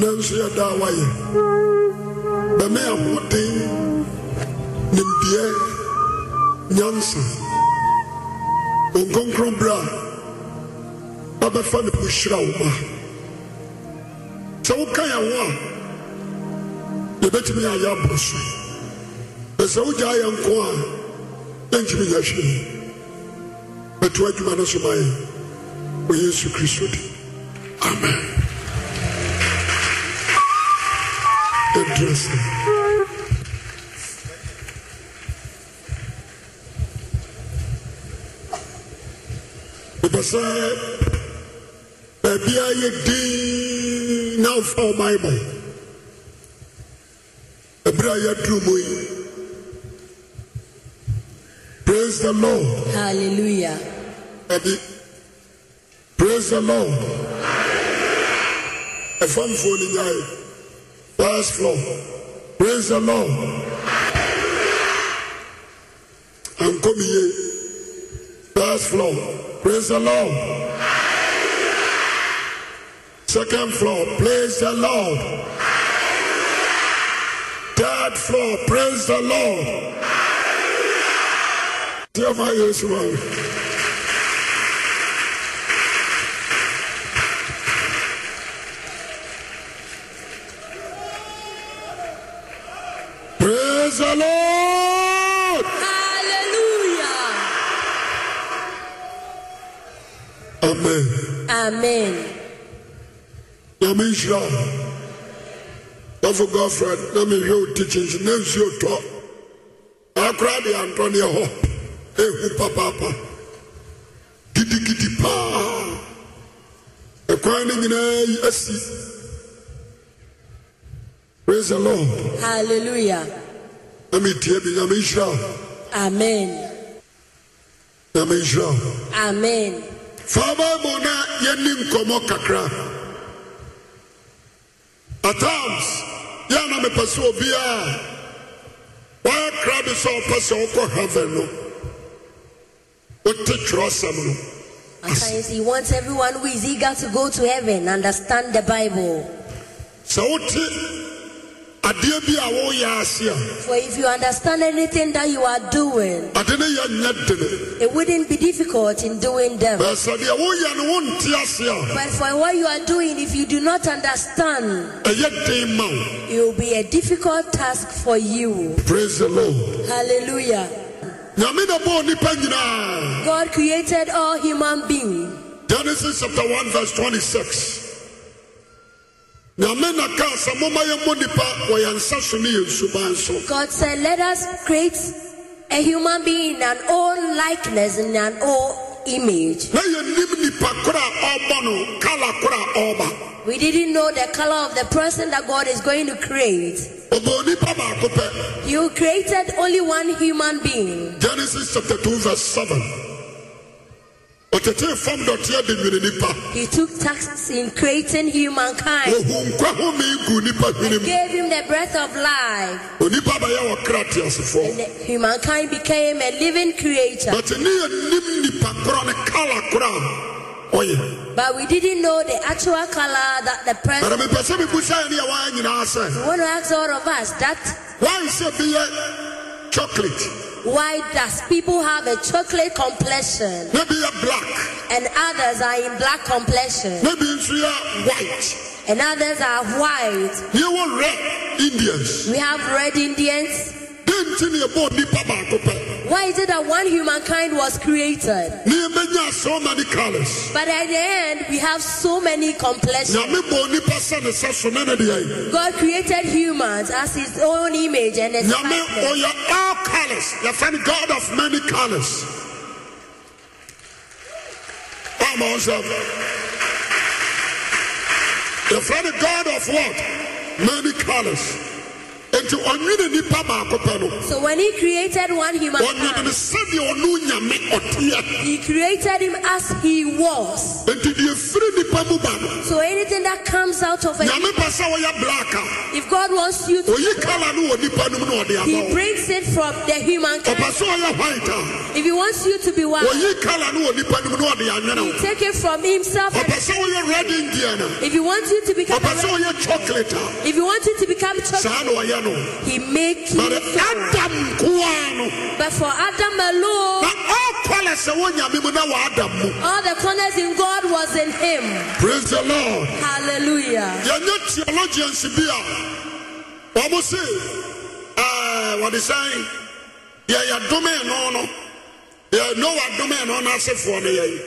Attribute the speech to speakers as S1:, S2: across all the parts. S1: nso yɛ daa wayɛ bɛmɛ ahoɔden nimdeɛ nyansa nkonkron berɛ a wabɛfa ne ho hyira wo ma sɛ woka yɛ ho a yɛbɛtumi ayɛ aboro so na sɛ wogyaa yɛ nko a yɛntumi yɛ hwee bɛto adwuma no so ma yɛ wɔ yesu kristo di amen interesting mepɛ sɛ baabia yɛ din na mfa wo bible ɛberɛ a yɛaduru mu yi praise the lord
S2: Hallelujah.
S1: Adi. Praise the Lord. A fun phone in your First floor. Praise the Lord. I'm coming here. First floor. Praise the Lord. Second floor. Praise the Lord. Third floor. Praise the Lord. Dear my Yeshua. Praise the Lord.
S2: Hallelujah.
S1: Amen.
S2: Amen.
S1: Nyame nhyira wo. Dɔfo Godfred, na mehwɛ wo teachings na nsuo tɔ. Akora de antɔ ne hɔ. Ehu papaapa. Gidigidi paa. Ɛkwan no nyinaa yi asi. Praise the Lord.
S2: Hallelujah.
S1: Na metie bi nyame nhyira wo.
S2: Amen.
S1: Nyame nhyira wo.
S2: Amen.
S1: fa bible na yɛni nkɔmmɔ kakra at times yɛa na mepɛ sɛ obiaa wɔyɛ kra de sɛ ɔpɛ sɛ wokɔ heaven no wote twerɛsɛm no
S2: At times he wants everyone who is eager to go to heaven understand the Bible.
S1: sɛ wote adeɛ bi a woyɛ ase a
S2: For if you understand anything that you are doing,
S1: ade ne yɛnyɛ dene
S2: it wouldn't be difficult in doing them.
S1: bɛɛ sɛ deɛ woyɛ no wonte ase a
S2: But for what you are doing, if you do not understand,
S1: ɛyɛ e den ma wo
S2: it will be a difficult task for you.
S1: praise the lord
S2: Hallelujah.
S1: nyame na bɔɔ nnipa nyinaa
S2: God created all human beings.
S1: Genesis chapter 1 verse 26. Nyame na kaa sɛ momma yɛmmɔ nnipa wɔ yɛn nsa so ne yɛn suban so.
S2: God said, Let us create a human being in an own likeness, in an own image.
S1: Na yɛnnim nnipa koro a ɔbɔ no kala koro a ɔba.
S2: We didn't know the color of the person that God is going to create.
S1: Ɔbɔ nnipa baako pɛ.
S2: You created only one human being.
S1: Genesis chapter 2 verse 7. Ɔtetee fam dɔteɛ de nwene nnipa.
S2: He took tasks in creating humankind,
S1: Ohu nkwa home gu nnipa hwenem.
S2: gave him the breath of life,
S1: Onipa bɛyɛ wɔ kra
S2: and
S1: teasefoɔ.
S2: the humankind became a living creature.
S1: But ne yɛnnim nnipa koro ne kala koro a ɔyɛ.
S2: But we didn't know the actual color that the
S1: But
S2: person.
S1: mepɛ sɛ mebusa yɛ ne yɛwɔ nyinaa sɛ.
S2: I want to ask all of us that
S1: Why is it beer chocolate?
S2: why does people have a chocolate complexion?
S1: Maybe a black,
S2: and others are in black complexion,
S1: maybe it's a white.
S2: and others are white.
S1: You were red Indians.
S2: We have red Indians.
S1: Then see me about nipa baako pɛ.
S2: Why is it that one humankind was created?
S1: Ne menya so many colors.
S2: But at the end, we have so many complexions.
S1: Nyame bɔ nipa sɛ ne sɛ so ne ne deɛ.
S2: God created humans as His own image and His
S1: Nyame
S2: likeness.
S1: ɔyɛ all colors. Yɛfɛ God of many colors. Ama wo sɛ. Yɛfɛ God of what? Many colors. nti ɔnwene nipa baako pɛ no
S2: So when he created one
S1: ɔnwene no
S2: humankind,
S1: sɛdeɛ ɔno nyame ɔteɛ
S2: he created him as he was.
S1: nti deɛ firi nipa mu ba no
S2: So anything that comes out of it,
S1: nyame pɛ sɛ wɔyɛ black a
S2: if God wants you to,
S1: oyi kala no wɔ nipa no mu na ɔde
S2: he
S1: ama wo
S2: brings it from the
S1: ɔpɛ
S2: humankind.
S1: sɛ ɔyɛ white a
S2: If he wants you to be white,
S1: oyi kala no wɔ nipa no mu na ɔde anwene
S2: he
S1: wo
S2: take it from himself.
S1: ɔpɛ
S2: And
S1: sɛ woyɛ red indian a
S2: if he wants you to become,
S1: ɔpɛ
S2: a
S1: sɛ
S2: red-
S1: ɔyɛ chocolate a
S2: if he wants you to become chocolate,
S1: saa na ɔyɛ no
S2: he make
S1: but uh, ah.
S2: you. so.
S1: adam nkoa no
S2: But for Adam alone,
S1: na ɔkɔlɛ sɛ wɔ nyame mu na wɔ adam mu
S2: all the corners in God was in him.
S1: praise the lord
S2: Hallelujah.
S1: yɛnyɛ theologians bi a wɔn se ɛɛ wɔde sɛn yɛyɛ domee no no yɛ noa domee no n'asefoɔ no yɛn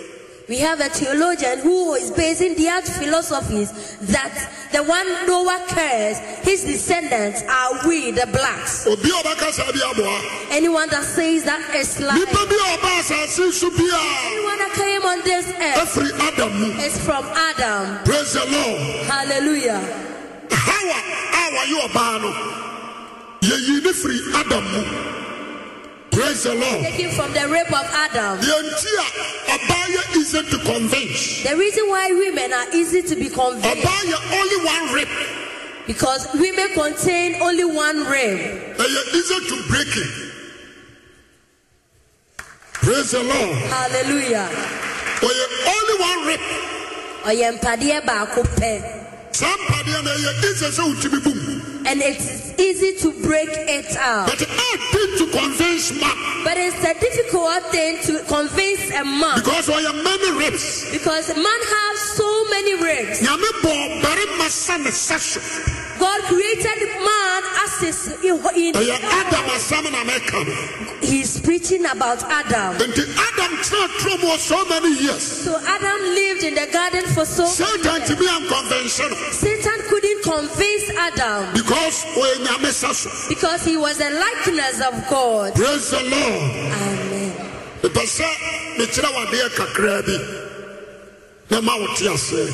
S2: We have a theologian who is basing their philosophies that the one Noah cursed, his descendants are we, the blacks.
S1: obi a ɔbɛka saa bi aboa
S2: Anyone that says that is lying.
S1: nipa bi a ɔba asaase so bi a
S2: Anyone that came on this earth
S1: ɛfiri adam mu
S2: is from Adam.
S1: praise the lord
S2: Hallelujah.
S1: hawa a wɔyɛ ɔbaa no yɛyi ne firi adam mu praise the lord
S2: Taken from the rape of Adam.
S1: deɛ nti a ɔbaa yɛ easy to convince
S2: The reason why women are easy to be convinced
S1: ɔbaa yɛ only one rip
S2: because women contain only one rape.
S1: ɛyɛ easy to break it praise the lord
S2: Hallelujah.
S1: ɔyɛ only one rip
S2: Ɔyɛ mpadeɛ baako pɛ.
S1: saa mpadeɛ na ɛyɛ easy sɛ wotumi bu mu
S2: And it's easy to break it out.
S1: but ɛde to convince man
S2: But it's a difficult thing to convince a man
S1: because ɔyɛ many rips
S2: because man has so many ribs.
S1: nyame bɔ barima sa ne sa so
S2: God created man as his in,
S1: ɛyɛ adam asɛm na mɛka no
S2: he's preaching about Adam.
S1: enti adam tenatera mu wɔ so many years
S2: So Adam lived in the garden for so
S1: satan tumi ankɔnvɛnse no
S2: Satan couldn't convince Adam
S1: because ɔyɛ nyame sa so
S2: because he was a likeness of God.
S1: praise the lord
S2: Amen.
S1: mepɛ sɛ mekyerɛ wadeɛ kakraa bi na ma wote aseɛ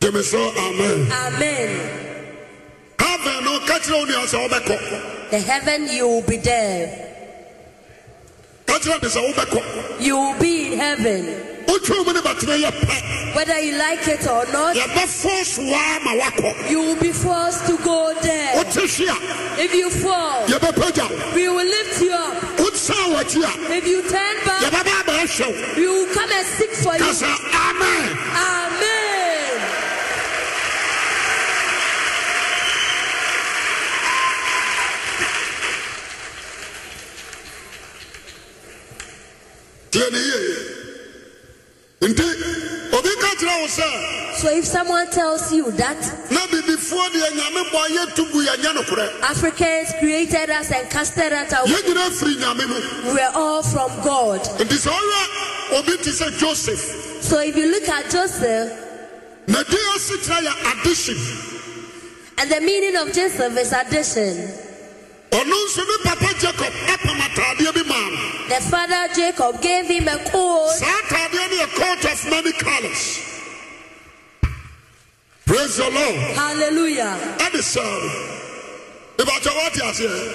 S1: gyeme sɛ amen
S2: Amen.
S1: heaven no ka kyerɛ wo nua sɛ wobɛkɔ
S2: The heaven you will be there.
S1: ka kyerɛ de sɛ wobɛkɔ
S2: You will be in heaven.
S1: wotwa mu ne bɛtena yɛ pɛ
S2: Whether you like it or not,
S1: yɛbɛfos waa ma woakɔ
S2: you will be forced to go there.
S1: wote hwe a
S2: If you fall,
S1: yɛbɛpagya wo
S2: we will lift you up.
S1: wotesaa w'akyi a
S2: If you turn back,
S1: yɛbɛba abɛɛhwɛ wo
S2: we will come and seek for
S1: ka
S2: you.
S1: sɛ amen
S2: Amen.
S1: tiɛ ne yie nti obi ka kyerɛ wo sɛ
S2: So if someone tells you that
S1: na bibifoɔ deɛ nyame bɔ yɛ tubu yɛnyɛ nokorɛ
S2: Africans created us and casted us out,
S1: yɛn nyinaa firi nyame mu
S2: we are all from God.
S1: nti sɛ ɔyɛ obi te sɛ joseph
S2: So if you look at Joseph,
S1: na din ase kyerɛ yɛ addition
S2: and the meaning of Joseph is addition.
S1: ɔno nso ne papa jacob apam ataadeɛ bi maa no
S2: The father Jacob gave him a coat.
S1: saa ataadeɛ no yɛ coat of many colors praise the lord
S2: Hallelujah.
S1: ɛde saa no mebakyɛ woate aseɛ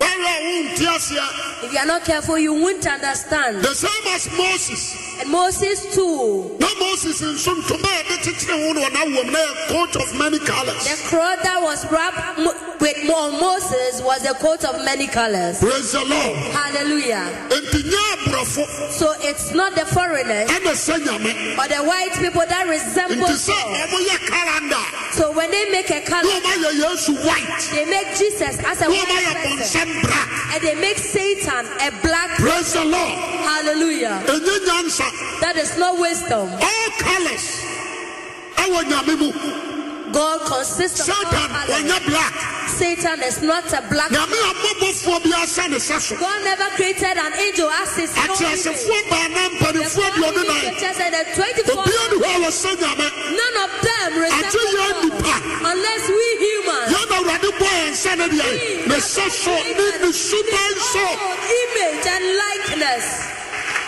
S1: wɔwerɛ a wonte aseɛ
S2: If you are not careful, you won't understand.
S1: the same as moses
S2: And Moses too.
S1: na moses nso ntoma a yɛde kyekyere ho no ɔnawom na yɛ coat of many
S2: The
S1: colors
S2: crowd that was wrapped mo- with on Moses was a coat of many colors.
S1: praise the lord
S2: Hallelujah.
S1: enti nyɛ aborɔfo
S2: So it's not the foreigners
S1: ɛna sɛ nyame
S2: or the white people that resemble
S1: nti sɛ
S2: God.
S1: ɔmoyɛ kalanda
S2: So when they make a
S1: ne
S2: color,
S1: ɔmayɛ yesu white
S2: they make Jesus as a
S1: ne
S2: white
S1: ɔmayɛ
S2: person,
S1: bɔnsɛm black
S2: and they make Satan a black.
S1: praise the lord
S2: Hallelujah.
S1: ɛnyɛ nyansa
S2: That is not wisdom.
S1: all colors ɛwɔ nyame mu
S2: God consists of all
S1: satan
S2: colors.
S1: ɔnyɛ black
S2: Satan is not a black.
S1: nyame a mmɔbɔfoɔ bi asa ne sɛ so
S2: God never created an angel as his own image.
S1: ateasefoɔ baana
S2: The
S1: mpanifoɔ
S2: four
S1: aduɔne
S2: living
S1: nan
S2: creatures and the 24
S1: obia ne hɔ a wɔsɛ nyame
S2: None of them
S1: Ate
S2: resemble
S1: yɛn
S2: God
S1: nipa.
S2: unless we humans.
S1: yɛna awurade bɔ yɛ nsa ne deɛ ne sɛ so ne ne suba nso
S2: image and likeness.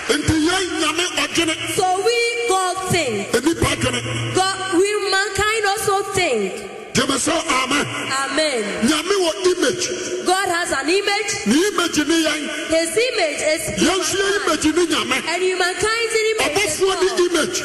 S1: enti yɛn nyame ɔdwene
S2: So we God think.
S1: ɛnipa dwene
S2: God, we mankind also think.
S1: gyeme mɛ sɛ amen
S2: Amen.
S1: nyame wɔ image
S2: God has an image.
S1: ne image ne yɛn
S2: His image is
S1: yɛn nso yɛ
S2: humankind.
S1: image ne nyame
S2: And humankind's image is
S1: ɔbɔfoɔ
S2: God.
S1: ne image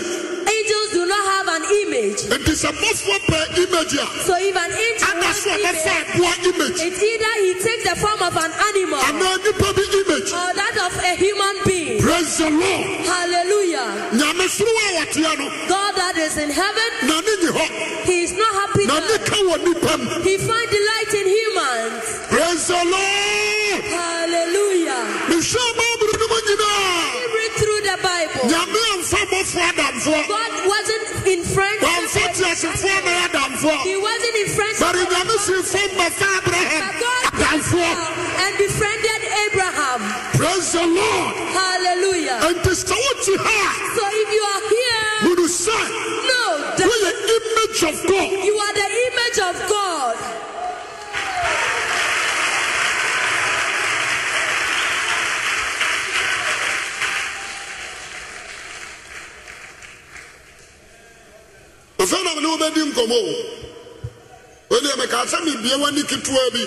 S2: Angels do not have an image.
S1: nti sɛ bɔfoɔ pɛ image a
S2: So if an angel
S1: ana
S2: has
S1: so a
S2: image,
S1: bɛfa aboa image
S2: it's either he takes the form of an animal
S1: anaa nnipa bi image
S2: or that of a human being.
S1: praise the lord
S2: Hallelujah.
S1: nyame soro a wɔteɛ no
S2: God that is in heaven,
S1: na ne nyi hɔ
S2: he is not happy.
S1: na ne
S2: that
S1: ka wɔ nnipa mu
S2: He finds delight in humans.
S1: praise the lord
S2: Hallelujah.
S1: mehwɛ baabere no mu nyinaa
S2: We Read through the Bible.
S1: nyame amfa bɔfoɔ adamfoɔ
S2: God wasn't in
S1: wamfa
S2: friendship.
S1: teasefoɔ na yɛ adamfoɔ
S2: He wasn't in friendship.
S1: bare nyame sii fam bɛfa abraham
S2: But God came
S1: adamfoɔ
S2: down and befriended Abraham.
S1: praise the lord
S2: Hallelujah.
S1: enti sɛ wote ha
S2: So if you are
S1: a
S2: here,
S1: hunu sɛ
S2: know that
S1: woyɛ image of god
S2: you are the image of God.
S1: ɛfɛ na mene wobɛdi nkɔmmɔ o ɛneɛ mekaa sɛ mebie w'ani ketewa bi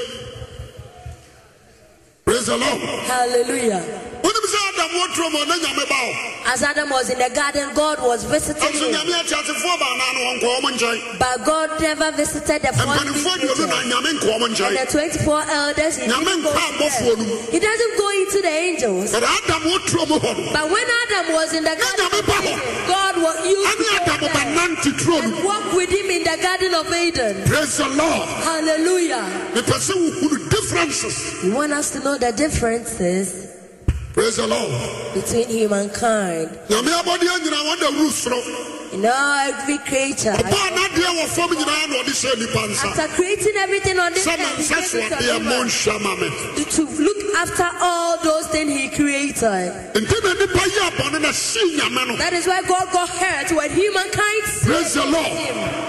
S1: praise the lord
S2: Hallelujah.
S1: wonim sɛ adam wɔturo mɔ na nyame ba o
S2: As Adam was in the garden, God was visiting
S1: ɛnso
S2: him.
S1: nyame ateasefoɔ baanaa no wɔnkɔɔ mo nkyɛn
S2: But God never visited the
S1: mpanimfoɔ aduonu na
S2: forest.
S1: nyame nkɔɔ mo nkyɛn
S2: And the 24 elders, he,
S1: Nyame
S2: didn't go
S1: nkwa abɔfoɔ no
S2: to
S1: mu.
S2: them. he doesn't go into the angels.
S1: But Adam wo turo mu hɔ no.
S2: But when Adam was in the garden,
S1: nyame ba
S2: of
S1: hɔ.
S2: Eden, God was used
S1: Ɛne
S2: to
S1: Adam
S2: go
S1: ba
S2: there
S1: nante turo
S2: and
S1: no.
S2: walk with him in the garden of Eden.
S1: Praise the Lord.
S2: Hallelujah.
S1: Mepɛ sɛ wohunu differences.
S2: You want us to know the differences
S1: Praise the Lord.
S2: between humankind.
S1: Nyame abɔdeɛ nyinaa wɔde wuru soro.
S2: You know, every creature.
S1: Ɔbaa n'adeɛ wɔ fam nyinaa na ɔde hyɛɛ nnipa nsa.
S2: After creating everything on this
S1: Sɛ
S2: earth, he
S1: mansa so
S2: gave it to
S1: adeɛ mo
S2: human
S1: nhyɛ ma me.
S2: to, to look after all those things he created.
S1: Nti na nnipa yɛɛ bɔne na sii Nyame no.
S2: That is why God got hurt when humankind
S1: Praise the
S2: sinned
S1: Lord.
S2: against him.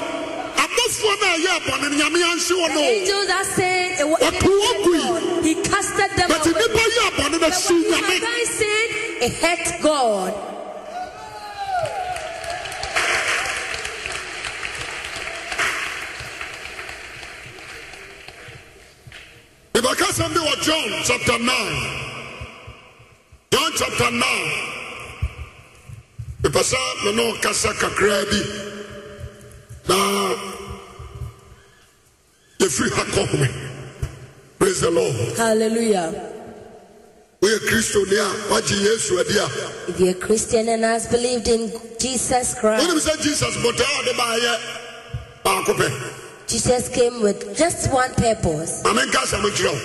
S1: Abɔfoɔ no a yɛɛ bɔne no, Nyame anhye
S2: The
S1: wɔn o.
S2: angels are saying it was
S1: But to walk with-
S2: God. He casted them
S1: But
S2: out. away.
S1: nnipa yɛɛ bɔne na
S2: But when
S1: sii Nyame.
S2: humankind sinned, it hurt God.
S1: Mebɛka sɛm bi wɔ John chapter 9. John chapter 9. Mepɛ sɛ me ne wo kasa kakraa bi na yɛfiri ha kɔ home. Praise the Lord.
S2: Hallelujah.
S1: Woyɛ Kristoni a woagye Yesu adi a.
S2: If you're a Christian and has believed in Jesus Christ,
S1: Wonim sɛ Jesus botaa a ɔde baayɛ baako pɛ.
S2: Jesus came with just one purpose.
S1: Ma menka asɛm nkyerɛ wo.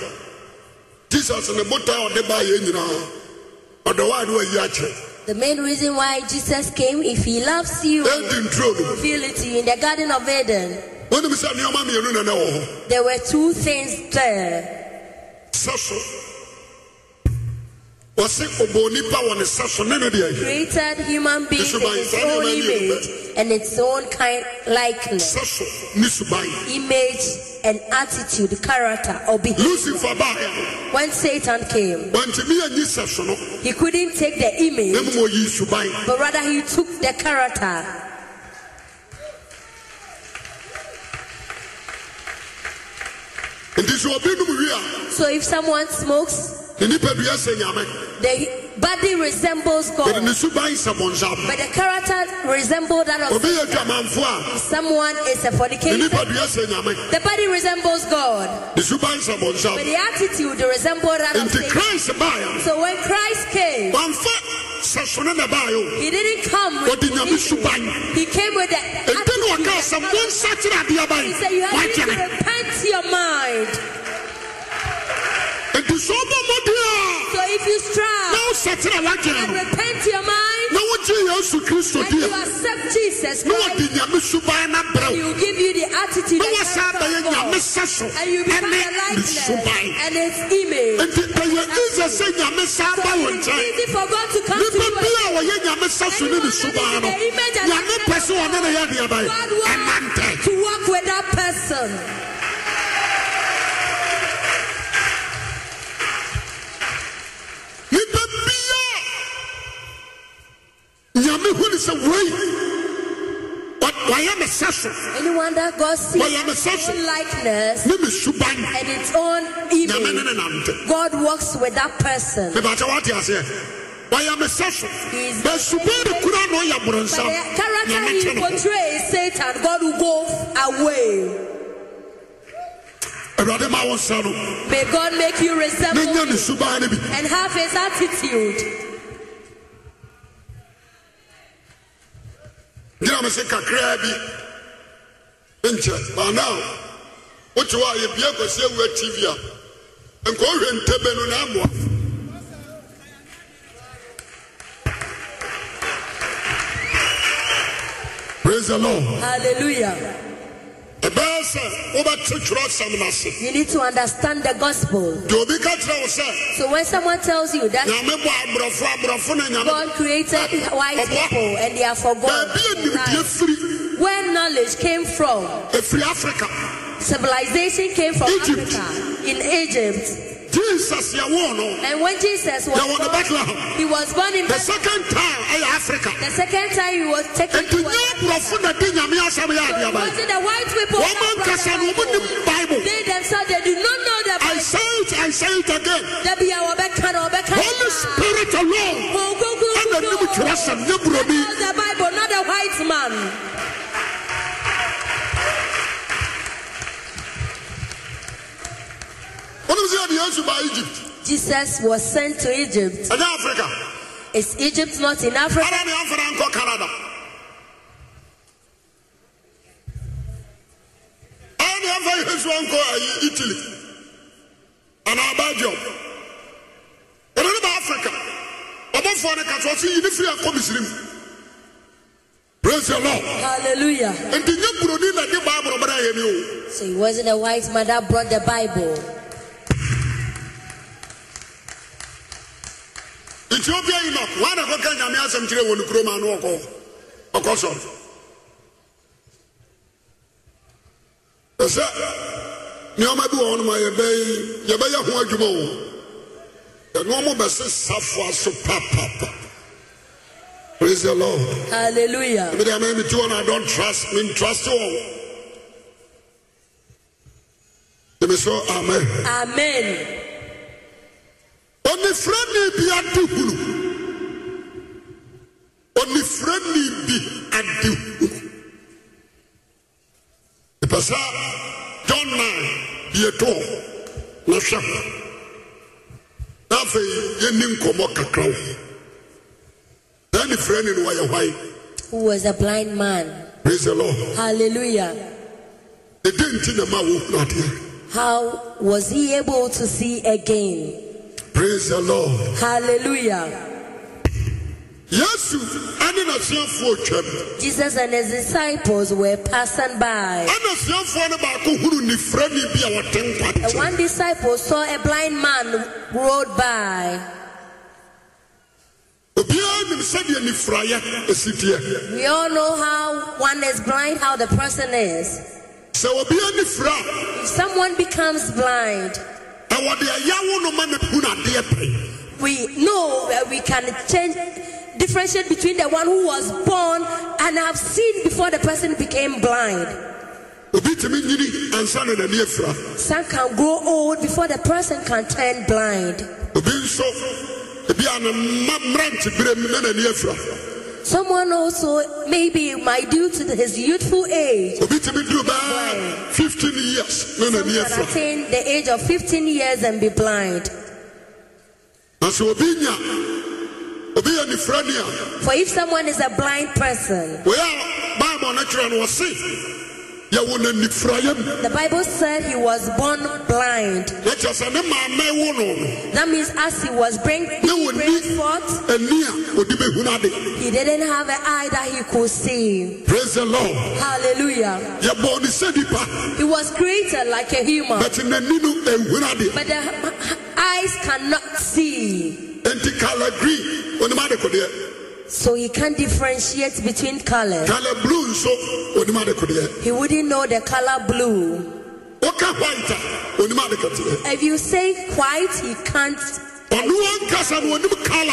S1: Jesus ne botaa a ɔde baayɛ nyinaa ɔdɔ wo a ne wayi akyerɛ.
S2: The main reason why Jesus came, if he loves you,
S1: Ɛdi nturo no mu.
S2: reveal it to you in the Garden of Eden.
S1: Wonim sɛ nneɛma mmienu na na wɔ hɔ.
S2: There were two things there.
S1: sɛ so wɔse ɔbɔ nipa wɔ ne sɛ so ne ne deɛ
S2: Created human beings in its own image and its own kind likeness,
S1: sɛ so ne suban
S2: image and attitude, character or behavior.
S1: lucifer baeɛ
S2: When Satan came,
S1: wantumi anyi sɛ so no
S2: he couldn't take the
S1: na
S2: image,
S1: mmom ɔyii suban
S2: but rather he took the character.
S1: nti sɛ obi nom wie a
S2: So if someone smokes,
S1: ne nipadua sɛ nyame
S2: the body resembles
S1: bɛde ne
S2: God,
S1: suban sɛ bɔnsam
S2: but the character resembles that of
S1: obi yɛ adwamanfo a
S2: someone is a
S1: ne
S2: fornicator.
S1: nipadua sɛ nyame
S2: The body resembles God,
S1: ne suban sɛ
S2: but
S1: bɔnsam
S2: the attitude resembles that of
S1: nti
S2: Satan.
S1: christ baeɛ
S2: So when Christ came,
S1: no wamfa sɛ so ne na baeɛ
S2: He didn't come
S1: o
S2: with
S1: ɔde nyame
S2: religion.
S1: suban
S2: He came with the
S1: ɛnti ne
S2: attitude
S1: wɔkaa
S2: and
S1: sɛ
S2: character.
S1: monsa kyerɛ adeɛ
S2: He said you
S1: bae
S2: have to
S1: wakyɛne
S2: repent your mind.
S1: nti sɛ wobɔ mmɔden
S2: So if
S1: a
S2: you
S1: na
S2: strive
S1: wosɛkyerɛ
S2: and
S1: wagyere no
S2: repent your mind
S1: na wogye yesu kristo
S2: and
S1: di
S2: you
S1: a
S2: accept Jesus
S1: na wɔde
S2: Christ,
S1: nyame suban no
S2: he
S1: brɛ wo
S2: will give you the attitude
S1: na
S2: and
S1: wɔsaa
S2: character
S1: bɛyɛ
S2: of God.
S1: nyame sɛ so
S2: And you become
S1: ɛne
S2: the
S1: ne
S2: likeness
S1: suban
S2: and its image.
S1: nti ɛyɛ isa sɛ nyame saa
S2: So
S1: ba wo
S2: it is
S1: nkyɛn
S2: easy for God to come to
S1: nipa
S2: you.
S1: bi
S2: and-
S1: a wɔyɛ nyame sɛ so ne ne suban no nyame pɛ sɛ wɔne ne yɛ deɛ bae
S2: God wants
S1: ɛnantɛ
S2: to walk with that person.
S1: nipa bia nyame hune sɛ wei wɔ- wɔyɛ me me sɛ so
S2: Anyone that God sees
S1: Well, I'm a
S2: its
S1: suspect.
S2: own likeness
S1: ne me suban
S2: and its own
S1: nyame ne ne
S2: image,
S1: nam ntam
S2: God works with that person.
S1: mebakyɛ woate aseɛ wɔyɛ me sɛ so
S2: He is-
S1: bɛsubaa ne kura na ɔyɛ
S2: But
S1: borɔnsam
S2: the character
S1: nyame
S2: he
S1: kye ne ho
S2: portrays, Satan, God will go away.
S1: awurade ma wo nsa no
S2: May God make you
S1: ne
S2: resemble
S1: nya ne
S2: him
S1: suban no bi
S2: and have his attitude.
S1: gyina me se kakraa bi nkyɛ maanaa wote hɔ a yɛbia kɔsi awura tv a nka ɔhwɛ ntɛbɛ no na amoa praise the lord
S2: Hallelujah.
S1: ɛbɛyɛ sɛ wobɛte twerɛ asɛm no ase
S2: You need to understand the gospel.
S1: deɛ obi ka kyerɛ wo sɛ
S2: So when someone tells you that
S1: nyame bɔ aborɔfo aborɔfo na nyame
S2: God created white people and they are for God,
S1: baabi animdeɛ firi
S2: where knowledge came from,
S1: ɛfiri africa
S2: civilization came from
S1: Egypt.
S2: Africa, in Egypt.
S1: jesus yɛwoo no
S2: And when Jesus was
S1: yɛwɔ no
S2: born,
S1: bethlehem
S2: he was born in
S1: the
S2: Bethlehem.
S1: second time ɛyɛ africa
S2: The second time he was taken
S1: nti
S2: to
S1: nyɛ aborɔfo na de nyame asɛm yɛ adeɛ
S2: What
S1: bae
S2: did the white people
S1: wɔma
S2: not
S1: nkasa no
S2: know the Bible?
S1: wɔmnim bible
S2: They themselves they do not know the
S1: i
S2: Bible.
S1: say it i say it again
S2: There be our Becca, our Becca.
S1: holy spirit alone
S2: Oh, go, go, go,
S1: ɛna nim
S2: go.
S1: twerɛ asɛm nyɛ buroni
S2: Tell the Bible, not a white man.
S1: wonem sɛ yɛde yesu ba egypt
S2: Jesus was sent to Egypt.
S1: ɛnyɛ africa
S2: Is Egypt not in Africa?
S1: ara ne amfana nkɔ canada ara ne amfa yesu ankɔ ayi italy anaa belgium ɛno ne ba africa ɔbɔfoɔ no ka sɛ ɔse yi ne firi akɔ misiri mu praise the lord
S2: Hallelujah.
S1: nti nyɛ buroni na de baaboro bɛrɛ yɛ ni o
S2: So it wasn't a white man that brought the Bible.
S1: ethiopia yi nɔ wɔn anakɔ ka nyame asɛm kyerɛ wɔn kurom ano ɔkɔ ɔkɔ sɔrɔ ɛsɛ nneɛma bi wɔ hɔnom a yɛbɛyi yɛbɛyɛ ho adwuma wɔ yɛnoɔmo bɛse safoa so papapa praise the lord
S2: Hallelujah.
S1: Me deɛ mɛ mi ti wɔn na don trust me trust wɔn ebi sɔ amen.
S2: Amen.
S1: onifirani bi adi hunu onifirani bi adi hunu ìpèsè john nine bie tó na hwɛ ho n'afɛɛ yɛni nkɔmɔ kakra wɔ na onifirani no wɔyɛ hwae
S2: Who was a blind man?
S1: praise the lord
S2: Hallelujah.
S1: ɛdɛ nti na ma wɔhunu adeɛ
S2: How was he able to see again?
S1: praise the lord
S2: Hallelujah.
S1: yesu ɛne n'asuafoɔ twam.
S2: Jesus and his disciples were passing by.
S1: ɛna suafoɔ no baako hunu nifirani bi a wɔte nkwa
S2: And
S1: nkyɛn
S2: one disciple saw a blind man rode by.
S1: obiara nim sɛdeɛ nifirayɛ esi teɛ
S2: We all know how one is blind, how the person is.
S1: sɛ obiara nifira
S2: If someone becomes blind,
S1: a ɛwɔ deɛ yawo no ma ne hunu adeɛ pɛn
S2: we know that we can change differentiate between the one who was born and have seen before the person became blind.
S1: obi tumi nyini ansa na n'ani afira
S2: Some can grow old before the person can turn blind.
S1: obi nso ebi a ne mma mmerante bere mu na n'ani afira
S2: Someone also maybe might due to his youthful age.
S1: obi tumi duru bɛɛ fifteen years na
S2: Some
S1: n'ani
S2: can
S1: afira
S2: attain the age of 15 years and be blind.
S1: na sɛ obi nya obi yɛ nifirani a
S2: For if someone is a blind person,
S1: wɔyɛ a baabɔ no kyerɛ no wɔse yɛwɔ na nifirayɛ mu.
S2: the Bible said he was born blind.
S1: na kyerɛ sɛ ne maama wo no no
S2: That means as he was bring,
S1: No,
S2: bring
S1: we-
S2: forth,
S1: ani a ɔde bɛhunu ade
S2: he didn't have an eye that he could see.
S1: praise the lord
S2: Hallelujah.
S1: yɛbɔɔ ne sɛ nipa
S2: He was created like a human,
S1: but n'ani no ɛhunu ade
S2: but the h- eyes cannot see.
S1: enti kala green onim adekodeɛ
S2: So he can't differentiate between colors.
S1: kala blue nso onim adekodeɛ
S2: He wouldn't know the color blue.
S1: woka white a onim adekodeɛ
S2: If you say white, he can't.
S1: ɔno ankasa no onim kala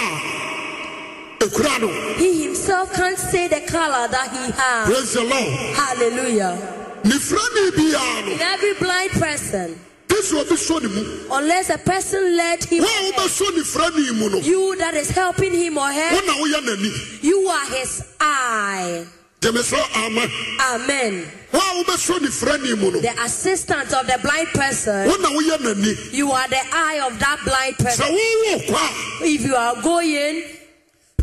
S1: a ekura no
S2: He himself can't say the color that he has.
S1: praise the lord
S2: Hallelujah.
S1: nifirani biara no
S2: In every blind person,
S1: yesu obi so ne mu
S2: unless a person led him,
S1: wo a wobɛso nifirani mu no
S2: you that is helping him or
S1: wo
S2: her,
S1: na woyɛ n'ani
S2: you are his eye.
S1: gyeme sɛ ama
S2: Amen.
S1: wo a wobɛso nifirani mu no
S2: The assistant of the blind person,
S1: wo na woyɛ n'ani
S2: you are the eye of that blind
S1: sɛ
S2: person.
S1: wowɔ kɔ
S2: If you are going
S1: a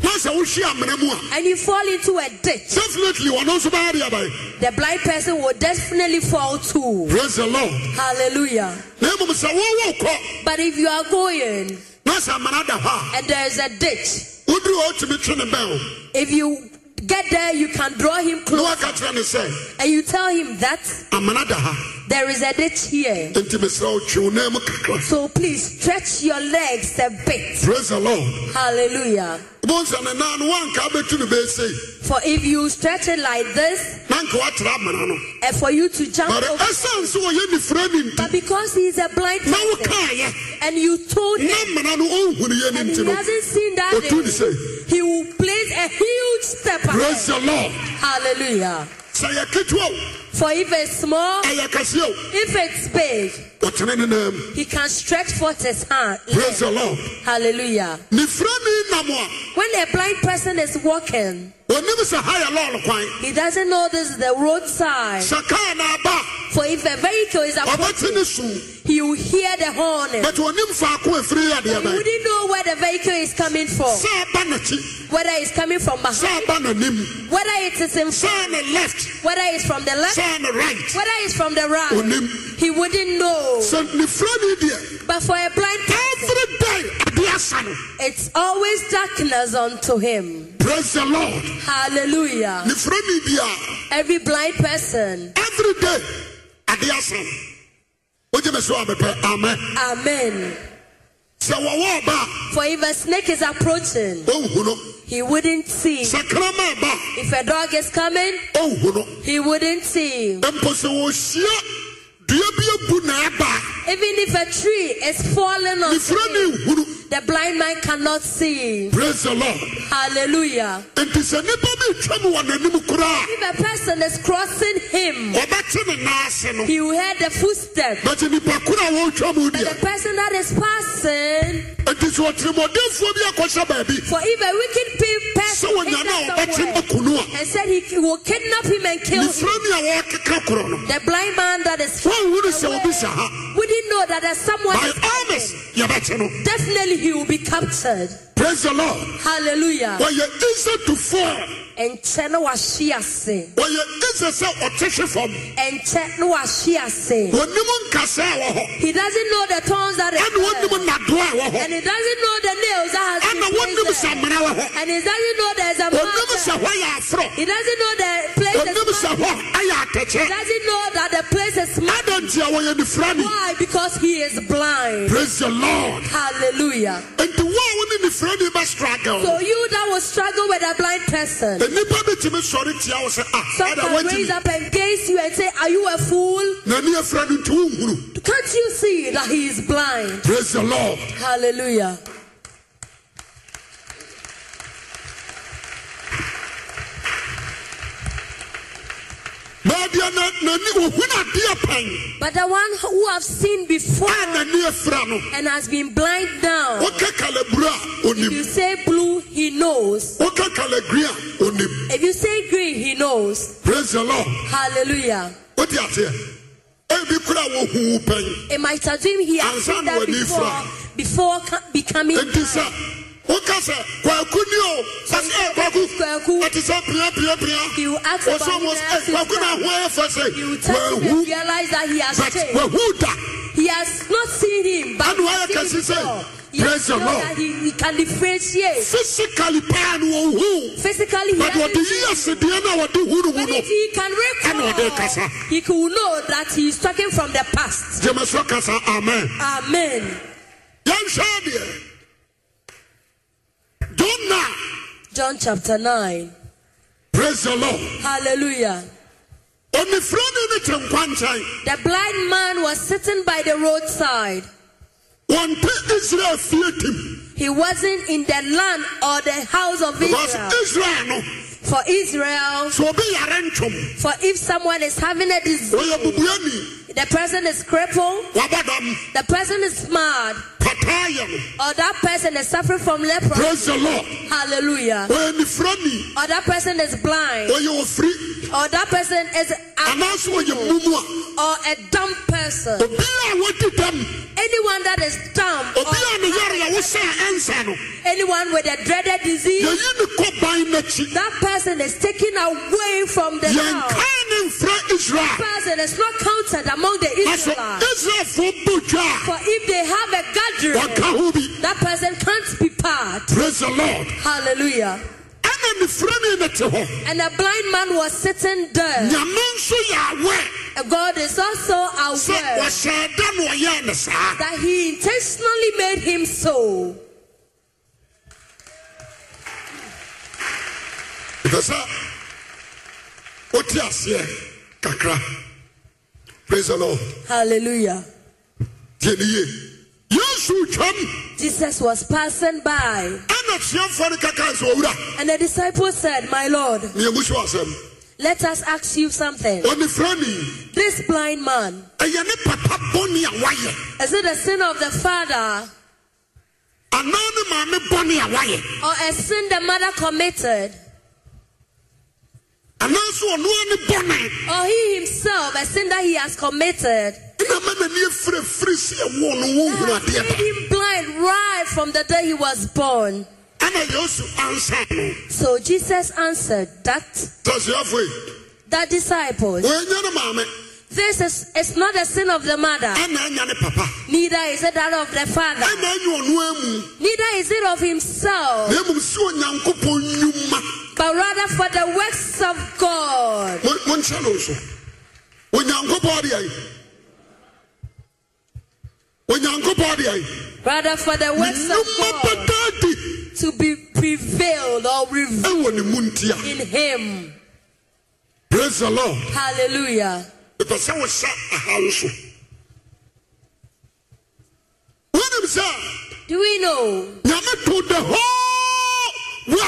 S1: na sɛ wohye amena mu a
S2: and you fall into a ditch,
S1: definitely ɔno nso bɛyɛ adeɛ abae
S2: the blind person will definitely fall too.
S1: praise the lord
S2: Hallelujah.
S1: na mmom sɛ wowɔ kɔ
S2: But if you are going
S1: na sɛ amena da hɔ
S2: and there is a ditch,
S1: a woduru hɔ wotumi twe ne bɛn
S2: if you get there, you can draw him
S1: na
S2: close
S1: woaka kyerɛ ne sɛ
S2: and you tell him that
S1: amena da ha
S2: there is a ditch here.
S1: enti mesrɛ wo twe wo nan mu kakra
S2: So please stretch your legs a bit.
S1: praise the lord
S2: Hallelujah.
S1: wobɛhu sɛ ne nan no woanka wobɛtu no bɛɛsei
S2: For if you stretch it like this,
S1: na nka woatra amena no
S2: and for you to jump
S1: but
S2: over,
S1: ɛsiane sɛ wɔyɛ nifirɛ ni nti
S2: but because he is a blind
S1: na
S2: person
S1: wokaeɛ
S2: and you told him
S1: na amena no ɔnhunuyɛ no
S2: and
S1: nti
S2: he
S1: no
S2: hasn't seen that,
S1: ɔtu ne
S2: day,
S1: sɛ
S2: he will place a huge step
S1: praise
S2: ahead.
S1: the lord
S2: Hallelujah.
S1: sɛ yɛ ketewa o
S2: For if it's small,
S1: ɛyɛ kɛseɛ o
S2: if it's big,
S1: ɔtene ne nan mu
S2: He can stretch forth his hand.
S1: praise the lord
S2: Hallelujah.
S1: nifirɛ ni nam a
S2: When a blind person is walking,
S1: ɔnim sɛ ha yɛ lɔɔre kwan
S2: he doesn't know this is the roadside.
S1: sɛ kaa na aba
S2: For if a vehicle is
S1: a, ɔbɛte
S2: approaching,
S1: ne sum
S2: he will hear the horn.
S1: but ɔnim faako a ɛfiri yɛ
S2: He
S1: adeɛ bɛn
S2: wouldn't know where the vehicle is coming from.
S1: sɛ aba n'akyi
S2: Whether it's coming from
S1: sɛ
S2: behind,
S1: aba n'anim
S2: whether it is in,
S1: sɛ ne left
S2: whether it's from the left,
S1: sɛ ne right
S2: whether it's from the right.
S1: ɔnim
S2: He wouldn't know.
S1: sɛ nifirɛ ni deɛ
S2: But for a blind person,
S1: every day adeɛ asa no
S2: it's always darkness unto him.
S1: praise the lord
S2: Hallelujah.
S1: nifirɛ ni biara
S2: Every blind person.
S1: every day adeɛ asɛm wogye me so a mepɛ amɛ
S2: Amen.
S1: sɛ wɔwɔ ɔba
S2: For if a snake is approaching,
S1: a ɔnhu no
S2: he wouldn't see.
S1: sɛ krama aba
S2: If a dog is coming,
S1: a ɔnhu no
S2: he wouldn't see. Even
S1: mpo sɛ wɔhyia dua bi abu na aba
S2: if a tree is falling
S1: a
S2: on
S1: nefirɛ
S2: him,
S1: ne nhu no
S2: the blind man cannot see.
S1: praise the lord
S2: Hallelujah.
S1: enti sɛ nnipa bi retwa mu wɔ n'anim koraa
S2: If a person is crossing
S1: a,
S2: him,
S1: wɔbɛte ne nan ase no
S2: he will hear the footstep.
S1: bɛte nnipa koro a wɔretwa mu
S2: But the
S1: deɛ
S2: person that is passing,
S1: enti sɛ ɔtenemmɔdenfoɔ bi akɔhyɛ baabi
S2: for if a wicked pe-
S1: sɛ
S2: person
S1: wɔnya na a
S2: entered
S1: ɔbɛte
S2: somewhere
S1: mako no a
S2: and said he will kidnap him and kill him,
S1: nefirɛ ne a wɔrekeka korɔ no
S2: the blind man that is
S1: wɔnhu no sɛ wɔbi sɛ ha
S2: wouldn't know that there's someone
S1: by
S2: is
S1: all
S2: coming.
S1: means yɛbɛkye no
S2: Definitely he will be captured.
S1: praise the lord
S2: Hallelujah.
S1: wɔyɛ easy to fall
S2: Enche no washiase.
S1: wɔyɛ easy sɛ ɔte hwe fam
S2: Enche no washiase.
S1: wɔnim nkasɛɛ wɔ hɔ
S2: He doesn't know the thorns that
S1: ɛne
S2: is
S1: wɔnim nadoa a wɔ
S2: and
S1: hɔ
S2: he doesn't know the nails that has
S1: ɛna
S2: been
S1: wɔnim sɛ
S2: placed there.
S1: mmena wɔ hɔ
S2: And he doesn't know there's a
S1: wɔnim
S2: mountain.
S1: sɛ hɔ yɛ aforɔ
S2: He doesn't know the place
S1: wɔnim
S2: is
S1: sɛ
S2: marked.
S1: hɔ ɛyɛ
S2: He
S1: atɛkyɛ
S2: doesn't know that the place is marked.
S1: ada nti a wɔyɛ nifira ni
S2: Why? Because he is blind.
S1: praise the lord
S2: Hallelujah.
S1: enti wo a wo ne nifira ni bɛ struggle
S2: So
S1: no
S2: you that will struggle with a blind person,
S1: nnipa bi tumi sɔre tia wo sɛ "Ah, a
S2: some
S1: ɛda
S2: can raise
S1: wɔntimi
S2: up against you and say, Are you a fool?
S1: n'ani afira no nti wonhunu
S2: Can't you see that he is blind?
S1: praise the lord
S2: Hallelujah.
S1: baabi a na- n'ani wɔhunu adeɛ pɛn
S2: But the one who have seen before
S1: a n'ani afira no
S2: and has been blind now,
S1: woka kalaburu a
S2: if
S1: onim
S2: you say blue, he knows.
S1: woka kalagri a onim
S2: If you say green, he knows.
S1: praise the lord
S2: Hallelujah.
S1: wode ateɛ ebi kora a wɔhu wo pɛn
S2: It might assume he has seen that before, before ca- becoming
S1: enti
S2: blind.
S1: sɛ woka sɛ kwaku ni o "Eh, ɛsɛ ɛ kwaku
S2: Kwaku,
S1: ɛte sɛ
S2: He
S1: piapiapia
S2: will ask about
S1: wɔsɛ wɔ
S2: his
S1: ɛ kwaku na ho ayɛ fɛ
S2: He
S1: sɛ
S2: will tell him and
S1: wahu
S2: realize that he has
S1: but
S2: changed.
S1: wahu da
S2: He has not seen him, but
S1: And
S2: he
S1: why can
S2: has
S1: she
S2: seen
S1: say,
S2: before.
S1: "Praise
S2: Yes,
S1: the
S2: know
S1: Lord"?
S2: that He, he can differentiate.
S1: physically paa no wɔhu
S2: Physically, he
S1: but
S2: hasn't
S1: wɔde yi asedeɛ no a wɔde hu no mu
S2: But
S1: no
S2: if he can
S1: Ano ɔde
S2: recall,
S1: kasa.
S2: he could know that he is talking from the past.
S1: gyeme so kasa amen
S2: Amen.
S1: yɛnhwɛ adeɛ jona
S2: John chapter 9.
S1: praise the lord
S2: Hallelujah.
S1: onifirani ne te nkwa nkyɛn
S2: The blind man was sitting by the roadside.
S1: wɔnte israel fie tim
S2: He wasn't in the land or the house of
S1: because
S2: Israel.
S1: israel no
S2: For Israel,
S1: sɛ obi yare ntwom
S2: for if someone is having a disease,
S1: wɔyɛ bubuani
S2: the person is crippled,
S1: wabɔdam
S2: the person is mad,
S1: pataa yɛ no
S2: or that person is suffering from leprosy.
S1: um. praise the lord
S2: Hallelujah.
S1: wɔyɛ nifirani
S2: Or that person is blind,
S1: wɔyɛ ofiri
S2: or that person is
S1: anaasɛ wɔyɛ
S2: a,
S1: mumu
S2: or a dumb person.
S1: a obi a wɔdi dam
S2: Anyone that is dumb,
S1: obi
S2: or
S1: a ne yare a wosaa ansa no
S2: anyone with a dreaded disease,
S1: yɛyi ne kɔ ban n'akyi
S2: that person is taken away from the house.
S1: yɛnkaa ne mfra israel
S2: Person is not counted among the
S1: na sɛ
S2: Israelites.
S1: israelfoɔ bo dwa
S2: For if they have
S1: a
S2: a gathering,
S1: wɔka ho bi
S2: that person can't be part.
S1: praise the lord
S2: Hallelujah.
S1: ɛna nifirani ne te hɔ
S2: And a blind man was sitting there.
S1: nyame nso yɛ awɛ
S2: God is also
S1: sɛ
S2: aware
S1: wɔhyɛɛ da na ɔyɛɛ ne saa
S2: that He intentionally made him so.
S1: ɛfɛ sɛ wote aseɛ kakra praise the lord
S2: Hallelujah.
S1: tie ne ye yesu twam
S2: Jesus was passing by,
S1: ɛna suafoɔ no kaka sɛ owura
S2: and the disciple said, My Lord,
S1: meamu so asɛm
S2: let us ask you something.
S1: ɔnifirani
S2: This blind man,
S1: ɛyɛ ne papa bɔne a wayɛ
S2: is it a sin of the father
S1: anaa ne maame bɔne a wayɛ
S2: or a sin the mother committed,
S1: anaasɛ ɔnoa ne bɔne
S2: or he himself, a sin that he has committed?
S1: ɛna ma n'ani afirafiri sɛ ɛwɔ no wɔnhunu
S2: That
S1: adeɛ
S2: made
S1: da
S2: him blind right from the day he was born.
S1: ɛna yesu ansa no
S2: So Jesus answered that
S1: tasuafoɔ yi
S2: that disciples,
S1: wɔanya ne maame
S2: this is it's not a sin of the mother,
S1: ɛna anya ne papa
S2: neither is it that of the father,
S1: ɛna anya ɔnoa mu
S2: neither is it of himself,
S1: na mmom sɛ onyankopɔn nnwuma
S2: but rather for the works of God.
S1: Mo- monhyɛ no so onyankopɔn de ayi onyankopɔn de ayi
S2: Rather for the works
S1: nnwuma
S2: of God
S1: bɛdaa di
S2: to be prevailed or revealed
S1: ɛwɔ ne mu nti a
S2: in him.
S1: praise the lord
S2: Hallelujah.
S1: mepɛ sɛ wohyɛ ahaw so wonim sɛ
S2: Do we know
S1: nyame to the whole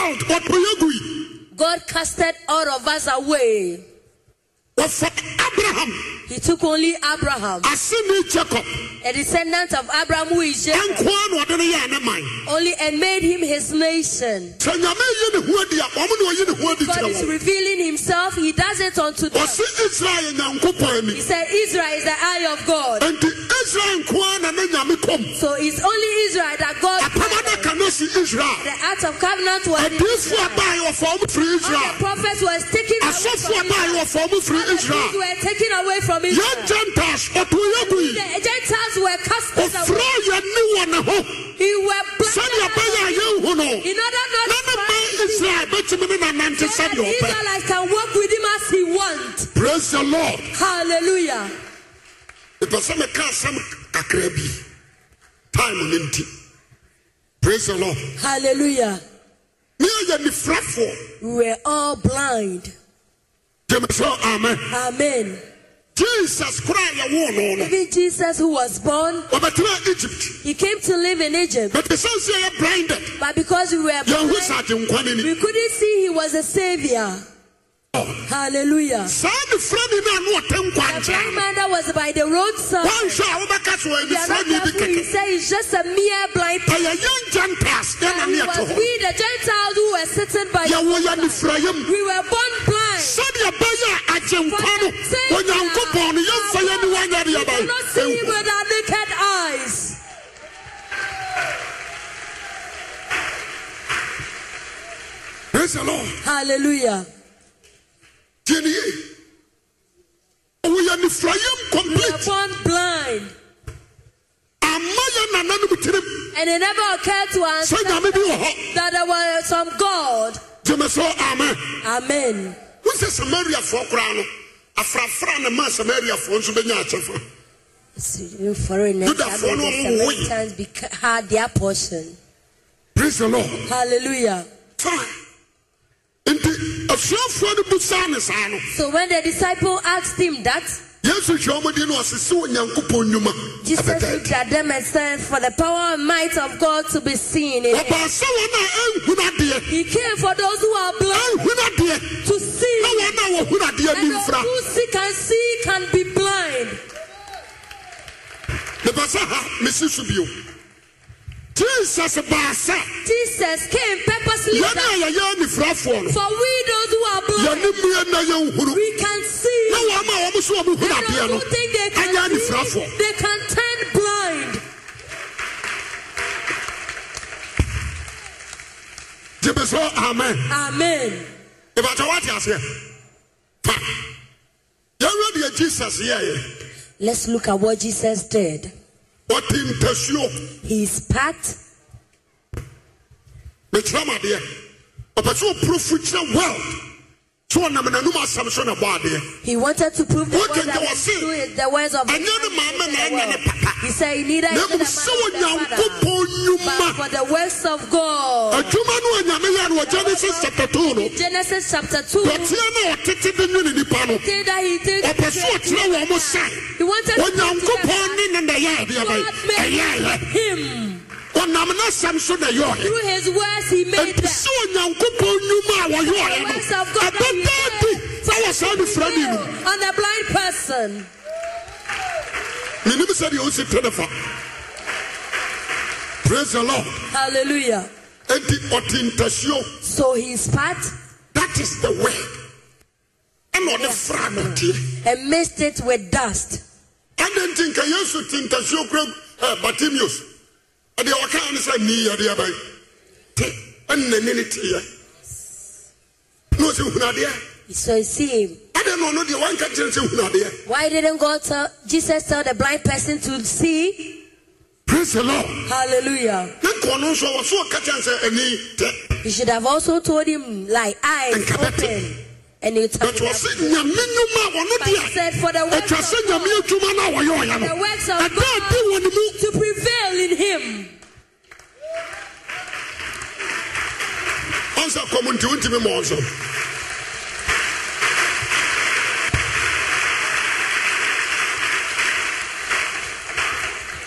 S1: world ɔpɛyɛ gui
S2: God casted all of us away?
S1: wɔfa abraham
S2: He took only Abraham,
S1: asene jacob
S2: a descendant of Abraham who is Jacob.
S1: ɛnkoa na ɔde no yɛɛ ne man
S2: only and made him his nation.
S1: sɛ nyame yɛ ne ho adi a ɔmo ne ɔyɛ ne ho adi
S2: God
S1: kyerɛ
S2: is
S1: wɔn
S2: revealing himself. He does it unto them.
S1: ɔse israel yɛ nyankopɔn
S2: He
S1: ani
S2: said, Israel is the eye of God.
S1: enti israel nkoa na ne nyame kɔm
S2: So it's only Israel that God.
S1: apam adaka no si israel
S2: The act of covenant was. in
S1: adiifo
S2: Israel.
S1: abae wɔfa ɔmo firi
S2: All the
S1: israel
S2: prophets was taken away
S1: asɔfo
S2: from
S1: abae
S2: Israel.
S1: wɔfa ɔmo firi
S2: The Jews
S1: israel
S2: were taken away from
S1: yɛn
S2: Israel.
S1: gentiles ɔtoyɛ gui
S2: The Gentiles were cast away.
S1: ɔfrɛ yɛn ne wɔ ne ho
S2: He were
S1: sɛdeɛ
S2: blinded
S1: ɛbɛyɛ a yɛnhu no
S2: in order not
S1: na
S2: to
S1: ne ma
S2: find
S1: israel bɛtumi ne nanante
S2: so that
S1: sɛdeɛ ɔpɛ
S2: Israelites can walk with him as he wants.
S1: praise the lord
S2: Hallelujah.
S1: mepɛ sɛ meka asɛm kakra bi time no nti praise the lord
S2: Hallelujah.
S1: ne ayɛ nifrafoɔ
S2: We were all blind.
S1: gyeme sɛ amen
S2: Amen.
S1: jesus koraa yɛwoo no no
S2: Even Jesus, who was born,
S1: wɔbɛtena egypt
S2: he came to live in Egypt,
S1: bɛte sɛn sɛ yɛ blinded
S2: but because we were
S1: yɛnhu
S2: blind,
S1: sɛ agyenkwa ne ni
S2: we couldn't see he was a savior. Hallelujah.
S1: saa nifrani no a ne ɔte
S2: The blind
S1: nkwankyɛn no
S2: man that was by the roadside,
S1: wɔnhwɛ a wobɛka sɛ wɔyɛ
S2: we are not
S1: nifrani bi
S2: careful, he
S1: kɛkɛ
S2: said he's just a mere blind person.
S1: ɛyɛ yɛn gentiles ɛna
S2: And
S1: ne ɛte
S2: it was
S1: hɔ
S2: we, the Gentiles, who were sitting by the
S1: yɛwɔ yɛ
S2: roadside.
S1: nifrayam
S2: We were born blind.
S1: sɛdeɛ bɛyɛ a agyenkwa no
S2: For the
S1: onyankopɔn no yɛmfa yɛ ne wanyɛ de
S2: We
S1: yɛbae
S2: cannot see
S1: ɛnhu
S2: with our naked eyes.
S1: praise the lord
S2: Hallelujah.
S1: tie ne ye ɔwoyɛ nifrayam
S2: We were
S1: complete
S2: born blind.
S1: ama yɛ nananom tirim
S2: And it never occurred to us
S1: sɛ nyame bi wɔ hɔ
S2: that there was some God.
S1: gyeme sɛ amen
S2: Amen.
S1: wosɛ samariafoɔ koraa no afrafra ne ma samariafoɔ nso bɛnya akyɛfa
S2: So you foreigners,
S1: Judah
S2: that
S1: follow
S2: the
S1: who we?
S2: Samaritans beca- had their portion.
S1: praise the lord
S2: Hallelujah.
S1: fine nti asuafoɔ no busaa ne saa no
S2: So when the disciple asked him that,
S1: yesu hwɛ ɔmo din na ɔsese onyankopɔn nnwuma
S2: Jesus
S1: ɛbɛda
S2: looked
S1: adi
S2: at them and said, For the power and might of God to be seen in it.
S1: ɔbaa sɛ wɔn a ɛnhunu adeɛ
S2: He came for those who are blind
S1: ɛnhunu adeɛ
S2: to
S1: na
S2: see,
S1: wɔn a wɔhunu adeɛ bi
S2: and those
S1: mfra
S2: who see can see can be blind.
S1: mepɛ sɛ ha mesi so bio jesus baa sɛ
S2: Jesus came purposely
S1: yɛn
S2: that
S1: a yɛyɛ anifirafoɔ no
S2: for we those who are blind,
S1: yɛne mmue na yɛnhunu
S2: we can
S1: na
S2: see.
S1: wɔn a wɔn nso a wɔhunu
S2: And
S1: adeɛ no
S2: those who think they
S1: ɛnyɛ
S2: can see,
S1: anifirafoɔ
S2: they can turn blind.
S1: gye me sɛ amen
S2: Amen.
S1: ìbàtà wà á ti àṣẹ pa yẹn wíwá diẹ jesus yẹ yẹ
S2: Let's look at what Jesus did.
S1: ọtí ntẹsíọ
S2: He spat.
S1: mẹtìrẹ mu adìẹ ọpẹsẹ òpurufú kyerẹ wẹl tí wọn nam n'anum asam so na bọ adìẹ
S2: He wanted to prove the
S1: What
S2: word
S1: can
S2: that
S1: you
S2: was
S1: see?
S2: true is the words of the
S1: And you know,
S2: man
S1: Mama,
S2: created the
S1: and you know,
S2: world. He said, "He neither
S1: na
S2: is the
S1: emu sẹ wọn
S2: man
S1: yàn
S2: of the
S1: kó
S2: Father,
S1: pọ
S2: but
S1: nyuma
S2: for the works of God."
S1: adwuma no onyame yẹ no ọjà ní sísè tètè no
S2: Genesis chapter two.
S1: dọtíẹ náà ọtítí bí nyú ni nípa no
S2: thing that he did.
S1: ọpẹsẹ òkyerẹ wọn mo sẹ
S2: He wanted to
S1: onyàn
S2: prove
S1: kó
S2: to them
S1: pọ ní
S2: that
S1: ní nà yẹ adìẹ bẹyì
S2: God
S1: ẹyẹ ẹyẹ
S2: made him
S1: ọnam n'asam so na yọ ọyẹ.
S2: through his words. He made them.
S1: ɛtisɛ onyankopɔn nnwuma a wɔyɛ ɔyɛ no
S2: The words of God that he
S1: ɛbɛdaa di
S2: did
S1: sɛ wɔ saa
S2: for the
S1: nifra ne
S2: people
S1: nom
S2: on the blind person.
S1: menim sɛdeɛ wosi te ne fa praise the lord
S2: Hallelujah.
S1: enti ɔte ntasuo
S2: So he spat
S1: that is the way ɛna ɔde fra no teɛ
S2: and mixed it with dust.
S1: ɛne nti nka yesu te ntasuo kura eh, bartimeus ɛdeɛ wɔkaa ne sɛ nii yɛdeɛ bɛyɛ te ɛnnani ne teɛ na ɔsɛ hunadeɛ
S2: So you see him.
S1: ɛdeɛ na ɔno deɛ wanka kyerɛ sɛ hunadeɛ
S2: Why didn't God tell Jesus tell the blind person to see?
S1: praise the lord
S2: Hallelujah.
S1: ne nkɔno nso wɔ so ɔka kyɛn sɛ ani tɛ
S2: He should have also told him like eyes
S1: Nkabete.
S2: open and it
S1: but wɔ se nyame nnwuma a wɔno
S2: But he
S1: deɛ
S2: said for the works
S1: atwa sɛ
S2: of
S1: nyame
S2: God
S1: adwuma no a wɔyɛ ɔyɛ
S2: The
S1: no
S2: works of
S1: ɛda a di wɔ ne mu
S2: to prevail in him.
S1: ɔnsɛ kɔm nti wontimi ma ɔnso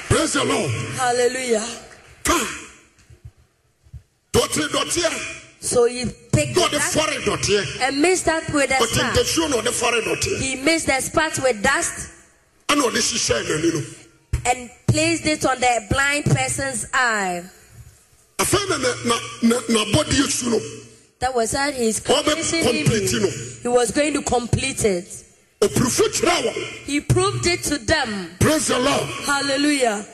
S1: praise the lord
S2: Hallelujah.
S1: fa dɔtere dɔteɛ
S2: So he picked
S1: na
S2: the
S1: ɔde
S2: dust
S1: fɔre dɔteɛ
S2: and mixed that with the
S1: ɔte
S2: spat.
S1: ntasuo na ɔde fɔre dɔteɛ
S2: He mixed the spat with dust
S1: ɛna ɔde hyehyɛɛ n'ani no
S2: and placed it on the blind person's eye.
S1: afei na na- na- na n'abɔdeɛ su no
S2: That was how he's
S1: Ɔbɛ complete no.
S2: He was going to complete it.
S1: ɔpirifo kyerɛ wɔn
S2: He proved it to them.
S1: praise the lord
S2: Hallelujah.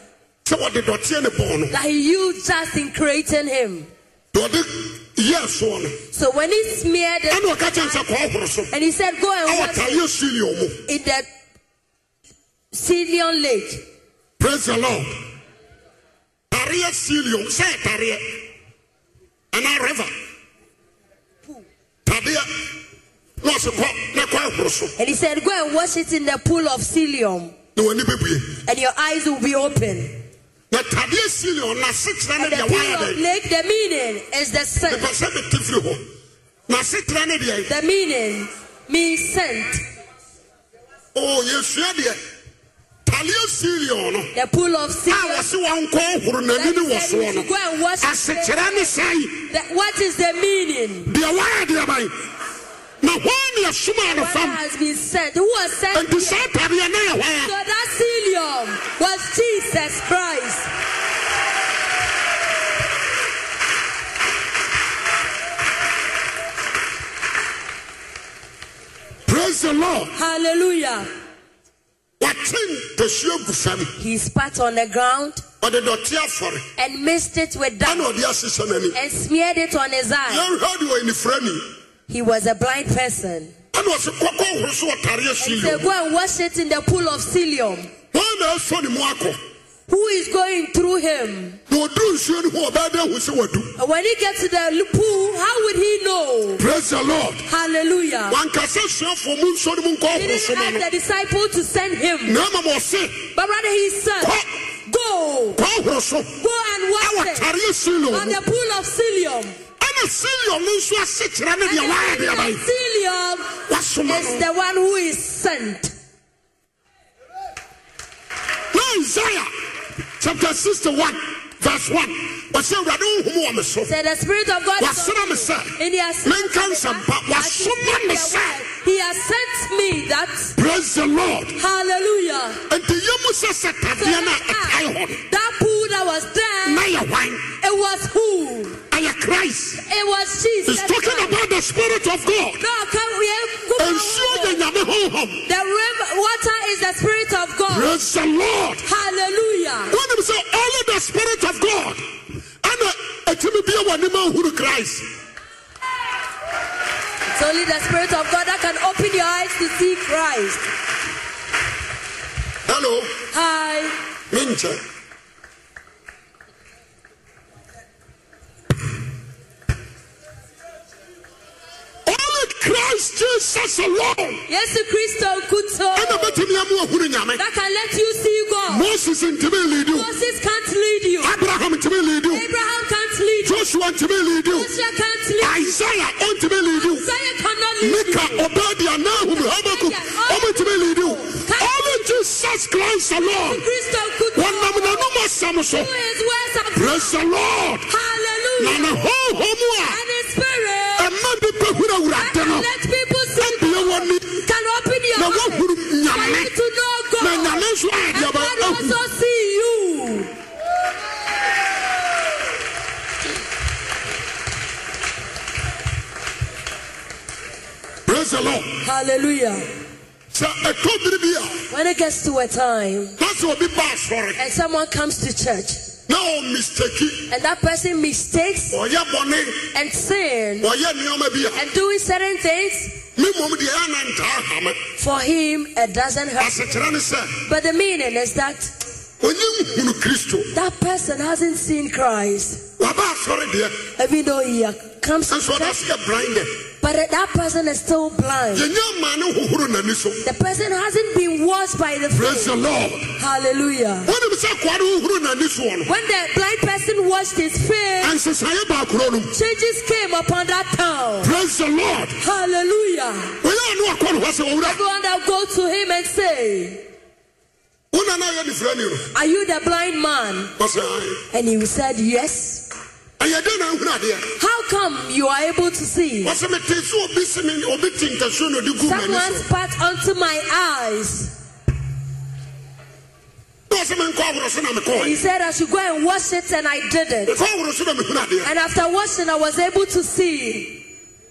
S1: sɛ wɔde dɔteɛ ne bɔn no
S2: That he used just in creating him.
S1: dɔde yɛɛ soɔ no
S2: So when he smeared it
S1: ɛna ɔka kyɛn sɛ kɔɔhoro so
S2: and he said, Go and
S1: ɛwɔ
S2: wash
S1: tareɛ sui ne ɔmo
S2: in the Syrian lake.
S1: praise the lord tareɛ sui ne ɔmo sɛ ɛyɛ tareɛ anaa river tadeɛ na ɔse kɔ na kɔɔhoro so
S2: And he said, Go and wash it in the pool of Siloam,
S1: na wɔn ani bebue
S2: and your eyes will be open.
S1: na tadeɛ sui ne ɔmo n'ase kyerɛ ne
S2: And the
S1: deɛ
S2: pool
S1: wɔayɛ
S2: of
S1: dɛ
S2: lake, the meaning is the
S1: nipa
S2: scent.
S1: sɛ bɛte firi hɔ n'ase kyerɛ ne deɛ
S2: The meaning means scent.
S1: oo yɛsua deɛ tadeɛ sui ne ɔmo no
S2: The pool of
S1: a
S2: Siloam.
S1: wɔse wɔnkɔ horo n'ani
S2: Then
S1: ne
S2: he
S1: wɔ
S2: said,
S1: soɔ
S2: "You
S1: no
S2: should Go and wash it.
S1: asekyerɛ ne sɛe
S2: The- What is the meaning?
S1: deɛ wɔayɛ deɛ bae na hɔn ne ɛsomaa no
S2: What
S1: fam
S2: has been sent? Who was sent?
S1: enti saa tadeɛ na yɛ hɔ
S2: So
S1: a
S2: that Siloam was Jesus Christ.
S1: praise the lord
S2: Hallelujah.
S1: wɔte ntasuo gu fam
S2: He spat on the ground
S1: ɔde dɔte afɔre
S2: and mixed it with
S1: ɛna
S2: dust
S1: ɔde ahyehyɛ n'ani
S2: and smeared it on his eye.
S1: yɛnhwɛ de wɔ anifira ni
S2: He was a blind person.
S1: ɛna ɔse kɔkɔ horo so wɔ tareɛ
S2: He said,
S1: suyɛ
S2: Go and wash it in the pool of Siloam.
S1: hɔn na ɛsɔ ne mu akɔ
S2: Who is going through him?
S1: na ɔduru nsuo no ho a, ɔbɛyɛ dɛ ahu sɛ wadu
S2: And when he gets to the pool, how would he know?
S1: praise the lord
S2: Hallelujah.
S1: wankasa suafoɔ mu nsuo no mu nkɔ
S2: He
S1: horo so
S2: didn't
S1: ma no
S2: ask the disciple to send him,
S1: na ama ma ɔse
S2: but rather he said,
S1: Kɔ.
S2: Go,
S1: kɔ horo so
S2: go and
S1: ɛwɔ
S2: wash it
S1: tareɛ suyɛ
S2: on
S1: no
S2: the pool of Siloam.
S1: ɛna suyɛ no nso asekyerɛ ne
S2: And
S1: deɛ wɔayɛ
S2: the
S1: deɛ
S2: pool
S1: bae
S2: of Siloam
S1: wasoma
S2: is
S1: no
S2: the one who is sent.
S1: na isaiah chapter sixty one verse one wɔsɛ awurade wohom wɔ me so
S2: Say the Spirit of God is
S1: wasoma
S2: on
S1: me
S2: me.
S1: sɛ
S2: And He has sent
S1: menka nsɛmpa
S2: I
S1: wasoma me
S2: declare the
S1: sɛ
S2: word. He has sent me that.
S1: praise the lord
S2: Hallelujah.
S1: nti yɛ mu sɛ sɛ
S2: So
S1: tadeɛ no a
S2: that,
S1: ɛkae hɔ
S2: I- that pool that was
S1: no
S2: there,
S1: na yɛ wan
S2: it was who?
S1: ɛyɛ christ
S2: It was Jesus.
S1: is talking
S2: Christ.
S1: about the spirit of god
S2: God, come here. Go
S1: nsuo
S2: forward.
S1: yɛ nyame honhom
S2: The river water is the Spirit of God.
S1: praise the lord
S2: Hallelujah.
S1: wonim sɛ only the spirit of god uh, ɛna ɛtumi bia w'anim ahunu christ
S2: It's only the Spirit of God that can open your eyes to see Christ.
S1: hello
S2: Hi.
S1: menkyɛ only christ jesus alone
S2: Yes, Christo Kuto.
S1: ɛna bɛtumi ama wahunu nyame
S2: That can let you see God.
S1: moses ntumi lead wo
S2: Moses can't lead you.
S1: abraham ntumi lead wo
S2: Abraham can't lead you.
S1: joshua ntumi lead wo
S2: Joshua can't lead you.
S1: isaia ɔntumi lead wo
S2: Isaiah cannot lead
S1: mika
S2: you.
S1: obadia nahum habakuk ɔmntumi lead wo only jesus christ alone
S2: Christo Kuto.
S1: wɔnam nanom asɛm so
S2: Who is words of
S1: praise the lord na
S2: Hallelujah.
S1: ne honhom a
S2: And his spirit
S1: ɛma nipa hunu
S2: that
S1: awurade
S2: can
S1: no
S2: let people see
S1: abie wɔni
S2: can open
S1: na
S2: your eyes.
S1: woahunu
S2: For
S1: nyame
S2: you to know
S1: na
S2: God.
S1: nyame nso
S2: And
S1: adeɛ ba
S2: God
S1: ahu
S2: also see you.
S1: praise the lord
S2: Hallelujah.
S1: sɛ ɛtɔ biri bi a
S2: When it gets to a time
S1: na sɛ obi ba asɔre
S2: and someone comes to church
S1: na ɔmmistaki
S2: and that person mistakes
S1: ɔyɛ bɔne
S2: and sin
S1: ɔyɛ nneɔma bi a
S2: and doing certain things,
S1: me mmom deɛ ɛyɛ anantaa hame
S2: for him it doesn't hurt.
S1: asekyerɛ ne sɛ
S2: But the meaning is that
S1: ɔnye nhunu kristo
S2: that person hasn't seen Christ,
S1: waba asɔre deɛ
S2: even though he comes to
S1: nso ɔda
S2: church,
S1: so yɛ blinded
S2: but that person is still blind.
S1: yɛnyɛ maa ne hohoro n'ani so
S2: The person hasn't been washed by the
S1: praise
S2: faith.
S1: the lord
S2: Hallelujah.
S1: wonim sɛ koa ne hohoro n'ani soɔ no
S2: When the blind person washed his face,
S1: ansesaeɛ baakoro nom
S2: changes came upon that town.
S1: praise the lord
S2: Hallelujah.
S1: wɔyɛ ne wakɔ ne hɔ sɛ ɔwura
S2: Everyone that go to him and say,
S1: wo nana yɛ ne fira ni no
S2: Are you the blind man?
S1: ɔsɛ "Ae."
S2: And he said, Yes.
S1: ɛyɛ dɛn na ahunu adeɛ
S2: How come you are able to see?
S1: ɔsɛ metee sɛ obi se me obi te ntasuo na ɔde gu m'ani so
S2: Someone spat onto my eyes.
S1: na ɔsɛ menkɔ ahoro so na
S2: And he
S1: mekɔe
S2: said, I should go and wash it, and I did it.
S1: mekɔ ahoro so na mehunu adeɛ
S2: And after washing, I was able to see.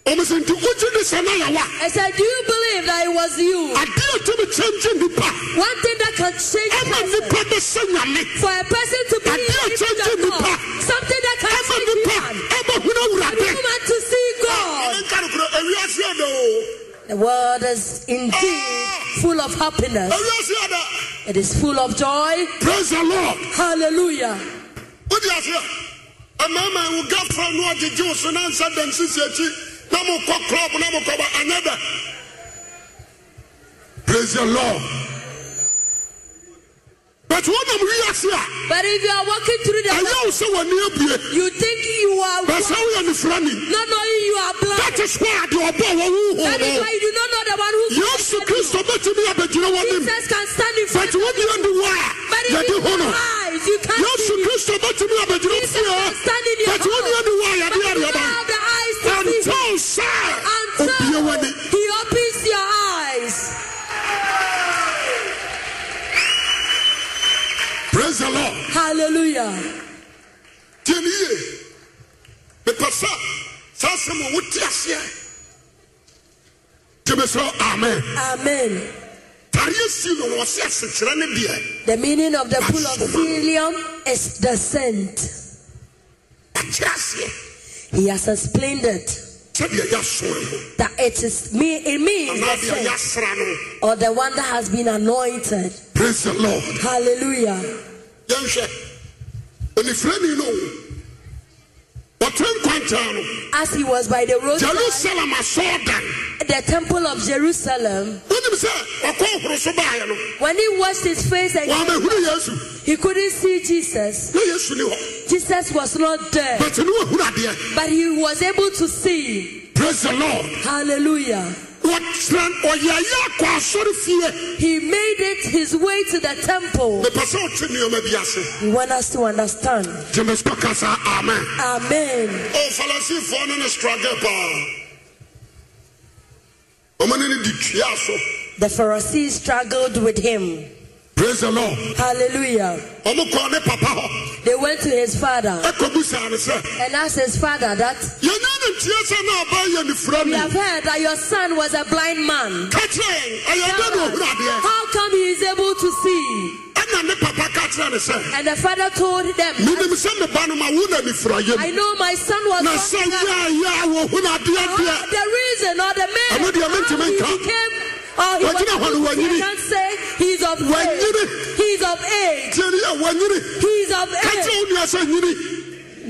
S1: ɔmo sɛ nti wogye de sɛ na yɛwa
S2: I said, Do you believe that it was you?
S1: adeɛ a tumi kyɛngye nnipa
S2: One thing that can change
S1: ɛma
S2: person,
S1: nnipa bɛ sɛ nyame
S2: for a person to be
S1: I dare
S2: in
S1: change
S2: the
S1: the
S2: God,
S1: path.
S2: something that can
S1: ɛma
S2: change
S1: nnipa
S2: man,
S1: ɛbɛhunu
S2: a
S1: awurade
S2: woman to see God.
S1: ɛnka no korɔ awiase ada o
S2: The world is indeed full of happiness.
S1: awiase ada
S2: It is full of joy.
S1: praise the lord
S2: Hallelujah.
S1: wode aseɛ ɛmama wo gafra no agyegye wo so na nsa da nsisi akyi na mokɔ club na mokɔba anyɛ da praise the lord but wonam wiase a
S2: But if you are walking through the
S1: ɛyɛ wo sɛ w'ani abue
S2: You think you are
S1: bɛ
S2: blind,
S1: sɛ woyɛ nefra ni
S2: not knowing you are blind.
S1: that is why ade ɔbɔ wɔ wo
S2: That is
S1: ho
S2: why you do not know the one who
S1: yesu kristo bɛtumi abɛgyina w'anim
S2: Jesus can stand in
S1: but
S2: front of you.
S1: wodeɛ ne wo a
S2: But if
S1: yɛde
S2: you
S1: ho no
S2: eyes, you can't
S1: yesu
S2: see.
S1: kristo bɛtumi abɛgyina wo
S2: Jesus can
S1: fie
S2: stand in your
S1: but wodeɛ ne wo a
S2: But
S1: yɛde
S2: you don't
S1: adeɛba
S2: have the eyes to
S1: until
S2: see.
S1: sɛ obie w'ani
S2: Until he opens your eyes.
S1: praise the lord
S2: Hallelujah.
S1: tiɛ ne yie mepɛ sɛ saa sɛm a wote aseɛ gyeme sɛ amen
S2: Amen.
S1: tareɛ sii no wɔ se asekyerɛ ne deɛ
S2: The meaning of the pool of Siloam is the scent.
S1: akyerɛ aseɛ
S2: He has explained it
S1: sɛdeɛ yɛasoɛ ho
S2: that it is me. It means
S1: anaa
S2: the
S1: deɛ
S2: scent,
S1: yɛasra no
S2: or the one that has been anointed.
S1: praise the lord
S2: Hallelujah.
S1: yɛnhwɛ onifirani no wɔte nkwantaa no
S2: as he was by the roadside,
S1: jerusalem asɔɔdan
S2: the temple of Jerusalem,
S1: wonim sɛ ɔkɔ horo so baeɛ no
S2: when he washed his face and
S1: wɔamahunu yesu
S2: he couldn't see Jesus,
S1: na yesu ni hɔ
S2: Jesus was not there,
S1: but ne wahunu adeɛ
S2: but he was able to see.
S1: praise the lord Oh,
S2: Hallelujah.
S1: wɔtena ɔyɛyɛ akɔ asɔre fie
S2: He made it his way to the temple.
S1: mepɛ sɛ ɔte nneɔma bi ase
S2: You want us to understand.
S1: gye me so ka saa amen Oh,
S2: Amen.
S1: o farisifoɔ no ne struggle paa ɔma ne ne de tuaa so
S2: The Pharisees struggled with him.
S1: praise the lord
S2: Hallelujah.
S1: ɔmo kɔɔ ne papa hɔ
S2: They went to his father
S1: ɛkɔbusaa ne sɛ
S2: and asked his father that
S1: yɛnya ne nteɛ sɛ na aba yɛ ne fura
S2: we
S1: ni
S2: have heard that your son was a blind man.
S1: ka kyerɛ ɛn ɛyɛ dɛ ne ɔhunu adeɛ
S2: How come he is able to see?
S1: ɛna ne papa ka kyerɛ ne sɛ
S2: And the father told them,
S1: menim sɛ meba no ma wo na ne fura yɛ
S2: I know my son was
S1: na sɛ
S2: blind,
S1: yɛ a yɛ a wɔhunu adeɛ deɛ
S2: but the reason or the man
S1: Ɛno deɛ mentumi
S2: he
S1: nka.
S2: became or he was
S1: Wɔgyina hɔ no,
S2: able to see,
S1: wɔanyini.
S2: I can't say he's of
S1: Wɔanyini.
S2: age. He's of age.
S1: tiɛ ni yɛ wɔnyini
S2: He's of
S1: ka
S2: age.
S1: kyerɛ wo nua sɛ nyini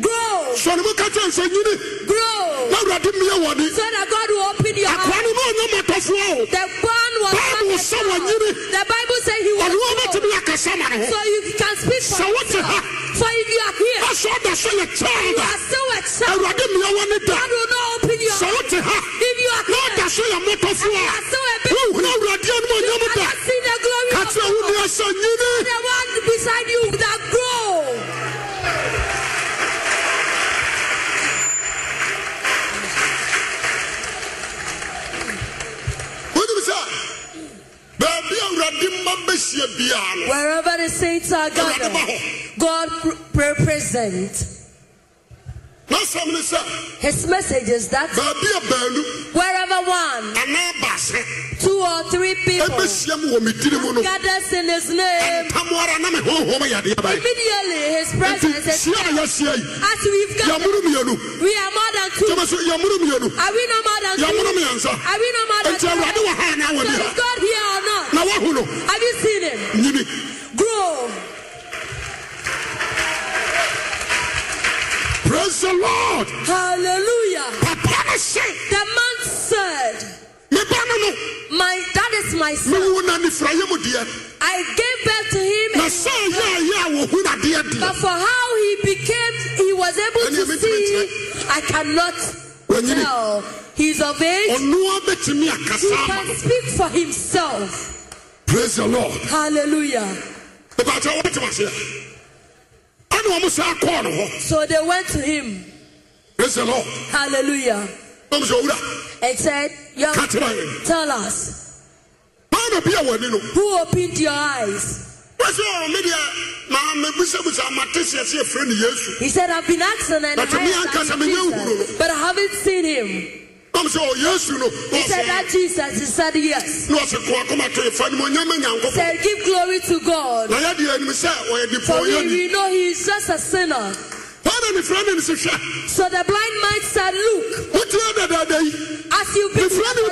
S2: Grow,
S1: sɔne mu ka kyerɛ n sɛ nyini
S2: grow,
S1: na awurade mmea wɔde
S2: so that God will open your
S1: akoa
S2: eyes.
S1: no ma ɔnyɛ matɔfoɔ o
S2: The born was
S1: Bible
S2: not a
S1: said
S2: child.
S1: wɔnyini.
S2: The Bible says he
S1: ɔne wɔ
S2: was grown.
S1: bɛtumi akasa ma ne ho
S2: So you can speak for
S1: Sɛ wote
S2: yourself.
S1: ha.
S2: For if you are here,
S1: na sɛ ɔda sɛ yɛ
S2: you
S1: kyɛɛda
S2: are still a child.
S1: awurade mmea wɔ ne da
S2: God will not open your
S1: sɛ
S2: eyes.
S1: wote ha
S2: If you are
S1: na
S2: here,
S1: ɔda so yɛ mmɔtɔfoɔ
S2: you
S1: a
S2: are still a baby.
S1: wohunu awurade anom ɔnyɛ
S2: You
S1: mu da
S2: cannot see the glory
S1: ka
S2: of
S1: kyerɛ wo
S2: God.
S1: nua sɛ nyini
S2: The one beside you that grow.
S1: wonim sɛ baabi awurade ma bɛhyia biaa no
S2: Wherever the saints are
S1: awurade ba
S2: gathered,
S1: hɔ
S2: God pr- represents.
S1: na sɛm ne sɛ
S2: His message is that
S1: baabi a baanu
S2: wherever one,
S1: anaa baasɛ
S2: two or three people
S1: ɛbɛhyia m wɔ me diri mu no
S2: gathers in His name,
S1: ɛntamoara na me honhom yɛdeɛ bae
S2: immediately His
S1: nti
S2: presence is
S1: hyia a yɛahyia yi
S2: as we've gathered.
S1: yɛmoro mmienu
S2: We are more than two.
S1: gyama so yɛmoro mmienu
S2: Are we no more than two?
S1: yɛmoro mmiɛnsa
S2: Are we no more than
S1: enti
S2: two?
S1: awurade wɔ ha anaa wɔ
S2: So
S1: ni
S2: is
S1: ha
S2: God here or not?
S1: na woahu no
S2: Have you seen Him?
S1: nyini
S2: Grow.
S1: praise the lord
S2: Hallelujah.
S1: papa no se
S2: The man said,
S1: meba no no
S2: "My that is my son.
S1: mewu na nifirayɛ mu deɛ
S2: I gave birth to him,
S1: na sɛ yɛ a yɛ a wɔhu nadeɛ
S2: but
S1: deɛ
S2: for how he became, he was able
S1: And
S2: to
S1: you meet him in
S2: see. I cannot
S1: Wanyini.
S2: tell. He's of age.
S1: ɔnoa bɛtumi
S2: He
S1: akasa ama
S2: can
S1: no
S2: speak for himself.
S1: praise the lord
S2: Hallelujah."
S1: mebakyɛ wɔbɛtem aseɛ ɛne ɔmo saa kɔɔ no hɔ
S2: So they went to him.
S1: praise the lord
S2: Hallelujah.
S1: ɔm sɛ owura
S2: And said, "Young,
S1: ka kyerɛ yɛn
S2: tell us."
S1: maa na bi a wɔani no
S2: Who opened your eyes?
S1: wɔsɛ ɔ me deɛ maa mebusabusa mate seɛ sɛ yɛfrɛ no yesu
S2: He said, I've been asking and I
S1: But to me,
S2: asked
S1: Ankasa,
S2: and
S1: me
S2: Jesus,
S1: new Hulu.
S2: but I haven't seen him.
S1: ɔm sɛ ɔ "Oh, yesu no
S2: He said
S1: ɔsɛ
S2: that Jesus. He said yes.
S1: na ɔse koa kɔma to yɛfa nim ɔnyama
S2: He
S1: nyankopɔn
S2: said, give glory to God.
S1: na yɛdeɛ anim sɛ ɔyɛ
S2: For we,
S1: dipɔyɛni
S2: we know he is just a sinner.
S1: ɔna nifirɛ no ne se hwɛ
S2: So the blind man said, look,
S1: wotia dadaada yi
S2: as you've been
S1: nifirɛ no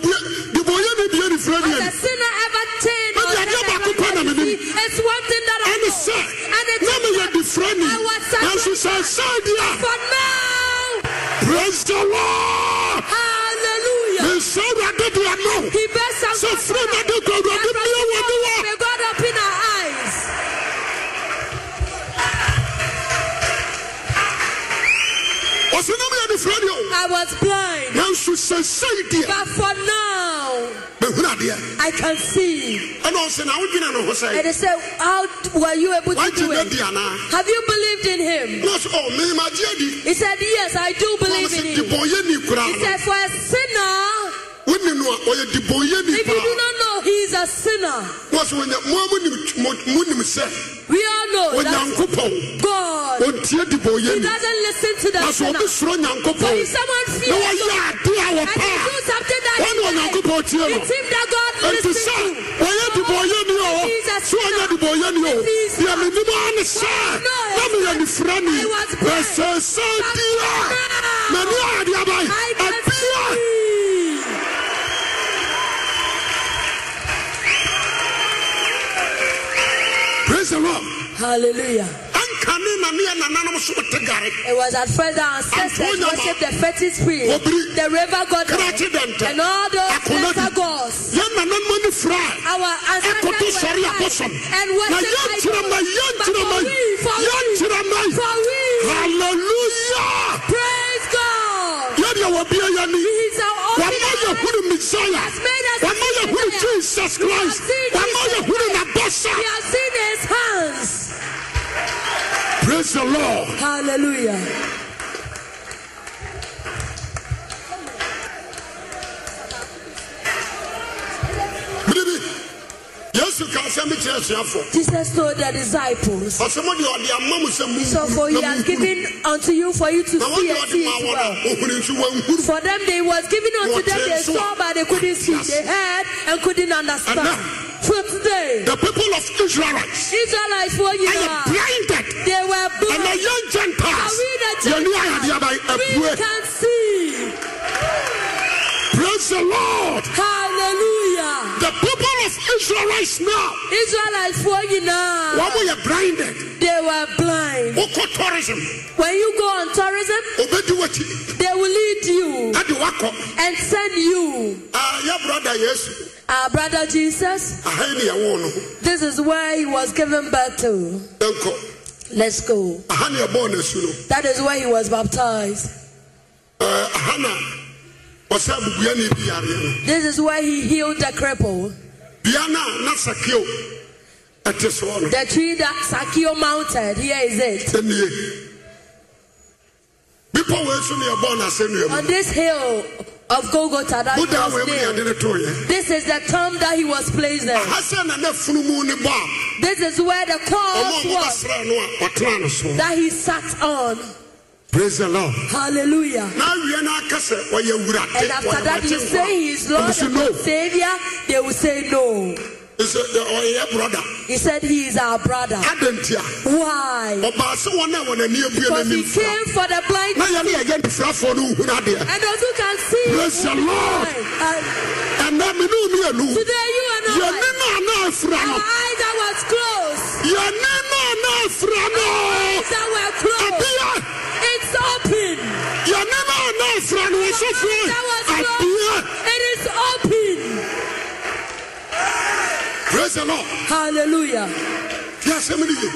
S1: bue
S2: allowed,
S1: dibɔyɛni deɛ nifirɛ no ani
S2: as a sinner ever turned
S1: But
S2: or
S1: the idea
S2: never
S1: about Kupa na
S2: ever
S1: me
S2: see, it's one thing that I
S1: ɛne
S2: know.
S1: sɛ
S2: And it's
S1: na meyɛ difirɛ ni nanso sɛ ɛsɛe deɛ
S2: for now,
S1: a praise the lord
S2: hallelujah.
S1: mensɛ awurade deɛ no
S2: He bears out
S1: sɛ
S2: from
S1: firɛ nade kɔ awurade mmia wɔ ne wɔ
S2: May God open our eyes.
S1: ɔsɛ na meyɛ difirɛ ni o
S2: I was blind,
S1: nanso sɛ ɛsɛe deɛ
S2: but for now
S1: mehunu adeɛ
S2: I can see.
S1: ɛna ɔsɛ na wodwene no ho
S2: And
S1: sɛ
S2: they said, How were you able to
S1: wagye
S2: do
S1: no
S2: it?
S1: di anaa
S2: Have you believed in him?
S1: na ɔsɛ ɔ memagye adi
S2: He said, Yes, I do
S1: na
S2: believe
S1: ɔsɛ
S2: in him.
S1: dibɔyɛni koraa
S2: He
S1: no
S2: said, For a sinner,
S1: wone no a ɔyɛ dibɔyɛni
S2: if you do
S1: koraa
S2: not know he is a sinner,
S1: na ɔsɛ wɔnya moa monim- mo- monim sɛ
S2: we all know that
S1: onyankopɔn
S2: God
S1: ɔntie
S2: Oh, he
S1: dibɔyɛni
S2: doesn't listen to
S1: na sɛ
S2: the sinner.
S1: ɔbi soro
S2: So if
S1: nyankopɔn
S2: someone
S1: na
S2: fears
S1: wɔyɛ ade
S2: God
S1: a
S2: and they do
S1: wɔpaa ɔne
S2: something that he
S1: onyankopɔn tie no
S2: it seems that God
S1: ɛnti
S2: listens
S1: sɛ
S2: to.
S1: wɔyɛ dibɔyɛni ɔ sɛ ɔnyɛ dibɔyɛni ɔ deɛ menim a ne sɛ na meyɛ nifira ni ɛsɛsɛ dia mani ade abae
S2: I
S1: abia
S2: can see.
S1: praise the lord
S2: Hallelujah.
S1: anka ne na ne yɛ nananom so wote gare
S2: It was at first our ancestors
S1: Antonia Ma-
S2: worshipped the fetish priest,
S1: Obri-
S2: the river
S1: Karachi
S2: goddess,
S1: Danta.
S2: and all those
S1: Akonadi.
S2: lesser gods.
S1: yɛ nananom ani fira
S2: Our ancestors
S1: ɛkoto
S2: were
S1: sɔre
S2: alive
S1: akɔsɔm
S2: and
S1: na yɛnkyerɛma
S2: worshipped
S1: yɛnkyerɛma
S2: For we, for we,
S1: yɛnkyerɛma
S2: For we
S1: halleluya
S2: praise God.
S1: yɛdeɛ wɔbia yɛ ni
S2: He's our
S1: wama
S2: open
S1: yɛhunu
S2: eyes.
S1: messiah
S2: has made us
S1: wama yɛ huru
S2: his Messiah.
S1: jesus christ
S2: seen
S1: wama
S2: his
S1: yɛ huru n'abɔsa
S2: We have seen his hands.
S1: praise the lord
S2: Hallelujah.
S1: bere bi yesu kaa sɛ me kyerɛ asuafoɔ
S2: Jesus told the disciples,
S1: ɔsɛ mo deɛ ɔde ama mo sɛ mu
S2: So for he has given unto you for you to
S1: na wɔn
S2: see
S1: deɛ
S2: and
S1: ɔde
S2: see
S1: ma
S2: it
S1: wɔn a
S2: well.
S1: ohun nso wɔnhuru
S2: For them, they was given unto
S1: What
S2: them. They
S1: is what?
S2: saw, but they couldn't see. They heard and couldn't understand.
S1: Enough.
S2: For today,
S1: the people of israelites
S2: Israelites, what you
S1: ɛyɛ
S2: are,
S1: blinded
S2: they were
S1: ɛna
S2: blind.
S1: yɛn gentiles
S2: Are we the
S1: yɛne ayade aba
S2: We
S1: apue
S2: can see.
S1: praise the lord
S2: Hallelujah.
S1: the people of israelites now
S2: Israelites, what you
S1: wɔn
S2: know,
S1: mo yɛ blinded
S2: they were blind.
S1: wokɔ tourism
S2: When you go on tourism,
S1: obedi wɔkyi
S2: they will lead you
S1: ade wakɔ
S2: and send you.
S1: Ah, yɛ brɔda yesu
S2: Our brother Jesus,
S1: ahan ne yɛwɔ no
S2: this is where he was given birth to.
S1: yɛnkɔ
S2: Let's go.
S1: aha ne yɛbɔɔ n'asu no
S2: That is where he was baptized.
S1: ɛɛ, aha na ɔsɛ abubua ne bi yareɛ no
S2: This is where he healed the cripple.
S1: dua no a na sakeo ɛte soɔ no
S2: The tree that Sakio mounted, here is it.
S1: ɛnie bepɔ wɔ asu no yɛbɔɔ n'asɛnnua mu
S2: On this hill of Golgotha that he
S1: wodaa wɔ
S2: was
S1: mu yɛde
S2: nailed,
S1: ne tooyɛ
S2: this is the tomb that he was placed in.
S1: aha sɛ na na funumu ne bɔ a
S2: This is where the
S1: ɔma
S2: cross
S1: ɔmo
S2: was
S1: bɛsrɛ no a ɔtena no so
S2: that he sat on.
S1: praise the lord
S2: Hallelujah.
S1: na awie no aka sɛ ɔyɛ
S2: And
S1: wurade
S2: after
S1: ɔyɛ
S2: that, you say he is
S1: w'agyenkwa
S2: Lord
S1: ɔmo so no
S2: and Savior, they will say no.
S1: ɛsɛ ɔyɛ broda
S2: He said he is our brother.
S1: adɛn nti a
S2: Why?
S1: ɔbaa sɛ wɔn a wɔn ani abue
S2: Because he
S1: n'anim fra
S2: came for the blind
S1: na yɛne yɛyɛ nifrafoɔ no nhunu adeɛ
S2: and those who can see.
S1: Praise the Lord.
S2: And
S1: ɛnɛ me ne wo mmienu
S2: today you and I.
S1: yɛne no ana afira
S2: Our
S1: no
S2: eyes that was closed.
S1: yɛne no ana afira no
S2: Eyes that were closed.
S1: abea
S2: It's open.
S1: yɛne no ana afira no ɔsɔfoɔ abea
S2: It is open.
S1: praise the lord
S2: Hallelujah.
S1: yɛ asɛm no ye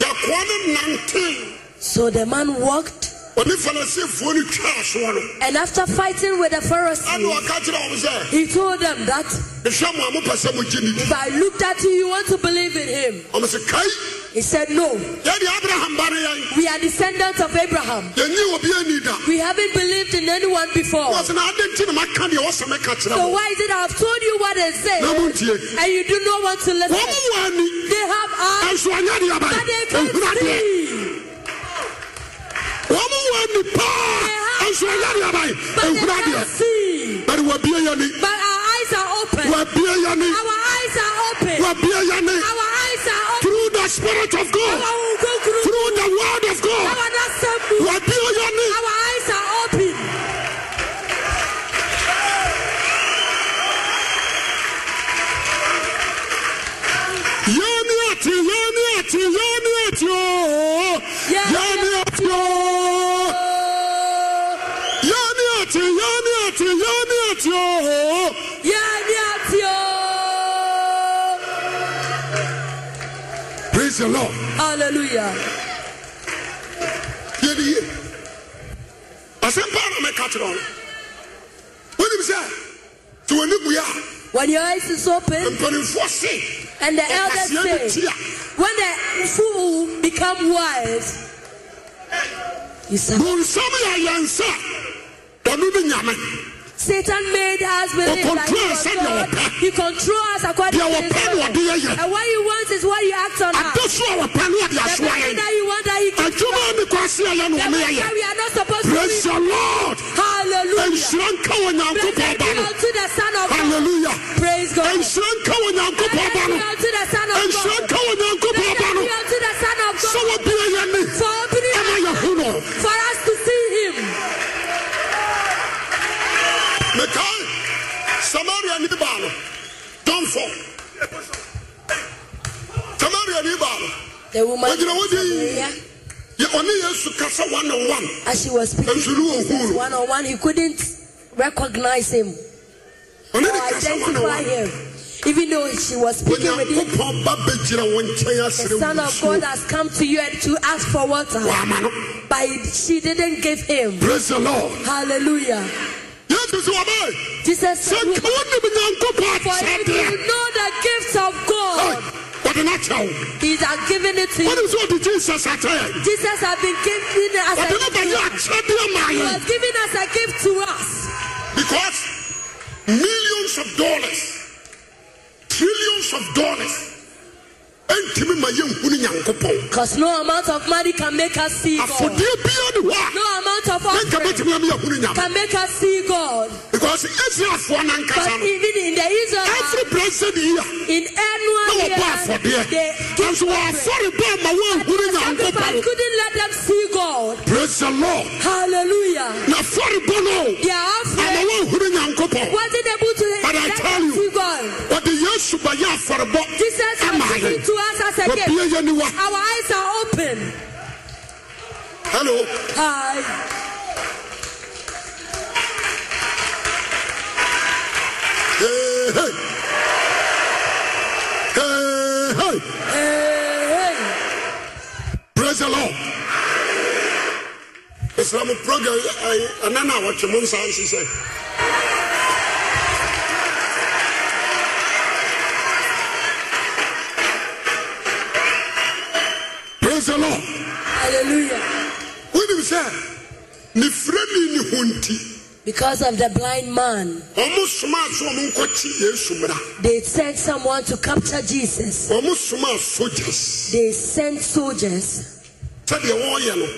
S1: yɛkoa no nante
S2: So the man walked,
S1: ɔne farisifoɔ no twaa soɔ no
S2: and after fighting with the
S1: ɛne
S2: Pharisees,
S1: ɔka kyerɛ wɔm sɛ
S2: he told them that
S1: mehwɛ mo a mopɛ sɛ mogye ne
S2: if
S1: di
S2: I looked at you, you want to believe in him.
S1: ɔm sɛ kai
S2: He said, No,
S1: yɛde abraham ba no yɛn
S2: we are descendants of Abraham.
S1: yɛnyi obi ani da
S2: We haven't believed in anyone before.
S1: wɔse na adɛ nti na maka deɛ wɔsɛ meka kyerɛ
S2: So
S1: mo
S2: why is it I have told you what they say,
S1: na montie
S2: and you do not want to
S1: wɔn
S2: listen?
S1: mu wɔ ani
S2: They have eyes
S1: ɛnso anya deɛ aba
S2: that they can
S1: ɛhunu adeɛ
S2: see.
S1: wɔn mu wɔ ani paa ɛnso anya deɛ aba
S2: But they
S1: ɛhunu
S2: can
S1: adeɛ
S2: see.
S1: bɛri wɔbie yɛ ni
S2: But our eyes are open.
S1: wɔbie yɛ ni
S2: Our eyes are open.
S1: wɔbie yɛ ni
S2: Our eyes are open.
S1: through the spirit of god
S2: Our go through.
S1: through the word of god
S2: Our not simple.
S1: wɔbie yɛ ni
S2: Our eyes are open.
S1: yɛn ni ati yɛn ni ati yɛn ni ati ooo
S2: Yɛn ne
S1: yɛn ni ati ooo
S2: Oh,
S1: yɛn ni ati yɛn ni ati yɛn ni ati ooo.
S2: yeah, yeah, yeah.
S1: praise the lord.
S2: Hallelujah.
S1: yɛde yie asɛmpa na mɛka kyerɛ wo no wonim sɛ sɛ w'ani bue a
S2: When your eyes is
S1: Um,
S2: open
S1: mpanimfoɔ se
S2: and the
S1: ɔkaseɛ no
S2: elders
S1: ti
S2: say,
S1: a
S2: when the fool become wise, you say,
S1: bonsam yɛ yɛnsa ɔno ne nyame
S2: Satan made us believe that he
S1: Ɔcontrol
S2: was
S1: sɛ deɛ
S2: God.
S1: wɔpɛ.
S2: He controls us according
S1: Deɛ
S2: to his
S1: wɔpɛ na
S2: will.
S1: ɔde yɛ yɛ.
S2: And what he wants is what you act on. us.
S1: ade so a wɔpɛ ne ɔde
S2: The
S1: asoa
S2: person
S1: yɛn
S2: that you want that he can.
S1: adwuma a ne kɔase a yɛ no
S2: The
S1: ɔme
S2: person that
S1: yɛyɛ
S2: we are not supposed to
S1: praise
S2: be.
S1: the lord
S2: Hallelujah.
S1: nhyira nka wɔ
S2: Praise
S1: nyankopɔn
S2: be
S1: ba no
S2: unto the Son of God.
S1: halleluya
S2: Praise God.
S1: nhyira nka wɔ nyankopɔn ba
S2: Praise be
S1: no
S2: unto the Son of
S1: nhyira
S2: God.
S1: nka wɔ nyankopɔn ba
S2: Praise
S1: no
S2: be unto the Son of
S1: sɛ
S2: God.
S1: wɔbue yɛ ne
S2: For opening
S1: ɛma
S2: us
S1: yɛhu no
S2: for us to see him.
S1: mekae samaria ni baa no dɔmfo samaria ni baa no
S2: The woman
S1: Ogyina hɔ din.
S2: Samaria,
S1: yɛ ɔne yesu kasa one on one
S2: as she was speaking
S1: Nso ne wɔnhuu no
S2: one on one, he couldn't recognize him.
S1: ɔne ne
S2: or
S1: kasa one on
S2: identify
S1: one
S2: him. Even though she was speaking with him,
S1: onyankopɔn ba bɛgyina wɔ nkyɛn
S2: the
S1: asere
S2: Son of God has come to you and to ask for water,
S1: wɔama no
S2: but she didn't give him.
S1: praise the lord
S2: Hallelujah.
S1: yesu yesu sɛ wɔbɛe
S2: Jesus
S1: sɛ
S2: said, "Who-
S1: nka wonim nyankopɔn
S2: For if
S1: akyɛdeɛ
S2: you know the gifts of
S1: Ai,
S2: God,
S1: wɔde no akyɛ wo
S2: He's are giving it to you.
S1: wonim sɛ wɔde jesus akyɛ
S2: Jesus has been giving us a
S1: wɔde no
S2: gift. to
S1: bɛyɛ
S2: us.
S1: akyɛdeɛ ma
S2: He
S1: yɛn
S2: has given us a gift to us.
S1: because millions of dollars trillions of dollars ɛntimi ma yɛnhunu nyankopɔn
S2: Because no amount of money can make us see God.
S1: afodeɛ biaa ne hɔ a
S2: No amount of
S1: yɛnka
S2: offering
S1: bɛtumi ama yɛahunu nyankopɔn
S2: can make us see God.
S1: because israelfoɔ nankasa
S2: But
S1: no
S2: even in the Israel,
S1: every blessed year
S2: in
S1: na
S2: annual
S1: wɔbɔ
S2: year,
S1: afɔdeɛ
S2: they
S1: nanso wɔafɔre bɛɛ ma woanhunu
S2: sacrifice
S1: nyankopɔn
S2: couldn't let them see God.
S1: praise the lord
S2: Hallelujah.
S1: na afɔrebɔ no o,
S2: Their
S1: ama
S2: offering
S1: woanhunu nyankopɔn
S2: wasn't able to
S1: But I
S2: let
S1: tell
S2: them
S1: you-
S2: see God.
S1: wɔde yesu bɛyɛ afɔrebɔ
S2: Jesus
S1: ama
S2: has given
S1: yɛn
S2: to us as a gift.
S1: wɔbie yɛ niwa
S2: Our eyes are open.
S1: hello
S2: Hi.
S1: hey hey hey hey
S2: Hey, hey.
S1: praise the lord islam program ayi ɛnɛ na wɔtwe mu nsa nhyehyɛ praise the lord
S2: Hallelujah.
S1: wonim sɛ ne firɛ ni ne ho nti
S2: Because of the blind man,
S1: ɔmo somaa so ɔmo nkɔkye yesu mmara
S2: they sent someone to capture Jesus.
S1: ɔmo somaa sogyas
S2: They sent soldiers
S1: sɛdeɛ wɔreyɛ no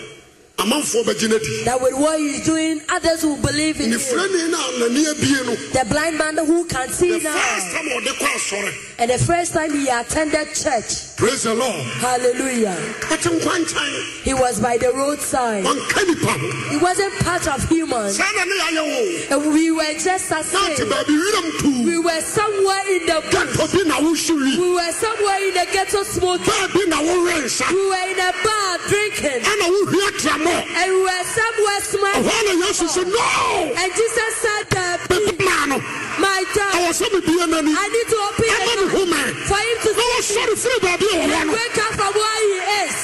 S1: amanfoɔ bɛgye no adi
S2: that with what he's doing, others will believe in
S1: ne
S2: him.
S1: firani no a n'ani abie no
S2: The blind man who can see
S1: the first
S2: now.
S1: time ɔde kɔ asɔre
S2: And the first time he attended church,
S1: praise the lord
S2: hallelujah,
S1: ɔte nkwankyɛn
S2: he was by the roadside.
S1: ɔnka nipa ho
S2: He wasn't part of humans.
S1: saa na ne yɛayɛ wo
S2: And we were just as
S1: na ɔte
S2: same.
S1: baabi wiram
S2: We
S1: tuu
S2: were somewhere in the bush.
S1: gatɔ bi na wohyewi
S2: We were somewhere in the ghetto smoking.
S1: baa bi na worensa
S2: We were in a bar drinking.
S1: ɛna wohia tramɔ
S2: And we were somewhere
S1: ɛhɔ
S2: smiling.
S1: na yesu sɛ no
S2: And Jesus said, that,
S1: bɛbi maa no
S2: My child,
S1: ɛwɔ sɛ mebie n'ani
S2: I need to open
S1: ɛma
S2: the
S1: ne
S2: door
S1: ho mɛn
S2: for him to
S1: na wɔsɔre firi baabi a wɔwɔ no
S2: wake up from where he is.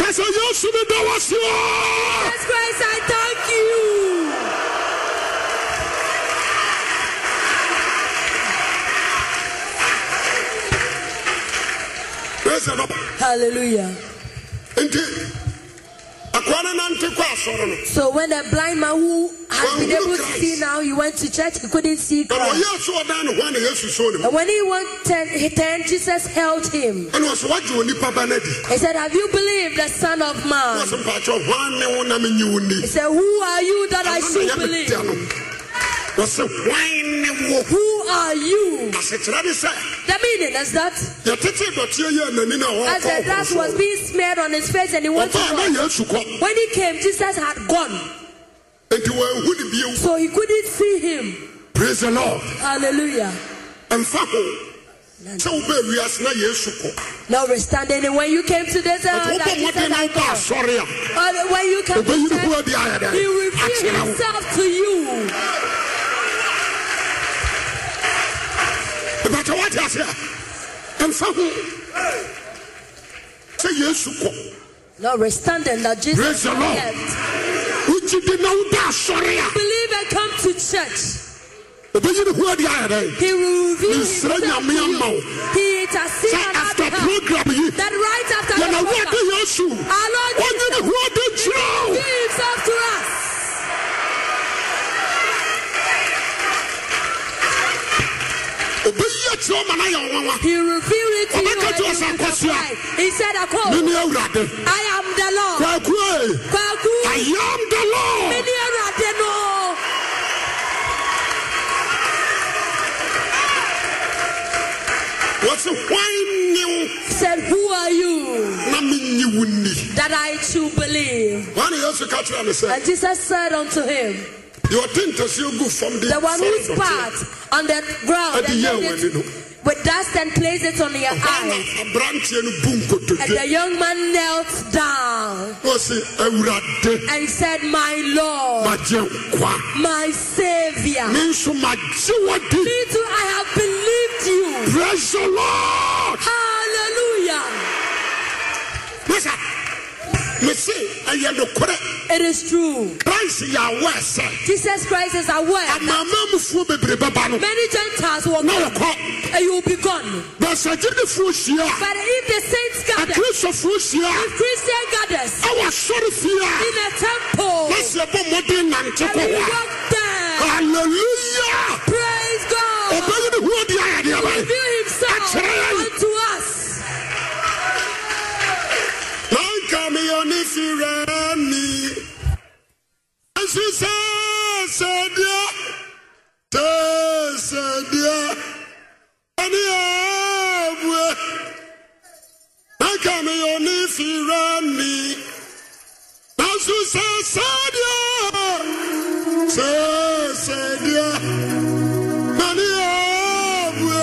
S1: ka sɛ yesu me da wɔ seɛ
S2: Jesus Christ, I thank you.
S1: praise the lord
S2: Hallelujah.
S1: nti akoa no nante kɔ asɔre no
S2: So when the blind man who has been
S1: Well,
S2: able to
S1: Christ.
S2: see now, he went to church, he couldn't see
S1: na
S2: Christ.
S1: ɔyɛ so ɔdan ne ho a na yesu soo ne mu
S2: And when he went ten, he turned, Jesus held him.
S1: ɛne ɔsɛ woagye onipa ba no adi
S2: He said, Have you believed the Son of
S1: na
S2: Man?
S1: ɔsɛ mpaakyɛ hwan ne wo na menye wo
S2: He
S1: ni
S2: said, Who are you that I should believe?
S1: yɛmetia no ɔsɛ hwan ne wo
S2: Who are you?
S1: asekyerɛ ne sɛ
S2: The meaning is that
S1: yɛtete dɔteɛ yɛ anani no a
S2: as the dust was being smeared on his face and he went to
S1: ɔbaa
S2: walk.
S1: na yesu kɔ
S2: When he came, Jesus had gone.
S1: enti wɔanhu ne bio
S2: So he couldn't see him.
S1: praise the lord
S2: Hallelujah.
S1: ɛmfa ho sɛ wobɛɛ wiase na yesu kɔ
S2: Notwithstanding, and when you came to this
S1: nti
S2: hour, that
S1: wobɔ
S2: Jesus
S1: mmɔden na
S2: had
S1: wobɔ
S2: gone.
S1: asɔre a
S2: Or when you came
S1: obɛyi
S2: to
S1: ne ho
S2: church,
S1: adi ayɛ dɛn
S2: he revealed
S1: akyerɛ wo
S2: himself to you.
S1: Ìbàtà wá ti àṣẹ à, ẹnfà ho. Sẹ Yéesu kọ,
S2: Notwithstanding that
S1: Praise
S2: Jesus
S1: the Lord.
S2: left,
S1: o jí di náà o bá sọrí à.
S2: believe and come to church.
S1: Òbẹ yìí ni hu ẹ̀dí ayẹ̀ dẹ̀.
S2: He will reveal
S1: Nsira
S2: himself to
S1: nyame ama
S2: you.
S1: wo.
S2: He is a
S1: Sẹ
S2: sinner that
S1: after program yìí,
S2: that right after
S1: yẹn náà
S2: the
S1: wọ́n di
S2: program,
S1: Yéesu.
S2: our Lord
S1: Wọ́n yìí ni hu ẹ̀dí kyerẹ́ o.
S2: revealed himself to us.
S1: Òbẹ yìí yẹ kyerẹ́ ọmọ náà yẹ wọn wá.
S2: He revealed it to
S1: Ọmọ
S2: you.
S1: kẹjọ
S2: and
S1: ọsẹ
S2: you
S1: akọsí a.
S2: replied. He said, I
S1: Mi
S2: quote,
S1: ni Ewurade.
S2: I am the Lord.
S1: Kwaku ee,
S2: Kwaku,
S1: I am the
S2: me
S1: Lord.
S2: ni Awurade no.
S1: Wọ́n sẹ wọ́n ní wo
S2: He said, Who are you
S1: na mi nyi wo ni.
S2: that I too believe?
S1: Wọ́n ni Yéesu ká kyerẹ́ mi sẹ́,
S2: And Jesus said unto him,
S1: yẹ ọtí ntẹ̀sí ogu fam de.
S2: The one who
S1: sọrọ dọ̀tí ẹ̀.
S2: spat on the ground
S1: Adi
S2: and
S1: yẹ
S2: laid
S1: wọ
S2: it
S1: ni no.
S2: with dust and placed it on your
S1: Ghana
S2: eyes.
S1: aberanteɛ no bu
S2: And
S1: nkotodwe
S2: the young man knelt down
S1: na ɔse awurade
S2: and said, My Lord,
S1: magye nkwa
S2: my Savior.
S1: me nso magye wadi
S2: Me too, I have believed you.
S1: praise the lord
S2: Hallelujah.
S1: na sa mese ɛyɛ nokorɛ
S2: It is true.
S1: christ yɛ awɔ ɛsɛ
S2: Jesus Christ is aware.
S1: amanamufoɔ bebree bɛba no
S2: Many Gentiles will
S1: na
S2: come
S1: wɔkɔ
S2: and you will be gone.
S1: bɛsɛ gyinifoɔ hyia
S2: But if the saints
S1: a
S2: gather,
S1: akristofoɔ hyia
S2: if Christian gathers
S1: a ɛwɔ asɔre fie
S2: in a temple,
S1: a na sɛ ɛbɔ mmɔden nante
S2: and
S1: kɔ
S2: we
S1: hɔ
S2: walk
S1: a
S2: there,
S1: halleluya
S2: praise God,
S1: ɔbɛyi ne ho adi ayɛdeɛ bɛyɛ
S2: reveal himself
S1: Akyerɛ.
S2: unto us.
S1: Nanka mi oni fira mi. Esu sa sedia. Te sedia. Ani abwe. Nanka mi oni fira mi. Esu sa sedia. Te sedia. Ani abwe.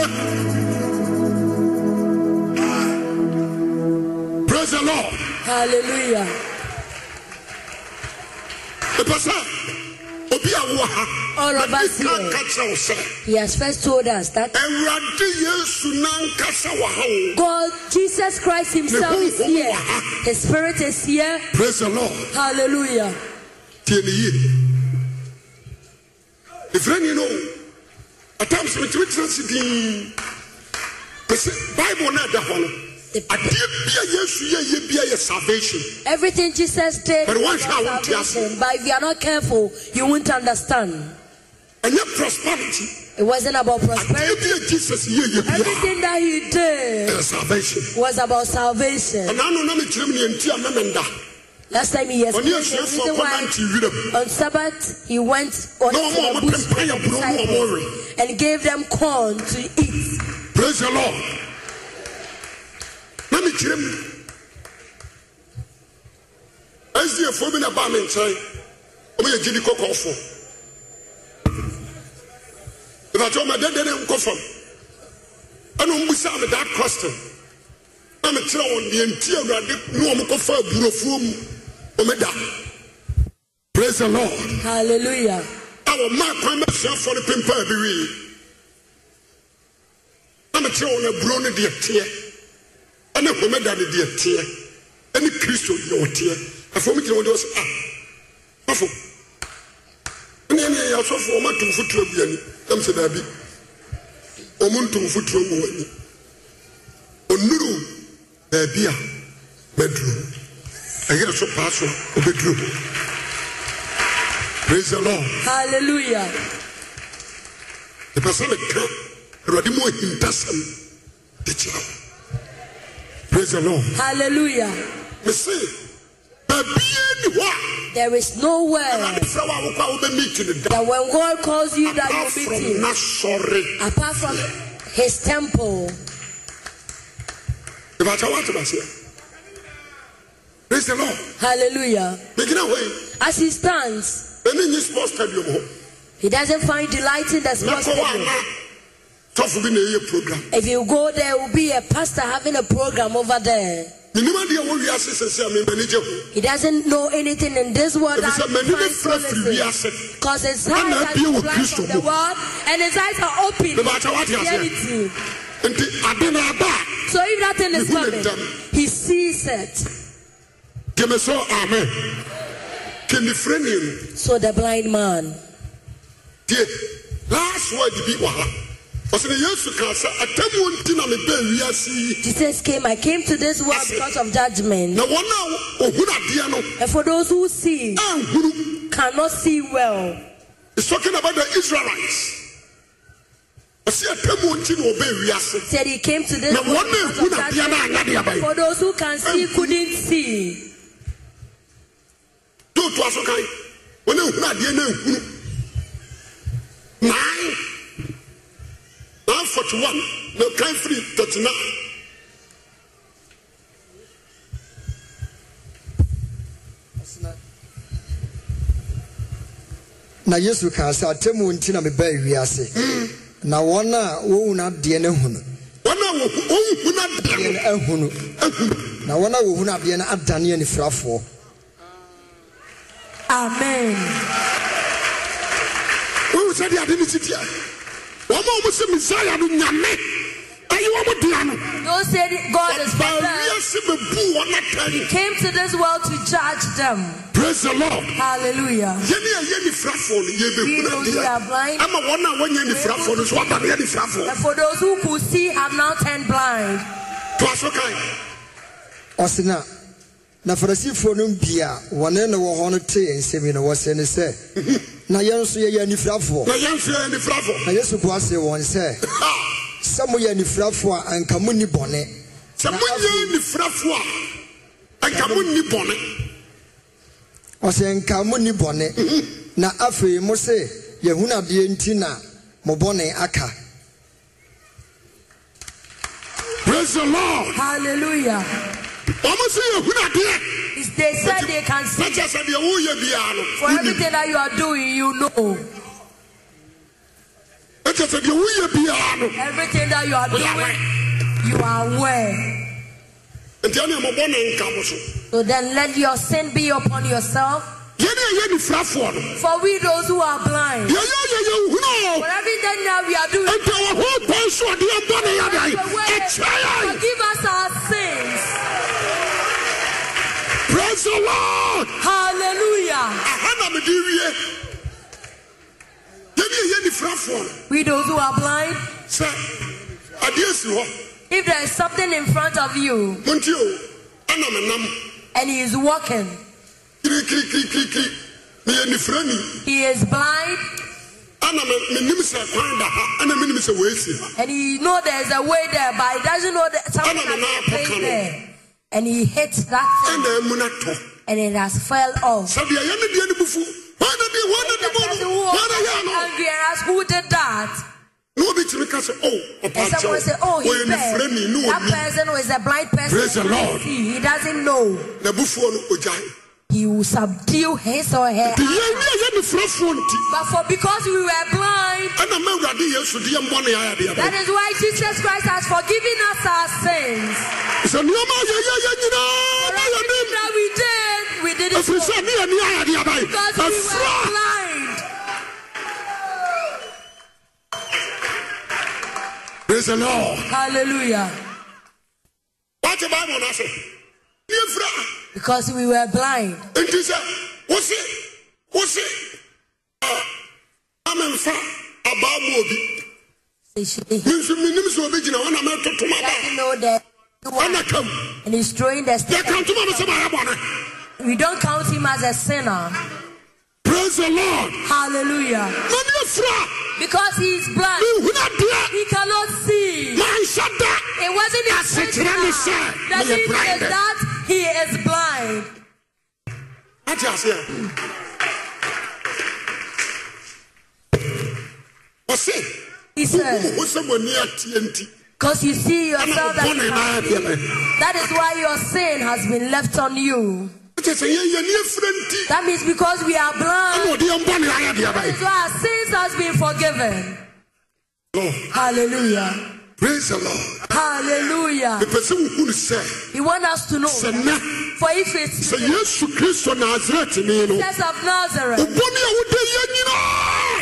S1: Praise the Lord.
S2: Hallelujah.
S1: mepɛ sɛ obi a wowɔ ha
S2: All of
S1: na
S2: us
S1: bi ka
S2: here.
S1: nka kyerɛ wo sɛ
S2: He has first told us that
S1: awurade yesu nankasa wɔ ha o
S2: God, Jesus Christ Himself is here. His Spirit is here.
S1: praise the lord
S2: Hallelujah.
S1: tie ne yie ɛfirani no atam sɛ metumi tena se din pɛ sɛ bible no ɛda hɔ no adeɛ bia yesu yɛyɛ bia yɛ salvation
S2: Everything Jesus did
S1: But one
S2: was
S1: shall want to
S2: salvation, but if you are not careful, you won't understand.
S1: ɛnyɛ prosperity
S2: It wasn't about prosperity.
S1: adeɛ bia jesus yɛyɛ bia
S2: Everything that he did
S1: ɛyɛ salvation
S2: was about salvation.
S1: ɛnaa no na mekyerɛ m neanti a memenda
S2: Last time he
S1: ɔne
S2: explained the
S1: asuafoɔ
S2: reason why
S1: kɔnante werɛm
S2: on Sabbath he went on
S1: No more
S2: to the
S1: with
S2: bush
S1: the fire,
S2: with the
S1: no more
S2: disciples
S1: worry.
S2: and gave them corn to eat.
S1: praise the lord na me kyerɛ mu asiafoɔ bi na baa me nkyɛn ɔmɛyɛ gyidi kɔkɔɔfoɔ ɛfate ɔmadɛdɛ ne nkɔ fam ɛna ɔmbusaa me that question na mekyerɛ wɔn deɛ nti awurade ne ɔm kɔfa aburofoɔ mu ɔmeda praise the lord
S2: Hallelujah.
S1: a wɔmaa kwan bɛsuafoɔ no pempaa bi wii na mekyerɛ wɔn aburo no deɛ teɛ ɛne homeda no deɛ teɛ ɛne kristo deɛ ɔteɛ afei ɔmo gyina wɔn deɛ ɔsɛ a mafo ɛne ɛne ɛyɛ asɔfo ɔmo ato mfuturo gu ani ɛm sɛ daabi ɔmo nto mfuturo gu ani onuru baabi a bɛduro ɛyɛ so paa so a ɔbɛduro praise the lord
S2: Hallelujah.
S1: ɛpɛ sɛ meka awurade mu ahintasɛm de kyerɛ wo praise the lord
S2: Hallelujah.
S1: mese baabia ni hɔ a
S2: There is nowhere
S1: awurade sɛ wo a wokɔ a wobɛmete no da
S2: that when God calls you
S1: apart
S2: that you
S1: from
S2: meet him,
S1: nasɔre
S2: apart from his temple.
S1: ɛbakyɛ woate baseɛ praise the lord
S2: Hallelujah.
S1: megyina hɔ yi
S2: As he stands,
S1: ɛne nye sport stadium hɔ
S2: he doesn't find delight in the sports.
S1: mɛkɔ hɔ
S2: people.
S1: ana tɔfo bi na ɛyɛ program
S2: If you go there, will be a pastor having a program over there.
S1: menim adeɛ wɔ wiase sɛsɛ a memani gye ho
S2: He doesn't know anything in this world
S1: Ebi
S2: that
S1: sɛ m'ani
S2: finds
S1: bɛfira firi
S2: solace in.
S1: wiase.
S2: Because his
S1: Ana
S2: eyes are
S1: abie wɔ
S2: the light
S1: Kristo
S2: of the
S1: mu.
S2: world and his eyes are open
S1: Beba akyɛ woate
S2: to
S1: aseɛ?
S2: reality.
S1: enti ade na aba a
S2: So if that thing is
S1: Mehu ne
S2: coming,
S1: ntam.
S2: he sees it.
S1: Gyeme so amen. Kenifire ni mu.
S2: So the blind man,
S1: Tie. Last word bi wɔ ha. Ɔsɛ ne Yesu kaa sɛ atamu nti na mebɛ wiase yi.
S2: Jesus came, I came to this world because of judgment.
S1: Na wɔn a ohun adeɛ no Ah,
S2: And for those who see,
S1: anhuru.
S2: cannot see well.
S1: It's talking about the Israelites. Ɔsɛ atamu nti na ɔbɛ wiase.
S2: Said he came to this
S1: Na
S2: world
S1: wɔn a
S2: because of
S1: ehun adeɛ no
S2: judgment.
S1: anya deɛ
S2: For
S1: bɛyɛ.
S2: those who can see,
S1: Ehun.
S2: couldn't see.
S1: Do to aso kan. Wɔn a ehun adeɛ na ehun. Nine. Nine forty one. Na kan firi thirty nine.
S3: na yesu kaa sɛ atemmu nti na mebaa wiase na wɔn a wɔhu no adeɛ no hunu
S1: wɔn a wɔhun na
S3: deɛ
S1: deɛ
S3: no ahunu
S1: no ahun.
S3: na wɔn a wɔhunu adeɛ no adane anifirafoɔ
S2: Amen.
S1: wohu sɛ deɛ ade no si teɛ wɔn a wɔn sɛ misaya no nyame ɛyɛ wɔn dea no
S2: Those said God is
S1: ɔba
S2: better.
S1: wiase bɛbu wɔn
S2: He
S1: atɛn
S2: came to this world to judge them.
S1: praise the lord
S2: Hallelujah.
S1: yɛne a yɛ nifrafoɔ no
S2: We know we are
S1: yɛbɛhuna
S2: blind.
S1: deɛ ama wɔn a wɔnyɛ nifrafoɔ no so aba no yɛ nifrafoɔ
S2: And for those who could see have now turned blind.
S1: toa so kae
S3: ɔsena na farisifoɔ no bi a wɔne ne wɔ hɔ no tee nsɛm yi no wɔsɛ ne sɛ na yɛn nso yɛyɛ anifirafoɔ
S1: na yɛmfrɛ yɛ nifrafoɔ
S3: na yesu buasee wɔn sɛ
S1: Ha!
S3: sɛ moyɛ anifirafoɔ a anka monni bɔne
S1: sɛ monyɛ nifrafoɔ a anka monni bɔne
S3: ɔsɛ nka monni bɔne na afei mo se yɛhunu adeɛ nti na mo bɔne aka
S1: praise the lord
S2: Hallelujah.
S1: ɔmo sɛ yɛhunu adeɛ
S2: It's- They said they can
S1: na
S2: see.
S1: kyɛ sɛ deɛ woyɛ biara no
S2: For
S1: wonim
S2: everything that you are doing, you know.
S1: na kyɛ sɛ deɛ woyɛ biara no
S2: Everything that you are
S1: woyɛ
S2: doing,
S1: awɛ
S2: you are aware.
S1: nti ɛne ɛmɔbɔ ne nka mo so
S2: So then let your sin be upon yourself.
S1: yɛne a yɛ nifrafoɔ no
S2: For we those who are blind.
S1: yɛyɛ yɛ yɛhunu o
S2: For everything that we are doing,
S1: nti ɛwɔ ho bɔn so ɔdeɛ bɔ ne
S2: you
S1: yɛdae
S2: are aware.
S1: ɛkyerɛ yɛn
S2: Forgive us our sins.
S1: praise the lord
S2: Hallelujah.
S1: aha na mede wie yɛne a yɛ nifrafoɔ no
S2: We those who are blind,
S1: sɛ adeɛ si hɔ
S2: if there is something in front of you
S1: montie o ɛna menam
S2: and he is walking,
S1: kirikirikirikiri meyɛ nifrani
S2: he is blind
S1: ana me- menim sɛ kwan da ha ana menim sɛ wɔasi ha
S2: and he know there is a way there, but he doesn't know that something
S1: Ana me
S2: has
S1: na
S2: been
S1: apoka
S2: placed
S1: no.
S2: there. And he hits that thing
S1: ɛna amu no tɔ
S2: and it has fell off.
S1: sɛ deɛ yɛne deɛ no bufu hwana deɛ hwana de
S2: The person
S1: bɔ
S2: who
S1: no
S2: was
S1: hwana yɛ no
S2: angry and asked who did that,
S1: na wɔbɛtumi ka sɛ o
S2: and someone
S1: ɔpakyɛw
S2: said, "Oh,
S1: wɔyɛ
S2: he's dead."
S1: nifrani ne
S2: That
S1: wɔni
S2: person was a blind person.
S1: Praise the
S2: He can't
S1: Lord.
S2: see. He doesn't know.
S1: n'abufuo no ogyae
S2: He will subdue his or her.
S1: nti yɛne a yɛ nifrafoɔ nti
S2: But for because we were blind,
S1: ɛna ma awurade yesu de yɛ mbɔne ayɛdeɛ
S2: that
S1: bɛ
S2: is why Jesus Christ has forgiven us our sins.
S1: sɛ nneɔma yɛyɛyɛ nyinaa
S2: For
S1: na
S2: everything
S1: yɛnem
S2: that we did, we did it
S1: ɛfiri
S2: for-
S1: sɛ ne yɛne ayɛdeɛ bae
S2: because we were
S1: ɛfra
S2: blind.
S1: praise the lord
S2: Hallelujah.
S1: wate bible no ase ne ɛfira
S2: Because we were blind.
S1: nti sɛ wose wose Uh, amemfa abaa mu obi
S2: He doesn't
S1: menso menim sɛ obi gyina hɔ na metotom aba
S2: know that.
S1: ana kam
S2: And he's throwing the
S1: yɛka
S2: stick.
S1: ntoma me sɛ mayɛ bɔne
S2: We don't count him as a sinner.
S1: praise the lord
S2: Hallelujah.
S1: na ne afira
S2: Because he's blind.
S1: menhunu adeɛ
S2: He cannot see.
S1: manhyɛ da
S2: It wasn't his
S1: That's it,
S2: intention
S1: let me say,
S2: that
S1: we are
S2: he
S1: blinded.
S2: is that he is blind.
S1: ate aseɛ ɔse
S2: He
S1: wohu
S2: said,
S1: ho sɛ mani ateɛ nti
S2: because you see
S1: ana
S2: yourself that
S1: mobɔne
S2: you
S1: na
S2: can't
S1: adeɛ
S2: see.
S1: bɛ
S2: That is why your sin has been left on you.
S1: wokyɛ sɛ yɛyɛne afira nti
S2: That means because we are blind,
S1: ana ɔde yɛmbɔne ayɛdeɛ
S2: that is
S1: bɛ
S2: why our sins has been forgiven.
S1: lord
S2: Hallelujah.
S1: praise the lord
S2: Hallelujah.
S1: mepɛ sɛ wohunu sɛ
S2: He want us to know.
S1: sɛ nɛ
S2: For if it's
S1: sɛ yesu kristo nasaretene no
S2: Jesus of Nazareth,
S1: wobɔne a wode yɛ nyinaa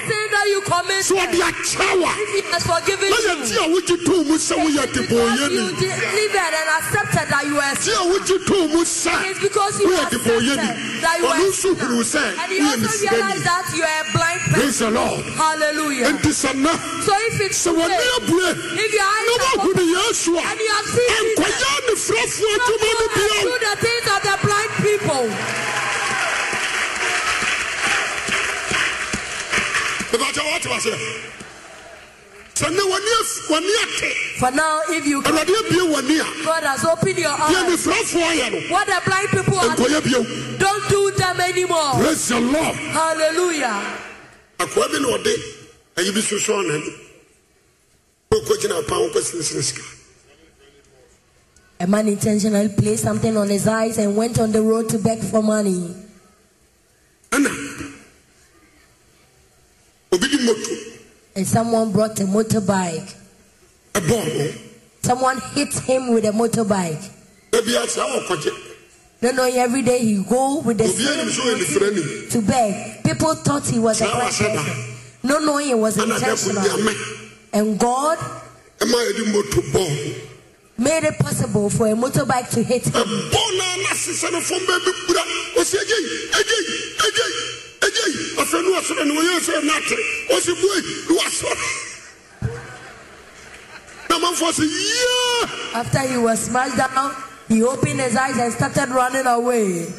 S2: sin that you
S1: sɛ
S2: committed,
S1: ɔde akyerɛ wa
S2: he has forgiven
S1: na
S2: you.
S1: yɛte a wogye too mu sɛ woyɛ
S2: It's because you
S1: debɔɔyɛni
S2: delivered and accepted that you were
S1: te a wogye too mu sɛ
S2: It's because you
S1: woyɛ
S2: accepted
S1: debɔɔyɛni
S2: that you
S1: ɔno
S2: are
S1: nso hunuu sɛ
S2: And you
S1: woyɛ
S2: also
S1: nisirani
S2: realize that you are a blind person.
S1: praise the lord
S2: Hallelujah.
S1: enti sɛ nɛ
S2: So if it's
S1: sɛ wɔne
S2: today,
S1: abue
S2: if your
S1: na
S2: eyes are open,
S1: woahunu yesu a
S2: And you have seen Jesus.
S1: ɛnkwayɛ nefrafoɔ
S2: you
S1: toma no
S2: will
S1: bio
S2: do the things of the blind people.
S1: mebakyɛ wɔte wa sɛ sɛ nɛ wɔne ate
S2: For now, if you
S1: awurade abie w'ani a
S2: God has opened your
S1: deɛ
S2: eyes,
S1: nifrafoɔ yɛ no
S2: what the blind people are doing,
S1: nkɔyɛ bio
S2: don't do them anymore.
S1: praise the lord
S2: Hallelujah.
S1: akoa bi na ɔde ayi bi soso ɔnani kɔkɔgyina apa ho kɔsinisini sika
S2: A man intentionally placed something on his eyes and went on the road to beg for money.
S1: ɛna obi di moto
S2: And someone brought a motorbike.
S1: ɛbɔɔ ho
S2: Someone hit him with a motorbike.
S1: na bi ase awɔ kɔgye
S2: No, no, every day he go with the
S1: obi anim so yɛ
S2: same
S1: nifra ni
S2: to beg. People thought he was a
S1: Saa
S2: black
S1: wasɛda.
S2: person. No, no, he was
S1: ɛna dɛ ko
S2: intentional.
S1: nyame
S2: And God
S1: ɛma yɛ de moto bɔɔ ho
S2: made it possible for a motorbike to hit him.
S1: ɛbɔ naa n'asesa no fɔm bɛɛ bi kura ɔsi egye egye egye egye afɛ nu asɔrɔ ni wɔyɛ sɛ n'ate ɔsi bue nu asɔrɔ na ma fɔ si yie
S2: After he was smashed down, he opened his eyes and started running away.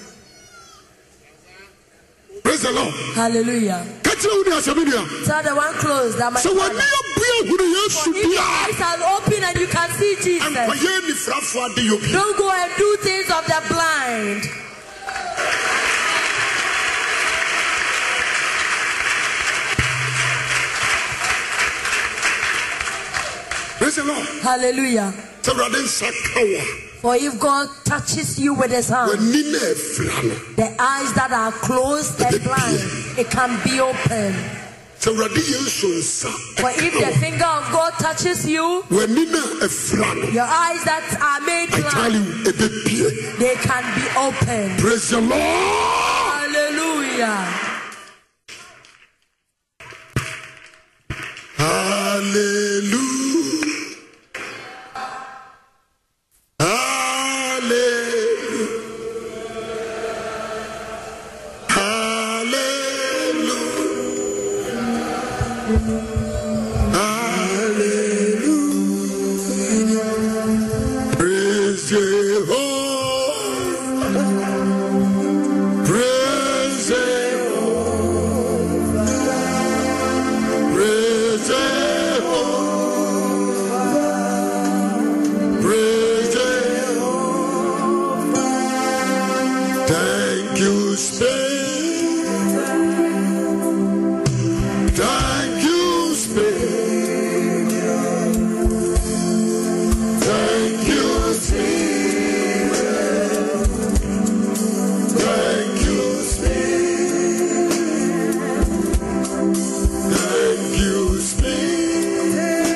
S1: praise the lord
S2: Hallelujah.
S1: kakyina wo ni asɛmi ni a
S2: Tell the one close that my
S1: sɛ wɔn
S2: father,
S1: ni abue ehuru yɛn su
S2: for if your eyes
S1: bia
S2: are open and you can see Jesus,
S1: nkɔyɛ nifrafo adi yɛ bi
S2: don't go and do things of the blind.
S1: praise the lord
S2: Hallelujah.
S1: sɛ wɔde nsa ka wɔ
S2: For if God touches you with his
S1: a
S2: hand,
S1: wɔn ni na efira no
S2: the eyes that are closed and blind, it can be opened.
S1: sɛ wɔde yɛn su nsa e
S2: For if the
S1: ɛka
S2: finger of God touches you,
S1: wɔ wɔn ni na efira no
S2: your eyes that are made
S1: i tell
S2: blind,
S1: you e ebe pie
S2: they can be opened.
S1: praise the lord.
S2: Hallelujah.
S1: Hallelujah. Hallelujah. Hallelujah. Hallelujah. Praise Jehovah. Praise Jehovah. Praise Jehovah. Praise Jehovah. Thank you, Spain. Thank you, Spain. Thank you, Spain. Thank you, Spain. Thank you, Spirit.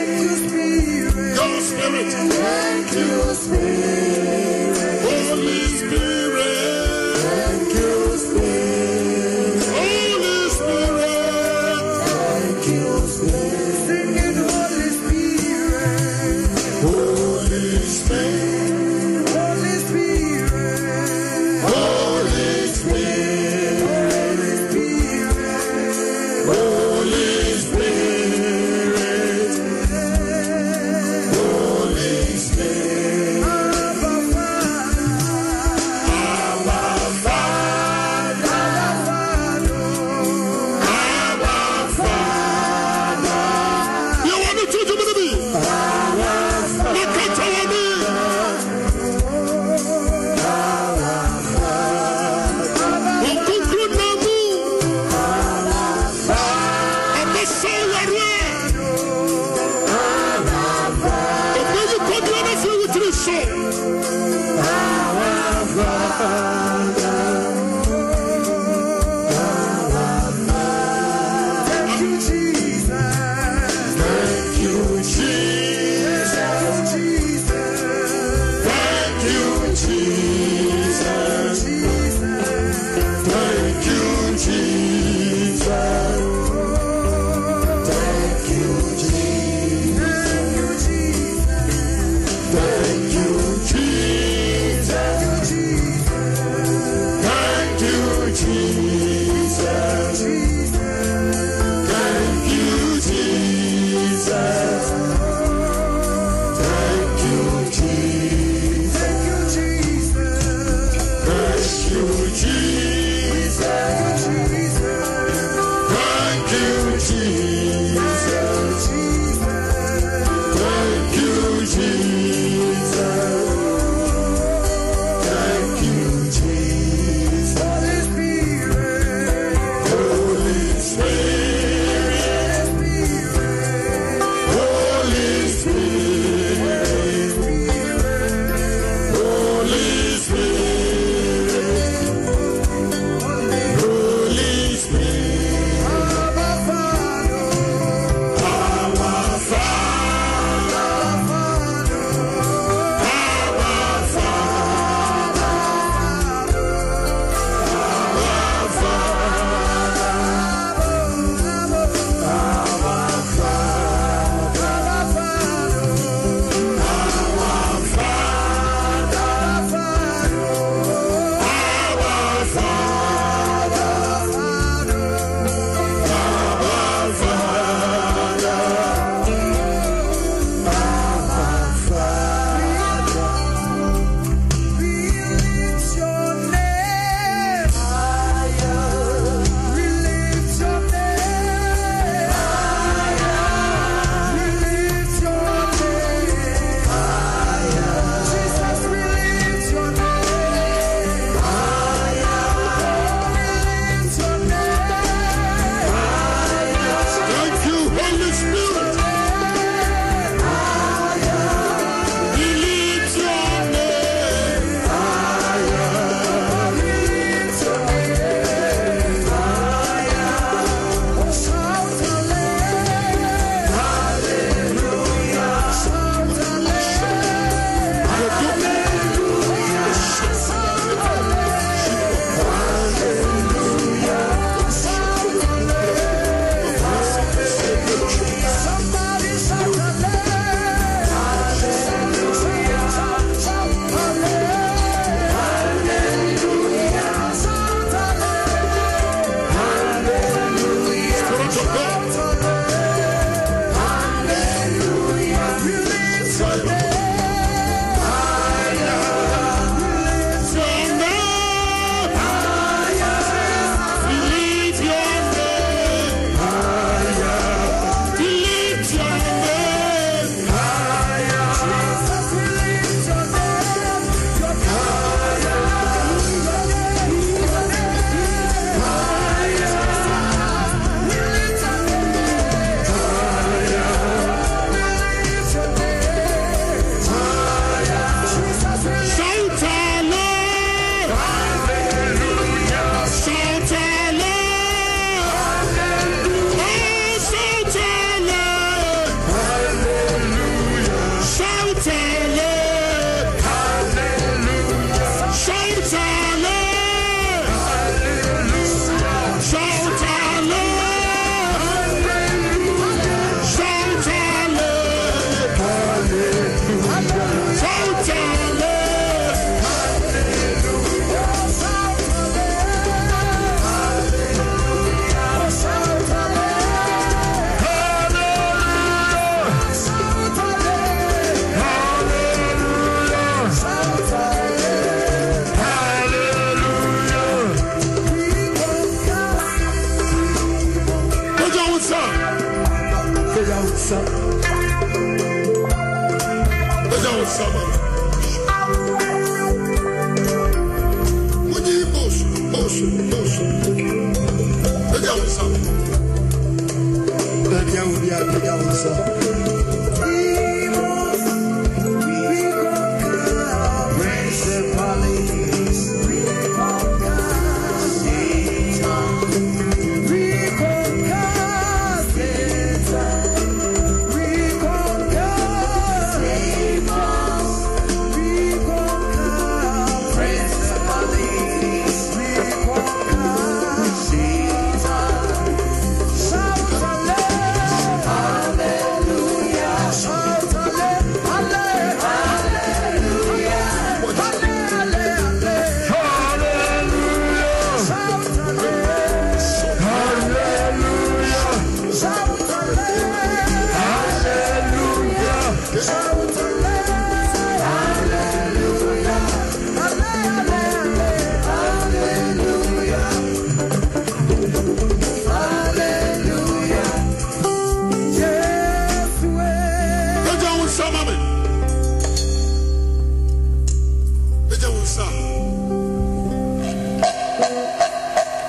S1: Your Spirit. Thank you, Spirit. Holy Spirit. Thank you, Spirit. Holy Spirit. Thank you, Spirit. Sing it, Holy Spirit. Holy Spirit. Holy Spirit. Holy Spirit. Holy Spirit. Holy Spirit. Holy Spirit. Abba Father. Abba Father. You want to touch him with me? Look at our me. Unkunkun namu. É É Thank you, Jesus. Thank you, Jesus. Thank you, Jesus. Thank you, Jesus. Thank you, Jesus.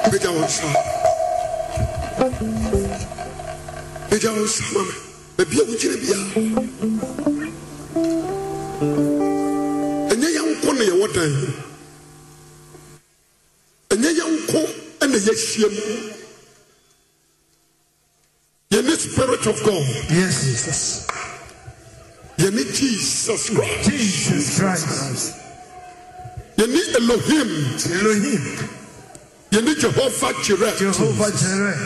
S4: Mɛgya wɔn nsa. Mɛgya wɔn nsa ma me. Baabi a wogyina biara. Ɛnyɛ yɛn nko na yɛwɔ dan mu. Ɛnyɛ yɛn nko na yɛahyia mu. Yɛne spirit of God.
S5: Yes, Jesus.
S4: Yɛne Jesus Christ.
S5: Jesus Christ.
S4: Yɛne Elohim.
S5: Elohim.
S4: Yɛne Jehovah Jireh.
S5: Jehovah Jireh.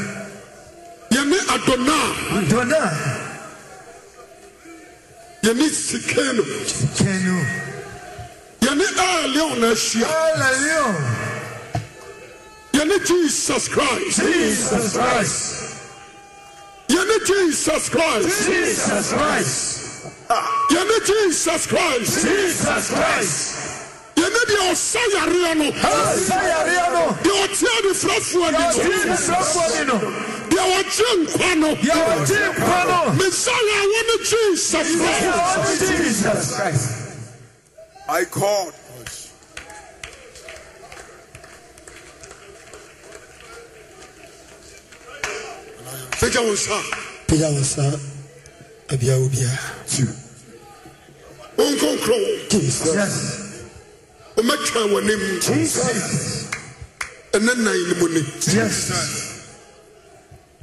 S4: Yɛne Adonai.
S5: Adonai.
S4: Yɛne Sikeno.
S5: Kenu.
S4: Yɛne Elion na ahyia.
S5: Hallelujah.
S4: Yɛne Jesus Christ.
S5: Jesus Christ.
S4: Yɛne Jesus Christ.
S5: Jesus Christ.
S4: Yɛne Jesus Christ.
S5: Jesus Christ.
S4: Yɛne deɛ ɔsa yareɛ no.
S5: Sayariano.
S4: Deɛ ɔtea ne frafoɔ ani so.
S5: Jesus Rabbino.
S4: Deɛ ɔgye nkwa no.
S5: Yawati Pano.
S4: Mesaya a wɔne Jesus Christ.
S5: Jesus Christ.
S1: I called.
S4: Fɛgya wo nsa.
S3: pagya wo nsa abia wo biara
S4: Wɔnkonkorɔ wo.
S3: jesus
S5: Yes.
S4: Wɔmɛtwa w'anim.
S5: Jesus.
S4: Ɛnɛ nan no mu ni.
S5: Yes.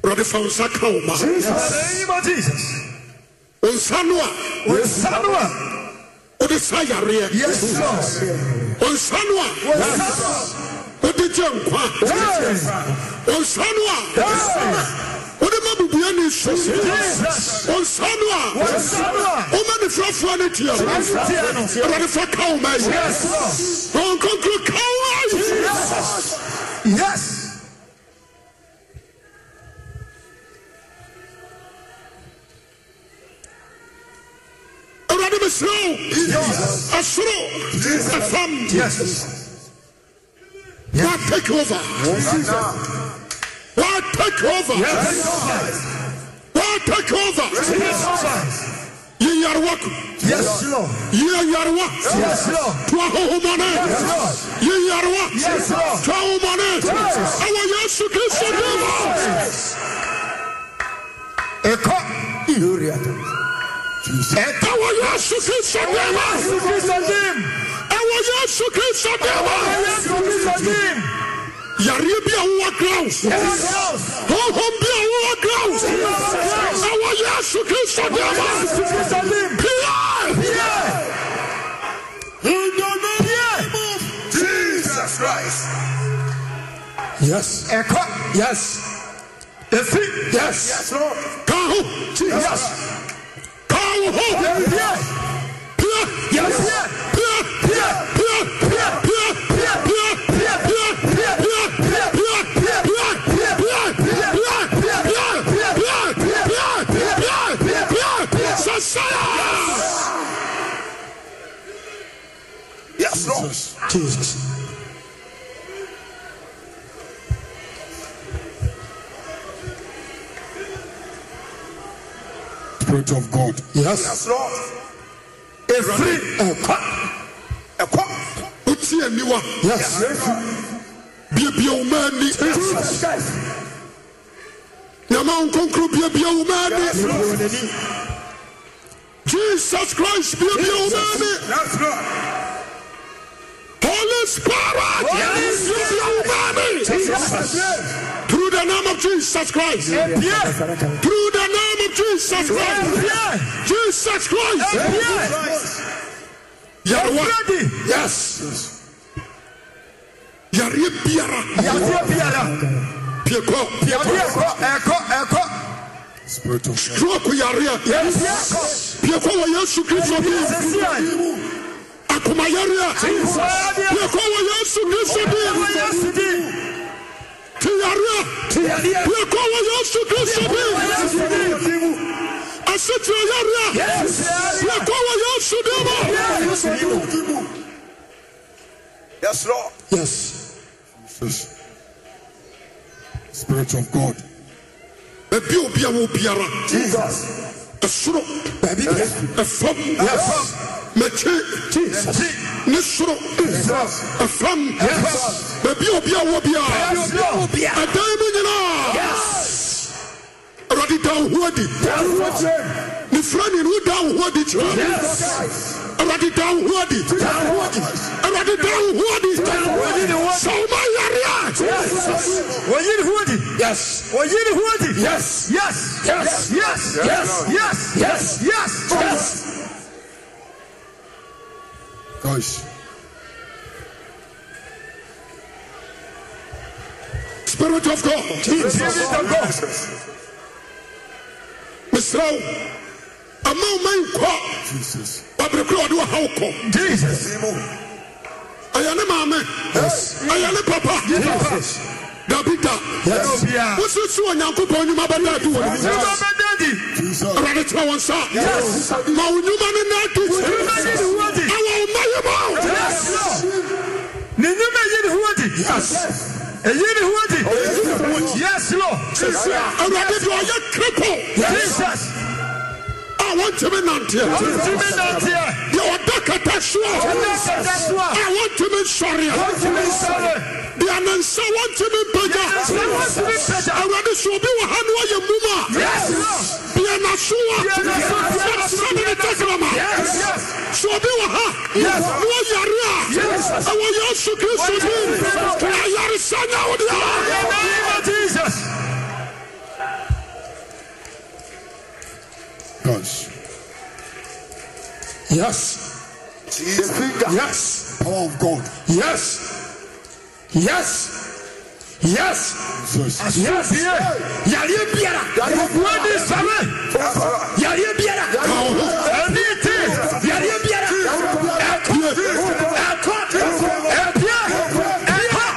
S4: Awurade fa wo nsa ka wo ma.
S5: In the name of Jesus.
S4: Wo nsa no a
S5: Sanua.
S4: wode sa yareɛ.
S5: Yes, Lord.
S4: Wo nsa no a
S5: Yes.
S4: wode gye nkwa. Wo nsa no a wode ma bubua ne su.
S5: Jesus.
S4: Wo nsa no a
S5: Sanua.
S4: woma ne frafoɔ no tia wo. Awurade fa ka wo ma yi.
S5: Yes.
S4: Wɔnkonkoro ka wo ma yi.
S5: Yes.
S4: Awurade mesrɛ wo. Ɛsoro, ɛfam,
S5: Yes.
S4: Lord, take over. Lord, take over.
S5: Yes.
S4: Lord, take over.
S5: Yes.
S4: Ye yarwaku,
S5: Yes, Lord.
S4: ye yarwa,
S5: Yes, Lord.
S4: twa hohomane,
S5: Yes, Lord.
S4: ye yarwa,
S5: Yes, Lord.
S4: twa homane,
S5: Yes.
S4: awa yesu kristo dema.
S5: Eko.
S4: Awa yesu kristo dema. Awa yesu kristo dema. Yare bi a é wowɔ ground, honhom bi a wowɔ ground, awa yesu kristo dema. Pia!
S1: Jesus Christ.
S3: yes yes yes
S1: Yes, Lord.
S4: Ka ho, ka wo ho, pia! Pia!
S1: Yes, Lord.
S3: jesus
S1: Spirit of God.
S3: yes
S1: Yes, Lord. A call.
S3: yes
S4: Jesus Christ, be a human.
S1: Yes, Lord.
S4: Holy Spirit, yes. be a human. Through the name of Jesus Christ. Through the name of Jesus Christ. Jesus Christ. Yarwa. Yes. Yare biara. Pieko.
S1: Spirit of God.
S4: Stroke yare. Pieko wa Yesu Kristo bi. Akoma yare. Pieko wa Yesu Kristo bi. Ti yare. Pieko wa Yesu Kristo bi. Asitio yare. Pieko wa Yesu bi.
S1: Yes, Lord.
S3: yes
S1: Jesus. Spirit of God.
S4: Ebi obi a wo biara.
S1: Jesus.
S4: Esoro.
S3: baabi bia
S4: Ɛfam. mɛkyi
S5: Jesus.
S4: ne soro
S5: Jesus.
S4: ɛfam
S5: Yes.
S4: baabi a obi a wɔ biara
S5: Yes, Lord.
S4: ɛdan mu nyinaa
S5: Yes.
S4: awurade da wo ho adi
S5: Yes, Lord.
S4: ne fra ne no da wo ho adi kyerɛ
S5: Yes.
S4: awurade da wo ho adi awurade da wo ho adi sɛ woma yare a
S5: Wɔyi ni huodi. Yes. Wɔyi ni huodi. Yes. Yes. Yes. Yes. Yes. Yes. Yes. Yes. Yes.
S6: Guys,
S4: spirit of god
S5: Give it to God.
S4: mesrɛ wo ama wo ma nkɔ
S6: Jesus.
S4: wabere korɛ ɔde wɔha wo kɔ
S5: Jesus.
S4: ɛyɛ ne maame ɛyɛ ne papa
S5: Jesus.
S4: dabi da
S5: Yes. Yes.
S4: wosusu onyankopɔn nnwuma bɛda adi wɔ ne mu.
S5: Yes. Yes.
S6: Jesus.
S4: awurade tena wɔn nsa ma wo nnwuma ne na adi
S5: nnwuma ne ne ho adi.
S4: awɔ wo mma yɛ ma
S5: Yes, Lord. Ne nnwuma yi ne ho adi. Ɛyi ne ho adi. E Yes, Lord.
S4: awurade deɛ ɔyɛ kripo
S5: Jesus.
S4: a wɔntumi nanteɛ
S5: Ntumi nanteɛ.
S4: deɛ ɔda kata soɔ
S5: Ɛna kata so
S4: a
S5: a.
S4: wɔntumi nsɔreɛ
S5: Ntumi nsɔre.
S4: deɛ ne nsa wɔntumi
S5: Nsɔre
S4: mpagya
S5: ntumi pɛgya.
S4: awurade sɛ obi wɔ ha ne ɔyɛ mum a
S5: Yes, Lord.
S4: deɛ naso a
S5: Deɛ n'aso a-
S4: sɛne ne tɛkrama
S5: Yes, yes.
S4: sɛ obi wɔ ha ne
S5: Yes.
S4: ɔyare a
S5: Yes.
S4: ɛwɔ yesu kristo din ayaresa nya wo
S5: In the
S4: deɛ
S5: name of Jesus.
S6: Guys,
S7: Yes.
S6: the finger.
S7: Yes.
S6: Power of God.
S7: Yes. Yes. Yes.
S6: Jesus.
S7: Yes. Yareɛ biara.
S5: Wɔde nsɔre.
S7: Yareɛ biara.
S5: Ani ti.
S7: Yareɛ biara. Ɛkɔ. Ɛkɔ. Ɛpia. Ɛha.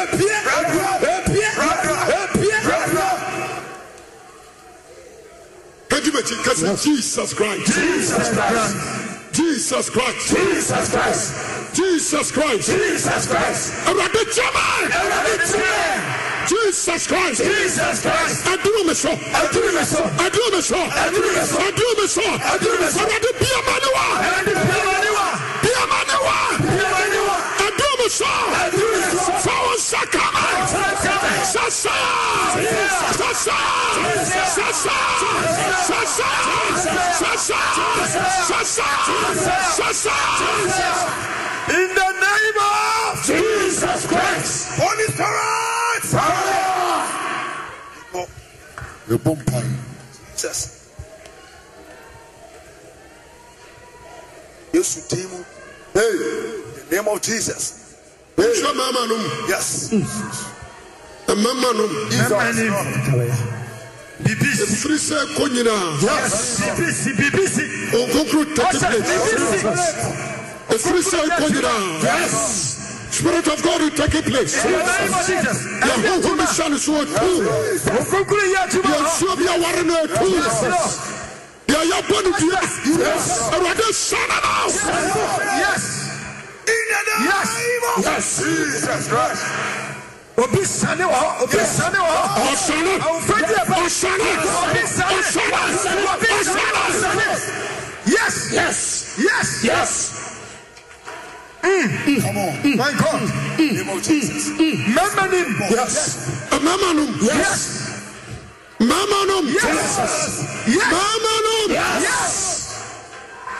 S7: Ɛpia. Ɛpia. Ɛpia.
S4: kadi makyi ka sɛ jesus christ
S5: Jesus Christ.
S4: jesus christ
S5: Jesus Christ.
S4: jesus christ
S5: Jesus Christ.
S4: awurade kyɛma
S5: Ɛwurade tiɛ.
S4: jesus christ
S5: Jesus Christ.
S4: aduru me so
S5: Aduru me so.
S4: aduru me so
S5: Aduru me so.
S4: aduru me so
S5: Aduru me so.
S4: awurade biama ne wa
S5: Ɛwurade piama ne wa.
S4: biama ne wa
S5: Piama ne wa.
S4: aduru me so
S5: Aduru me so.
S4: fa wo nsa ka ma
S5: Nsa ka me.
S4: sasa sasa sasa sasa sasa sasa sasa
S5: In the name of Jesus Christ.
S6: Holy Spirit. Oh,
S4: the bumpire
S6: Jesus. Yesu din mu. In the name of Jesus.
S4: hwɛ mmarima no mu
S6: Yes.
S4: mmarima no mu
S5: Amen. BBC.
S4: ɛfiri sɛ kɔ nyinaa
S5: Yes. BBC. BBC.
S4: ɔnkonkro tete
S5: Ɔsɛ
S4: place
S5: BBC.
S4: ɛfiri sɛ kɔ nyinaa
S5: Yes.
S4: spirit of god will take place
S5: In the name of Jesus.
S4: yɛ honhom hyɛ ne so ɔtu
S5: Okunkuru yɛ adwuma
S4: yɛ
S5: hɔ.
S4: nsuo bi aware no atu
S5: Yes, Lord.
S4: yɛ yɛbɔ no dua awurade sane no
S5: Yes.
S6: In the name
S5: Yes.
S6: of
S5: Yes.
S6: Jesus Christ.
S5: Obi sane wɔ hɔ. Obi sane wɔ hɔ.
S4: ɔsane
S5: Awofra di ɛba.
S4: ɔsane
S5: Obi sane.
S4: ɔsane
S5: Obi sane.
S4: ɔsane
S5: Sane. Yes.
S7: Yes.
S5: Yes.
S7: Yes.
S6: Come on.
S5: My God.
S6: name of Jesus.
S5: Mẹ́mẹ́ ni.
S7: Yes.
S4: mmarima nom
S5: Yes.
S4: mmarima nom
S5: Yes. Yes.
S4: mmarima nom
S5: Yes.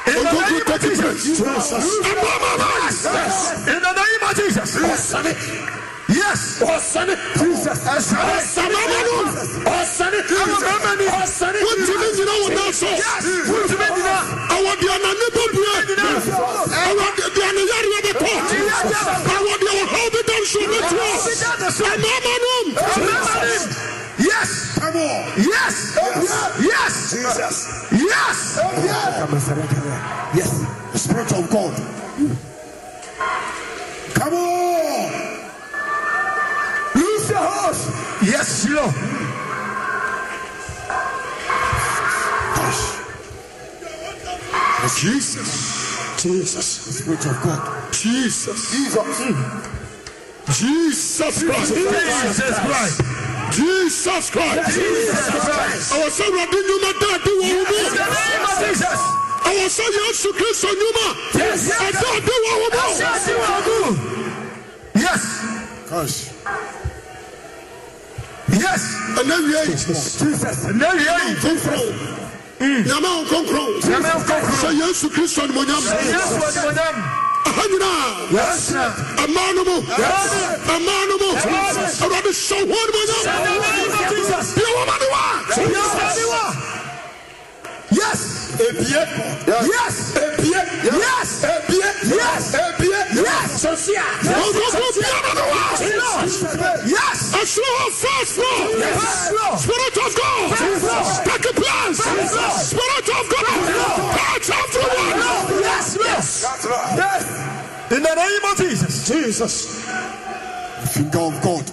S5: In the name
S4: ɔnkonkro
S5: of
S4: tete place
S5: Jesus.
S4: mmarima nom
S5: In the name of Jesus.
S7: Ɔsane.
S5: Yes.
S7: Ɔsane.
S5: Ẹ̀sán.
S4: mmarima nom
S7: Ɔsane.
S5: Ama mẹ́mẹ́ ni.
S7: Ɔsane.
S4: wontumi nyina wo nan so
S5: Yes. Wúti mi nìyà.
S4: awɔde anane bɔbue awurade deɛ ne yareɛ bɛtɔ awɔde ɔhaw bi da nso bɛtuɔ mmarima nom
S5: Yes.
S6: Come on.
S5: Yes. Yes.
S6: Jesus.
S5: Yes.
S6: Yes. The Spirit of God. Come on.
S5: Lose your horse. Yes, Lord.
S4: jesus
S6: The Spirit of God.
S4: jesus
S6: Jesus.
S4: jesus christ
S5: Jesus Christ.
S4: jesus christ
S5: Jesus Christ.
S4: awɔ sɛ awurade nnwuma da ade wɔ wo mu
S5: In the name of Jesus.
S4: ɛwɔ sɛ yesu kristo nnwuma
S5: Yes.
S4: ɛsɛ ɔde wɔ wo bɔ
S5: Yes, you are good. Yes.
S6: Yes.
S5: Yes.
S4: ɛnɛ wie
S6: Jesus.
S5: And then we are in.
S4: konkron nyame wo konkron
S5: Amen.
S4: sɛ yesu kristo animonyam
S5: Mm. Yes, what you done.
S4: aha nyinaa
S5: Yes, now.
S4: ɛmaa no mu
S5: Yes.
S4: ɛmaa no mu
S5: Yes.
S4: awurade hyɛ ho
S5: In the
S4: animonyam
S5: name of Jesus.
S4: deɛ wɔma ne wa
S5: Yes, everyone. Yes. Yes. Yes. Yes. Yes.
S4: ɔnkɔfo biama ne wa
S5: Yes.
S4: ɛsoro hɔ first floor
S5: Yes, Lord.
S4: Spirit of God, take a place. Spirit of God, touch everyone.
S5: Yes, yes.
S6: That's right.
S5: Yes. In the name of Jesus.
S6: Jesus. Finger of God.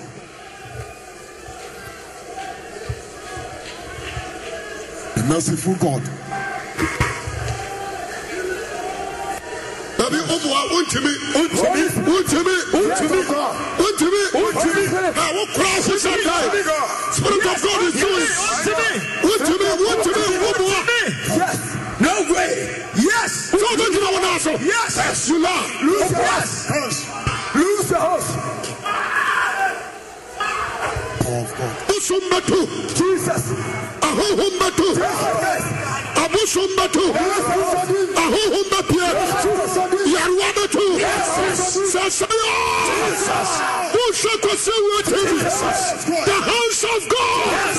S6: The merciful God.
S4: Baby, Obua, Untimi, Untimi, Untimi, Untimi, Untimi, Untimi. I will cross this
S6: Untimi,
S4: side.
S6: God.
S4: Spirit of God is doing. Untimi, Untimi, Obua.
S8: No way.
S5: Yes.
S4: So don't you know what I'm saying?
S5: Yes.
S4: Yes, you are.
S5: Lose yes. Lose the host.
S6: Power of God.
S4: Usumbatu,
S5: Jesus.
S4: Ah, oh, Ahuhumbatu, Ah, Abusumbatu, Ah, oh, Ahuhumbapia, Yarwabatu. Sasaya. Who shall pursue with him? The house of God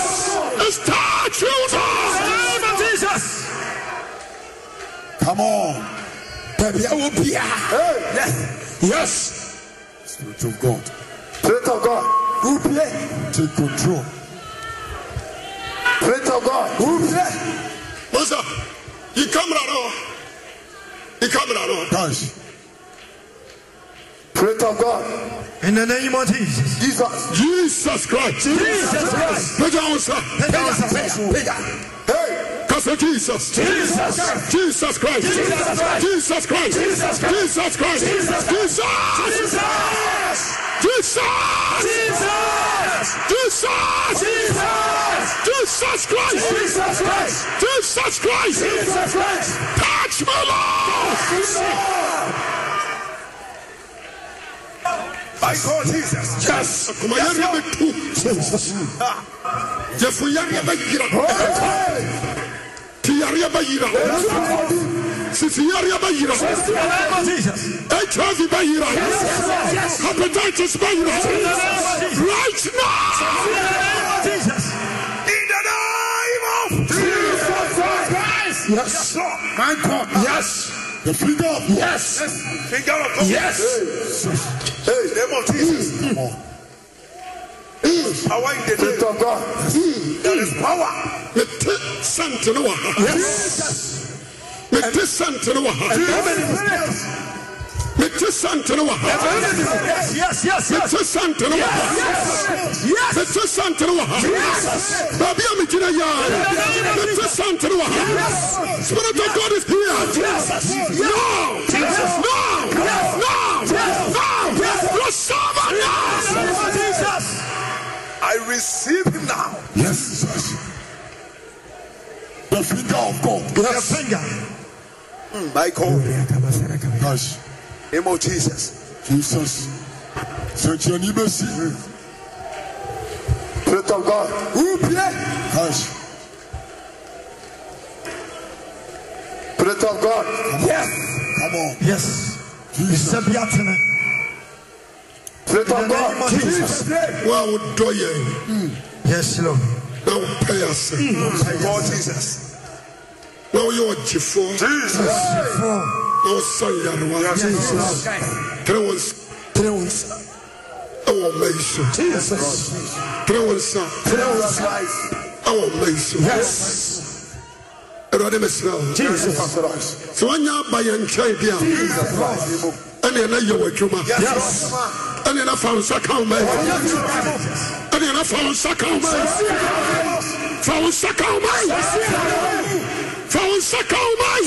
S4: is touching us.
S5: Name of Jesus.
S6: Come on.
S8: Baby, I will be. ah. Yes.
S6: Spirit of God.
S9: Spirit of God,
S6: Who play? Take control.
S9: Spirit of God,
S6: Who play?
S4: What's up? He come right on. He come right on.
S6: Guys.
S9: Spirit of God,
S5: In the name of Jesus.
S9: Jesus.
S4: Jesus Christ.
S5: Jesus Christ.
S4: Put your hands up.
S9: Hey,
S4: Cause of Jesus.
S8: Jesus.
S4: Jesus Christ.
S8: Jesus Christ.
S4: Jesus Christ.
S8: Jesus Christ.
S4: Jesus Christ.
S8: Jesus
S4: Jesus.
S8: Jesus.
S4: Jesus.
S8: Jesus.
S4: Jesus.
S8: Jesus.
S4: Jesus Christ.
S8: Jesus Christ.
S4: Jesus Christ.
S8: Jesus Christ.
S4: Touch me, Lord.
S6: My God, Jesus.
S4: Yes. Akoma yare bɛtu. Yɛfo yare bɛyira. Ti yare bɛyira. Sisi yare bɛyira.
S5: In the name of Jesus.
S4: HIV bɛyira. Hepatitis bɛyira. Right now.
S5: In the name of Jesus.
S6: In the name of Jesus Christ. Yes. Lord. My God.
S8: Yes.
S6: The finger of God.
S8: Yes.
S6: Finger of God.
S8: Yes.
S6: Hey, name of Jesus. Come on. Power in the
S9: Spirit
S6: name.
S9: of God,
S6: There is power.
S4: Mete sente no wɔ ha. Mete sente no wɔ ha.
S5: Yes,
S4: Mete sente no wɔ ha.
S5: yes, yes, yes.
S4: Mete sente no wɔ ha.
S5: Yes.
S4: Mete sente no wɔ ha. Baabi a megyina yi ara, mete sente no wɔ ha. Spirit of God is here. No! No! No! No! Receive it now!
S5: Jesus.
S6: I receive him now.
S4: Yes.
S6: The finger of God.
S5: The finger.
S6: Mm, My God. Yes. Name of Jesus. Mm.
S4: Jesus. Sɛnkyerɛni bɛsi.
S9: Spirit of God,
S6: Who play?
S4: Yes.
S9: Spirit of God,
S6: Come on.
S5: Yes. It's a biatana.
S9: Spirit
S5: In the
S9: of
S5: name
S9: God,
S5: of Oh, Mm. Jesus.
S4: Wo a wodɔ yɛn
S5: Yes, Lord.
S4: na wopɛ yɛ ase.
S6: My God, Jesus.
S4: Na woyɛ ɔgyefoɔ
S6: Jesus.
S5: Four.
S4: na wosa yarewa.
S5: Yes, Lord.
S4: Tene wo nsa
S5: Three ones.
S4: ɛwɔ ɔma yi so.
S5: Jesus.
S4: Tene wo nsa
S5: Three ones.
S4: ɛwɔ ɔma yi so.
S5: Yes.
S4: Awurade mesrɛ wo.
S5: Jesus.
S4: Sɛ woanya aba yɛn nkyɛn bi a, ɛneɛ na yɛ w'adwuma.
S5: Yes.
S4: Ɛneɛ na fa wo nsa ka wo ma yi. ɛne na fa wo nsa ka wo mai fa wo nsa ka wo mai fa wo nsa ka wo mai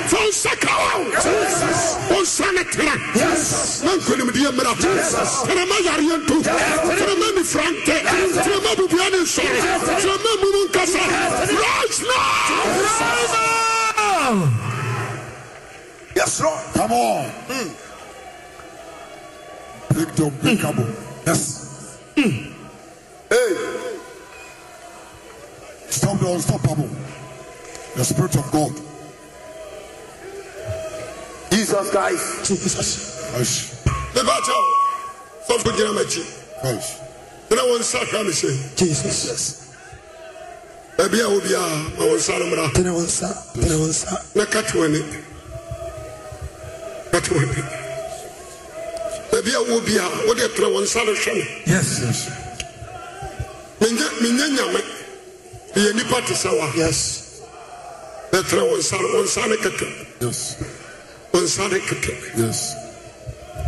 S4: fa wo nsa ka wo wo nsa ne tera na nkonimdeɛ mmra terama yareɛ nto terama nifra nte terama bubua ne nsɔre terama mu mu nkasa right now Yes, Lord.
S3: Come on. Break the unbreakable.
S4: Yes.
S10: Hey,
S3: Stop the unstoppable. The Spirit of God.
S10: Jesus Christ.
S3: Jesus. Yes.
S4: Mepacho. Sɔfo gyina m'akyi.
S3: Yes.
S4: Tena wɔn nsa kra me hyɛ.
S11: jesus
S4: Baabi a wo biara, ma wɔn nsa no mmra.
S11: tene wo nsa tene wo nsa
S4: na kati w'ani kati w'ani baabi a wo bi a wode tena wɔn nsa no hwɛ me
S3: Yes. Yes.
S4: menyɛ menyɛ nyame meyɛ nnipa te sɛ wa
S11: yes
S4: na tena wɔn nsa no wɔn nsa ne kɛkɛ
S3: Yes.
S4: wɔn nsa ne kɛkɛ
S3: Yes.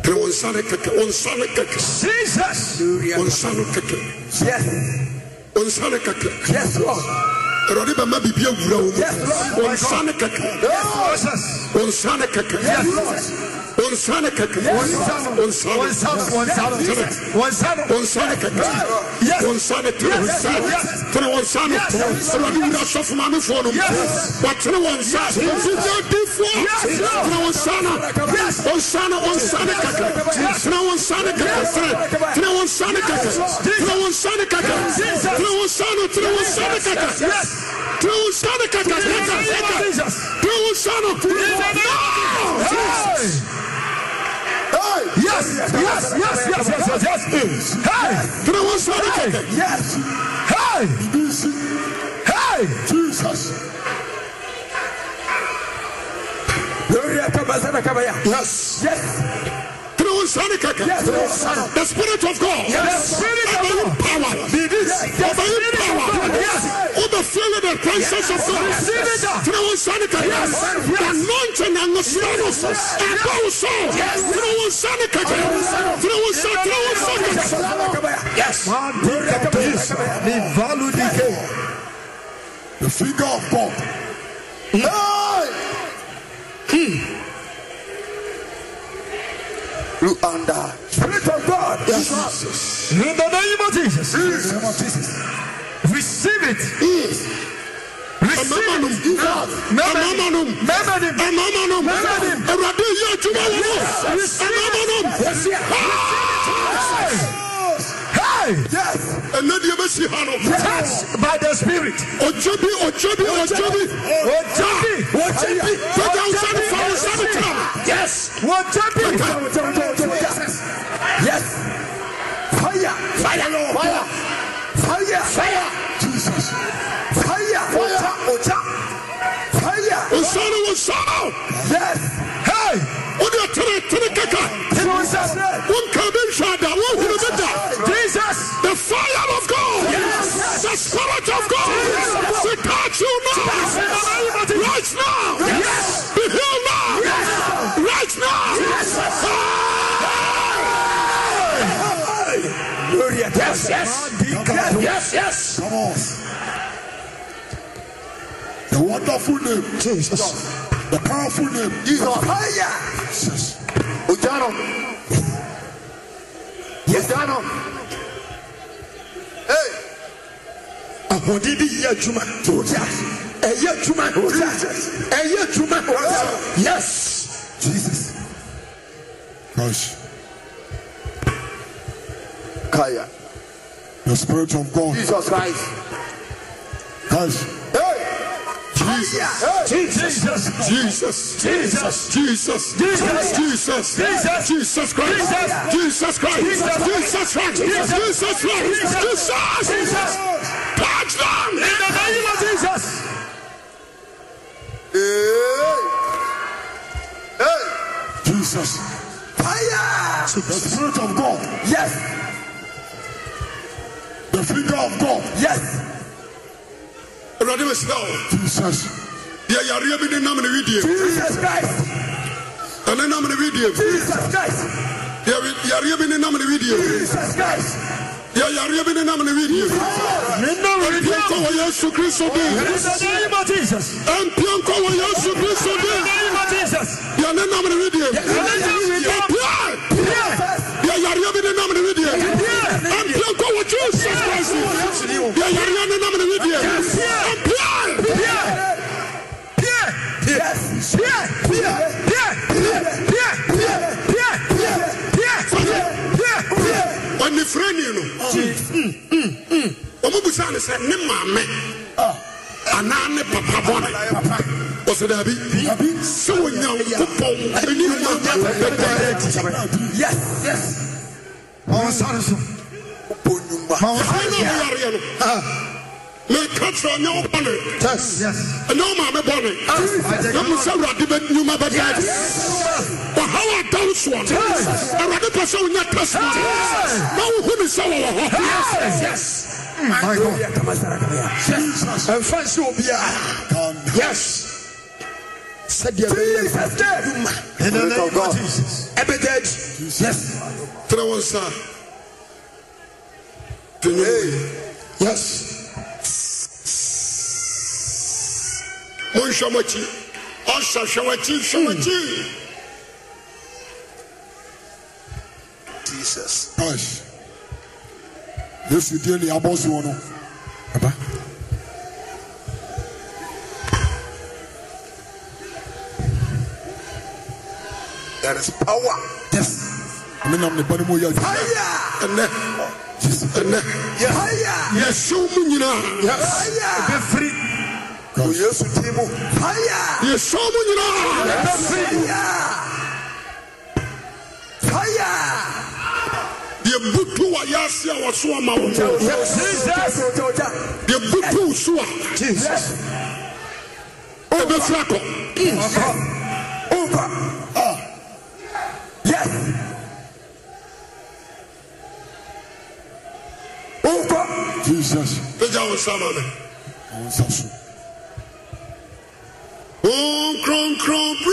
S4: tena wɔn nsa ne kɛkɛ wɔn nsa ne kɛkɛ
S5: Jesus.
S4: wɔn nsa no kɛkɛ
S5: Yes.
S4: wɔn nsa ne kɛkɛ
S5: Yes, Lord.
S4: awurade bɛma biribi awura wo mu
S5: Yes, Lord.
S4: wɔn nsa ne kɛkɛ
S5: Jesus.
S4: wɔn nsa ne kɛkɛ
S5: Yes.
S4: wɔn nsa ne kɛkɛ wɔn nsa no Onsane kɛkɛ.
S5: Yes.
S4: Onsane tene
S5: Yes.
S4: onsane.
S5: Yes.
S4: Tene onsane.
S5: Yes.
S4: Awurade wura sɔfo maame foɔ no mu.
S5: Yes.
S4: Watene wɔnsa. Mfidie difoɔ.
S5: Yes, Lord.
S4: Tene onsane.
S5: Yes.
S4: Onsane, onsane kɛkɛ.
S5: Yes.
S4: Tene onsane kɛkɛ.
S5: Yes.
S4: Tene. Tene onsane kɛkɛ.
S5: Yes.
S4: Tene onsane kɛkɛ.
S5: Jesus.
S4: Tene onsane, tene onsane kɛkɛ.
S5: Yes.
S4: Tene onsane kɛkɛ. Kɛkɛ, kɛkɛ.
S5: Jesus.
S4: Tene onsane. No!
S10: Hey,
S5: Yes, yes, yes, yes, yes, yes, yes. Hey,
S4: Tene onsane kɛkɛ.
S5: yes. Hey, hey.
S4: Jesus.
S5: Yes. Yes.
S4: Tene onsane kɛkɛ.
S5: Yes. Yes.
S4: The Spirit of God.
S5: Yes. The Spirit of
S4: Obeying
S5: God.
S4: power. Be this.
S5: The
S4: Obeying
S5: Spirit of
S4: power.
S5: God. Yes.
S4: Overflowing the presence of God.
S5: Receive it, sir.
S4: Through one Sonic.
S5: Yes.
S4: The anointing and the sorrows. And go so. Through one Sonic. Through one Sonic. Through one Sonic.
S5: Yes.
S3: The finger of God.
S10: hey.
S5: Hmm.
S10: Luanda.
S5: Spirit of God.
S10: Jesus.
S5: In the name of Jesus. Receive it. Receive it.
S4: Amamanum.
S5: Remember him.
S4: Amamanum.
S5: Amamanum.
S4: Awurade yɛ adwuma wɔ hɔ.
S5: Receive
S4: Amamanum.
S5: it.
S4: Ah!
S5: Hey. Hey.
S4: Ɛnna deɛ bɛsi ha no.
S5: Touched by the Spirit.
S4: Ɔjɛ bi ɔjɛ bi ɔjɛ bi.
S5: What champion? What
S4: Fɛjɛ awusa ni fa awusa ni tam.
S5: Yes. What champion? Yes. Fire. Fire. Fire. Fire. Fire. Jesus. Fire. Ocha. Ocha. Fire.
S4: Nsɔre wɔ sɔrɔ.
S5: Yes. Hey.
S4: Wode tere tere keka.
S5: Jesus.
S4: Wonka bi nhwɛ da. Wonhunu bi da.
S5: Jesus.
S4: The fire of God.
S5: Yes.
S4: The spirit of God.
S5: Yes.
S4: To touch you now.
S5: Yes.
S4: Right now.
S5: Yes.
S4: Be healed now.
S5: Yes.
S4: Right now.
S5: Yes. Yes. Yes. Yes. Yes.
S3: Come on. The wonderful name.
S11: jesus
S3: The powerful name.
S10: Jesus. Ojano. Ojano. Hey,
S11: ahoɔden de yɛ adwuma ɛyɛ adwuma ɛyɛ adwuma yes
S3: Jesus. Christ.
S10: Kaya.
S3: The Spirit of God.
S10: Jesus Christ.
S3: Christ.
S10: Hey,
S5: Jesus.
S4: Jesus.
S5: Jesus.
S4: Jesus.
S5: Jesus.
S4: Jesus.
S5: Jesus.
S4: Jesus Christ. Jesus Christ.
S5: Jesus.
S4: Jesus Christ.
S5: Jesus.
S4: Jesus Christ. Jesus.
S5: Jesus.
S4: Touch them.
S5: In the name of Jesus.
S10: hey, hey,
S3: Jesus. Fire. The Spirit of God.
S5: Yes.
S3: The finger of God.
S5: Yes.
S4: Awurade mesrɛ wo
S3: Jesus.
S4: deɛ yareɛ bi ne nam ne widie
S5: Jesus Christ.
S4: ɛne nam ne widie
S5: Jesus Christ.
S4: deɛ wi- yareɛ bi ne nam ne widie
S5: Jesus Christ.
S4: deɛ yareɛ bi ne nam ne widie mpia nkɔ wɔ yesu kristo
S5: In
S4: din
S5: the name of Jesus.
S4: ɛmpia nkɔ wɔ yesu kristo
S5: In
S4: din
S5: the name of Jesus.
S4: deɛ ne nam ne widie yɛpia
S5: Yes.
S4: deɛ yareɛ bi ne nam ne widie ɛmpia nkɔ wɔ jesus christ
S5: Yes.
S4: deɛ yareɛ ne nam ne widie
S5: Yɛpia.
S4: ɛmpia
S5: Pierre. Pierre. Yes. Pierre. Pierre. Pierre.
S4: Ah. ne sɛ ne maame anaa ne papa bɔne ɔsɛ daabi sɛ onyankopɔn ani ma wobɛdɛ
S5: ma wɔn sáré so ma wɔn
S4: ɛne
S5: sáré
S4: na woyareɛ
S5: so
S4: no meka kyerɛ nyɛ wo bɔne
S5: yes
S4: ɛnyɛ wo maame bɔne na mu sɛ awurade bɛnwuma bɛdɛ ɔhaw adan soɔ no awurade pɛ sɛ wonya testimony na wohu ne sɛ wɔwɔ hɔ
S5: my god
S12: ɛmfa nsi obiaa yes
S13: sɛdeɛ bɛyɛ
S12: jesus dɛ
S5: in the
S6: Spirit of
S5: name of
S6: God.
S5: jesus
S12: ɛbɛda adi yes
S4: tena wo nsa tenwom
S12: yes
S4: monhwɛ m'akyi ɔhyɛ hwɛ w'akyi hwɛ w'akyi
S6: Jesus.
S14: Christ. Yesu die ne abɔ soɔ no.
S12: aba
S6: There is power.
S12: yes
S14: Ame nam ne bɔne mu yɛ adwuma.
S6: Fire.
S4: ɛnɛ ɛnɛ
S6: Fire.
S4: yɛhyew mu nyinaa
S6: Fire.
S5: bɛ firi
S6: O Yesu din mu. Fire.
S4: yɛhyew mu nyinaa
S5: bɛ firi
S6: Fire. Fire.
S4: yɛbutu wɔ yɛase a wɔso ama wo
S5: jesus
S4: yɛbutu so a
S5: jesus
S4: ɛbɛfiri akɔ
S14: Jesus.
S4: ɛgya wo nsa ma me
S14: Ɔwɔ nsa so.
S4: Oh, Crown, Crown,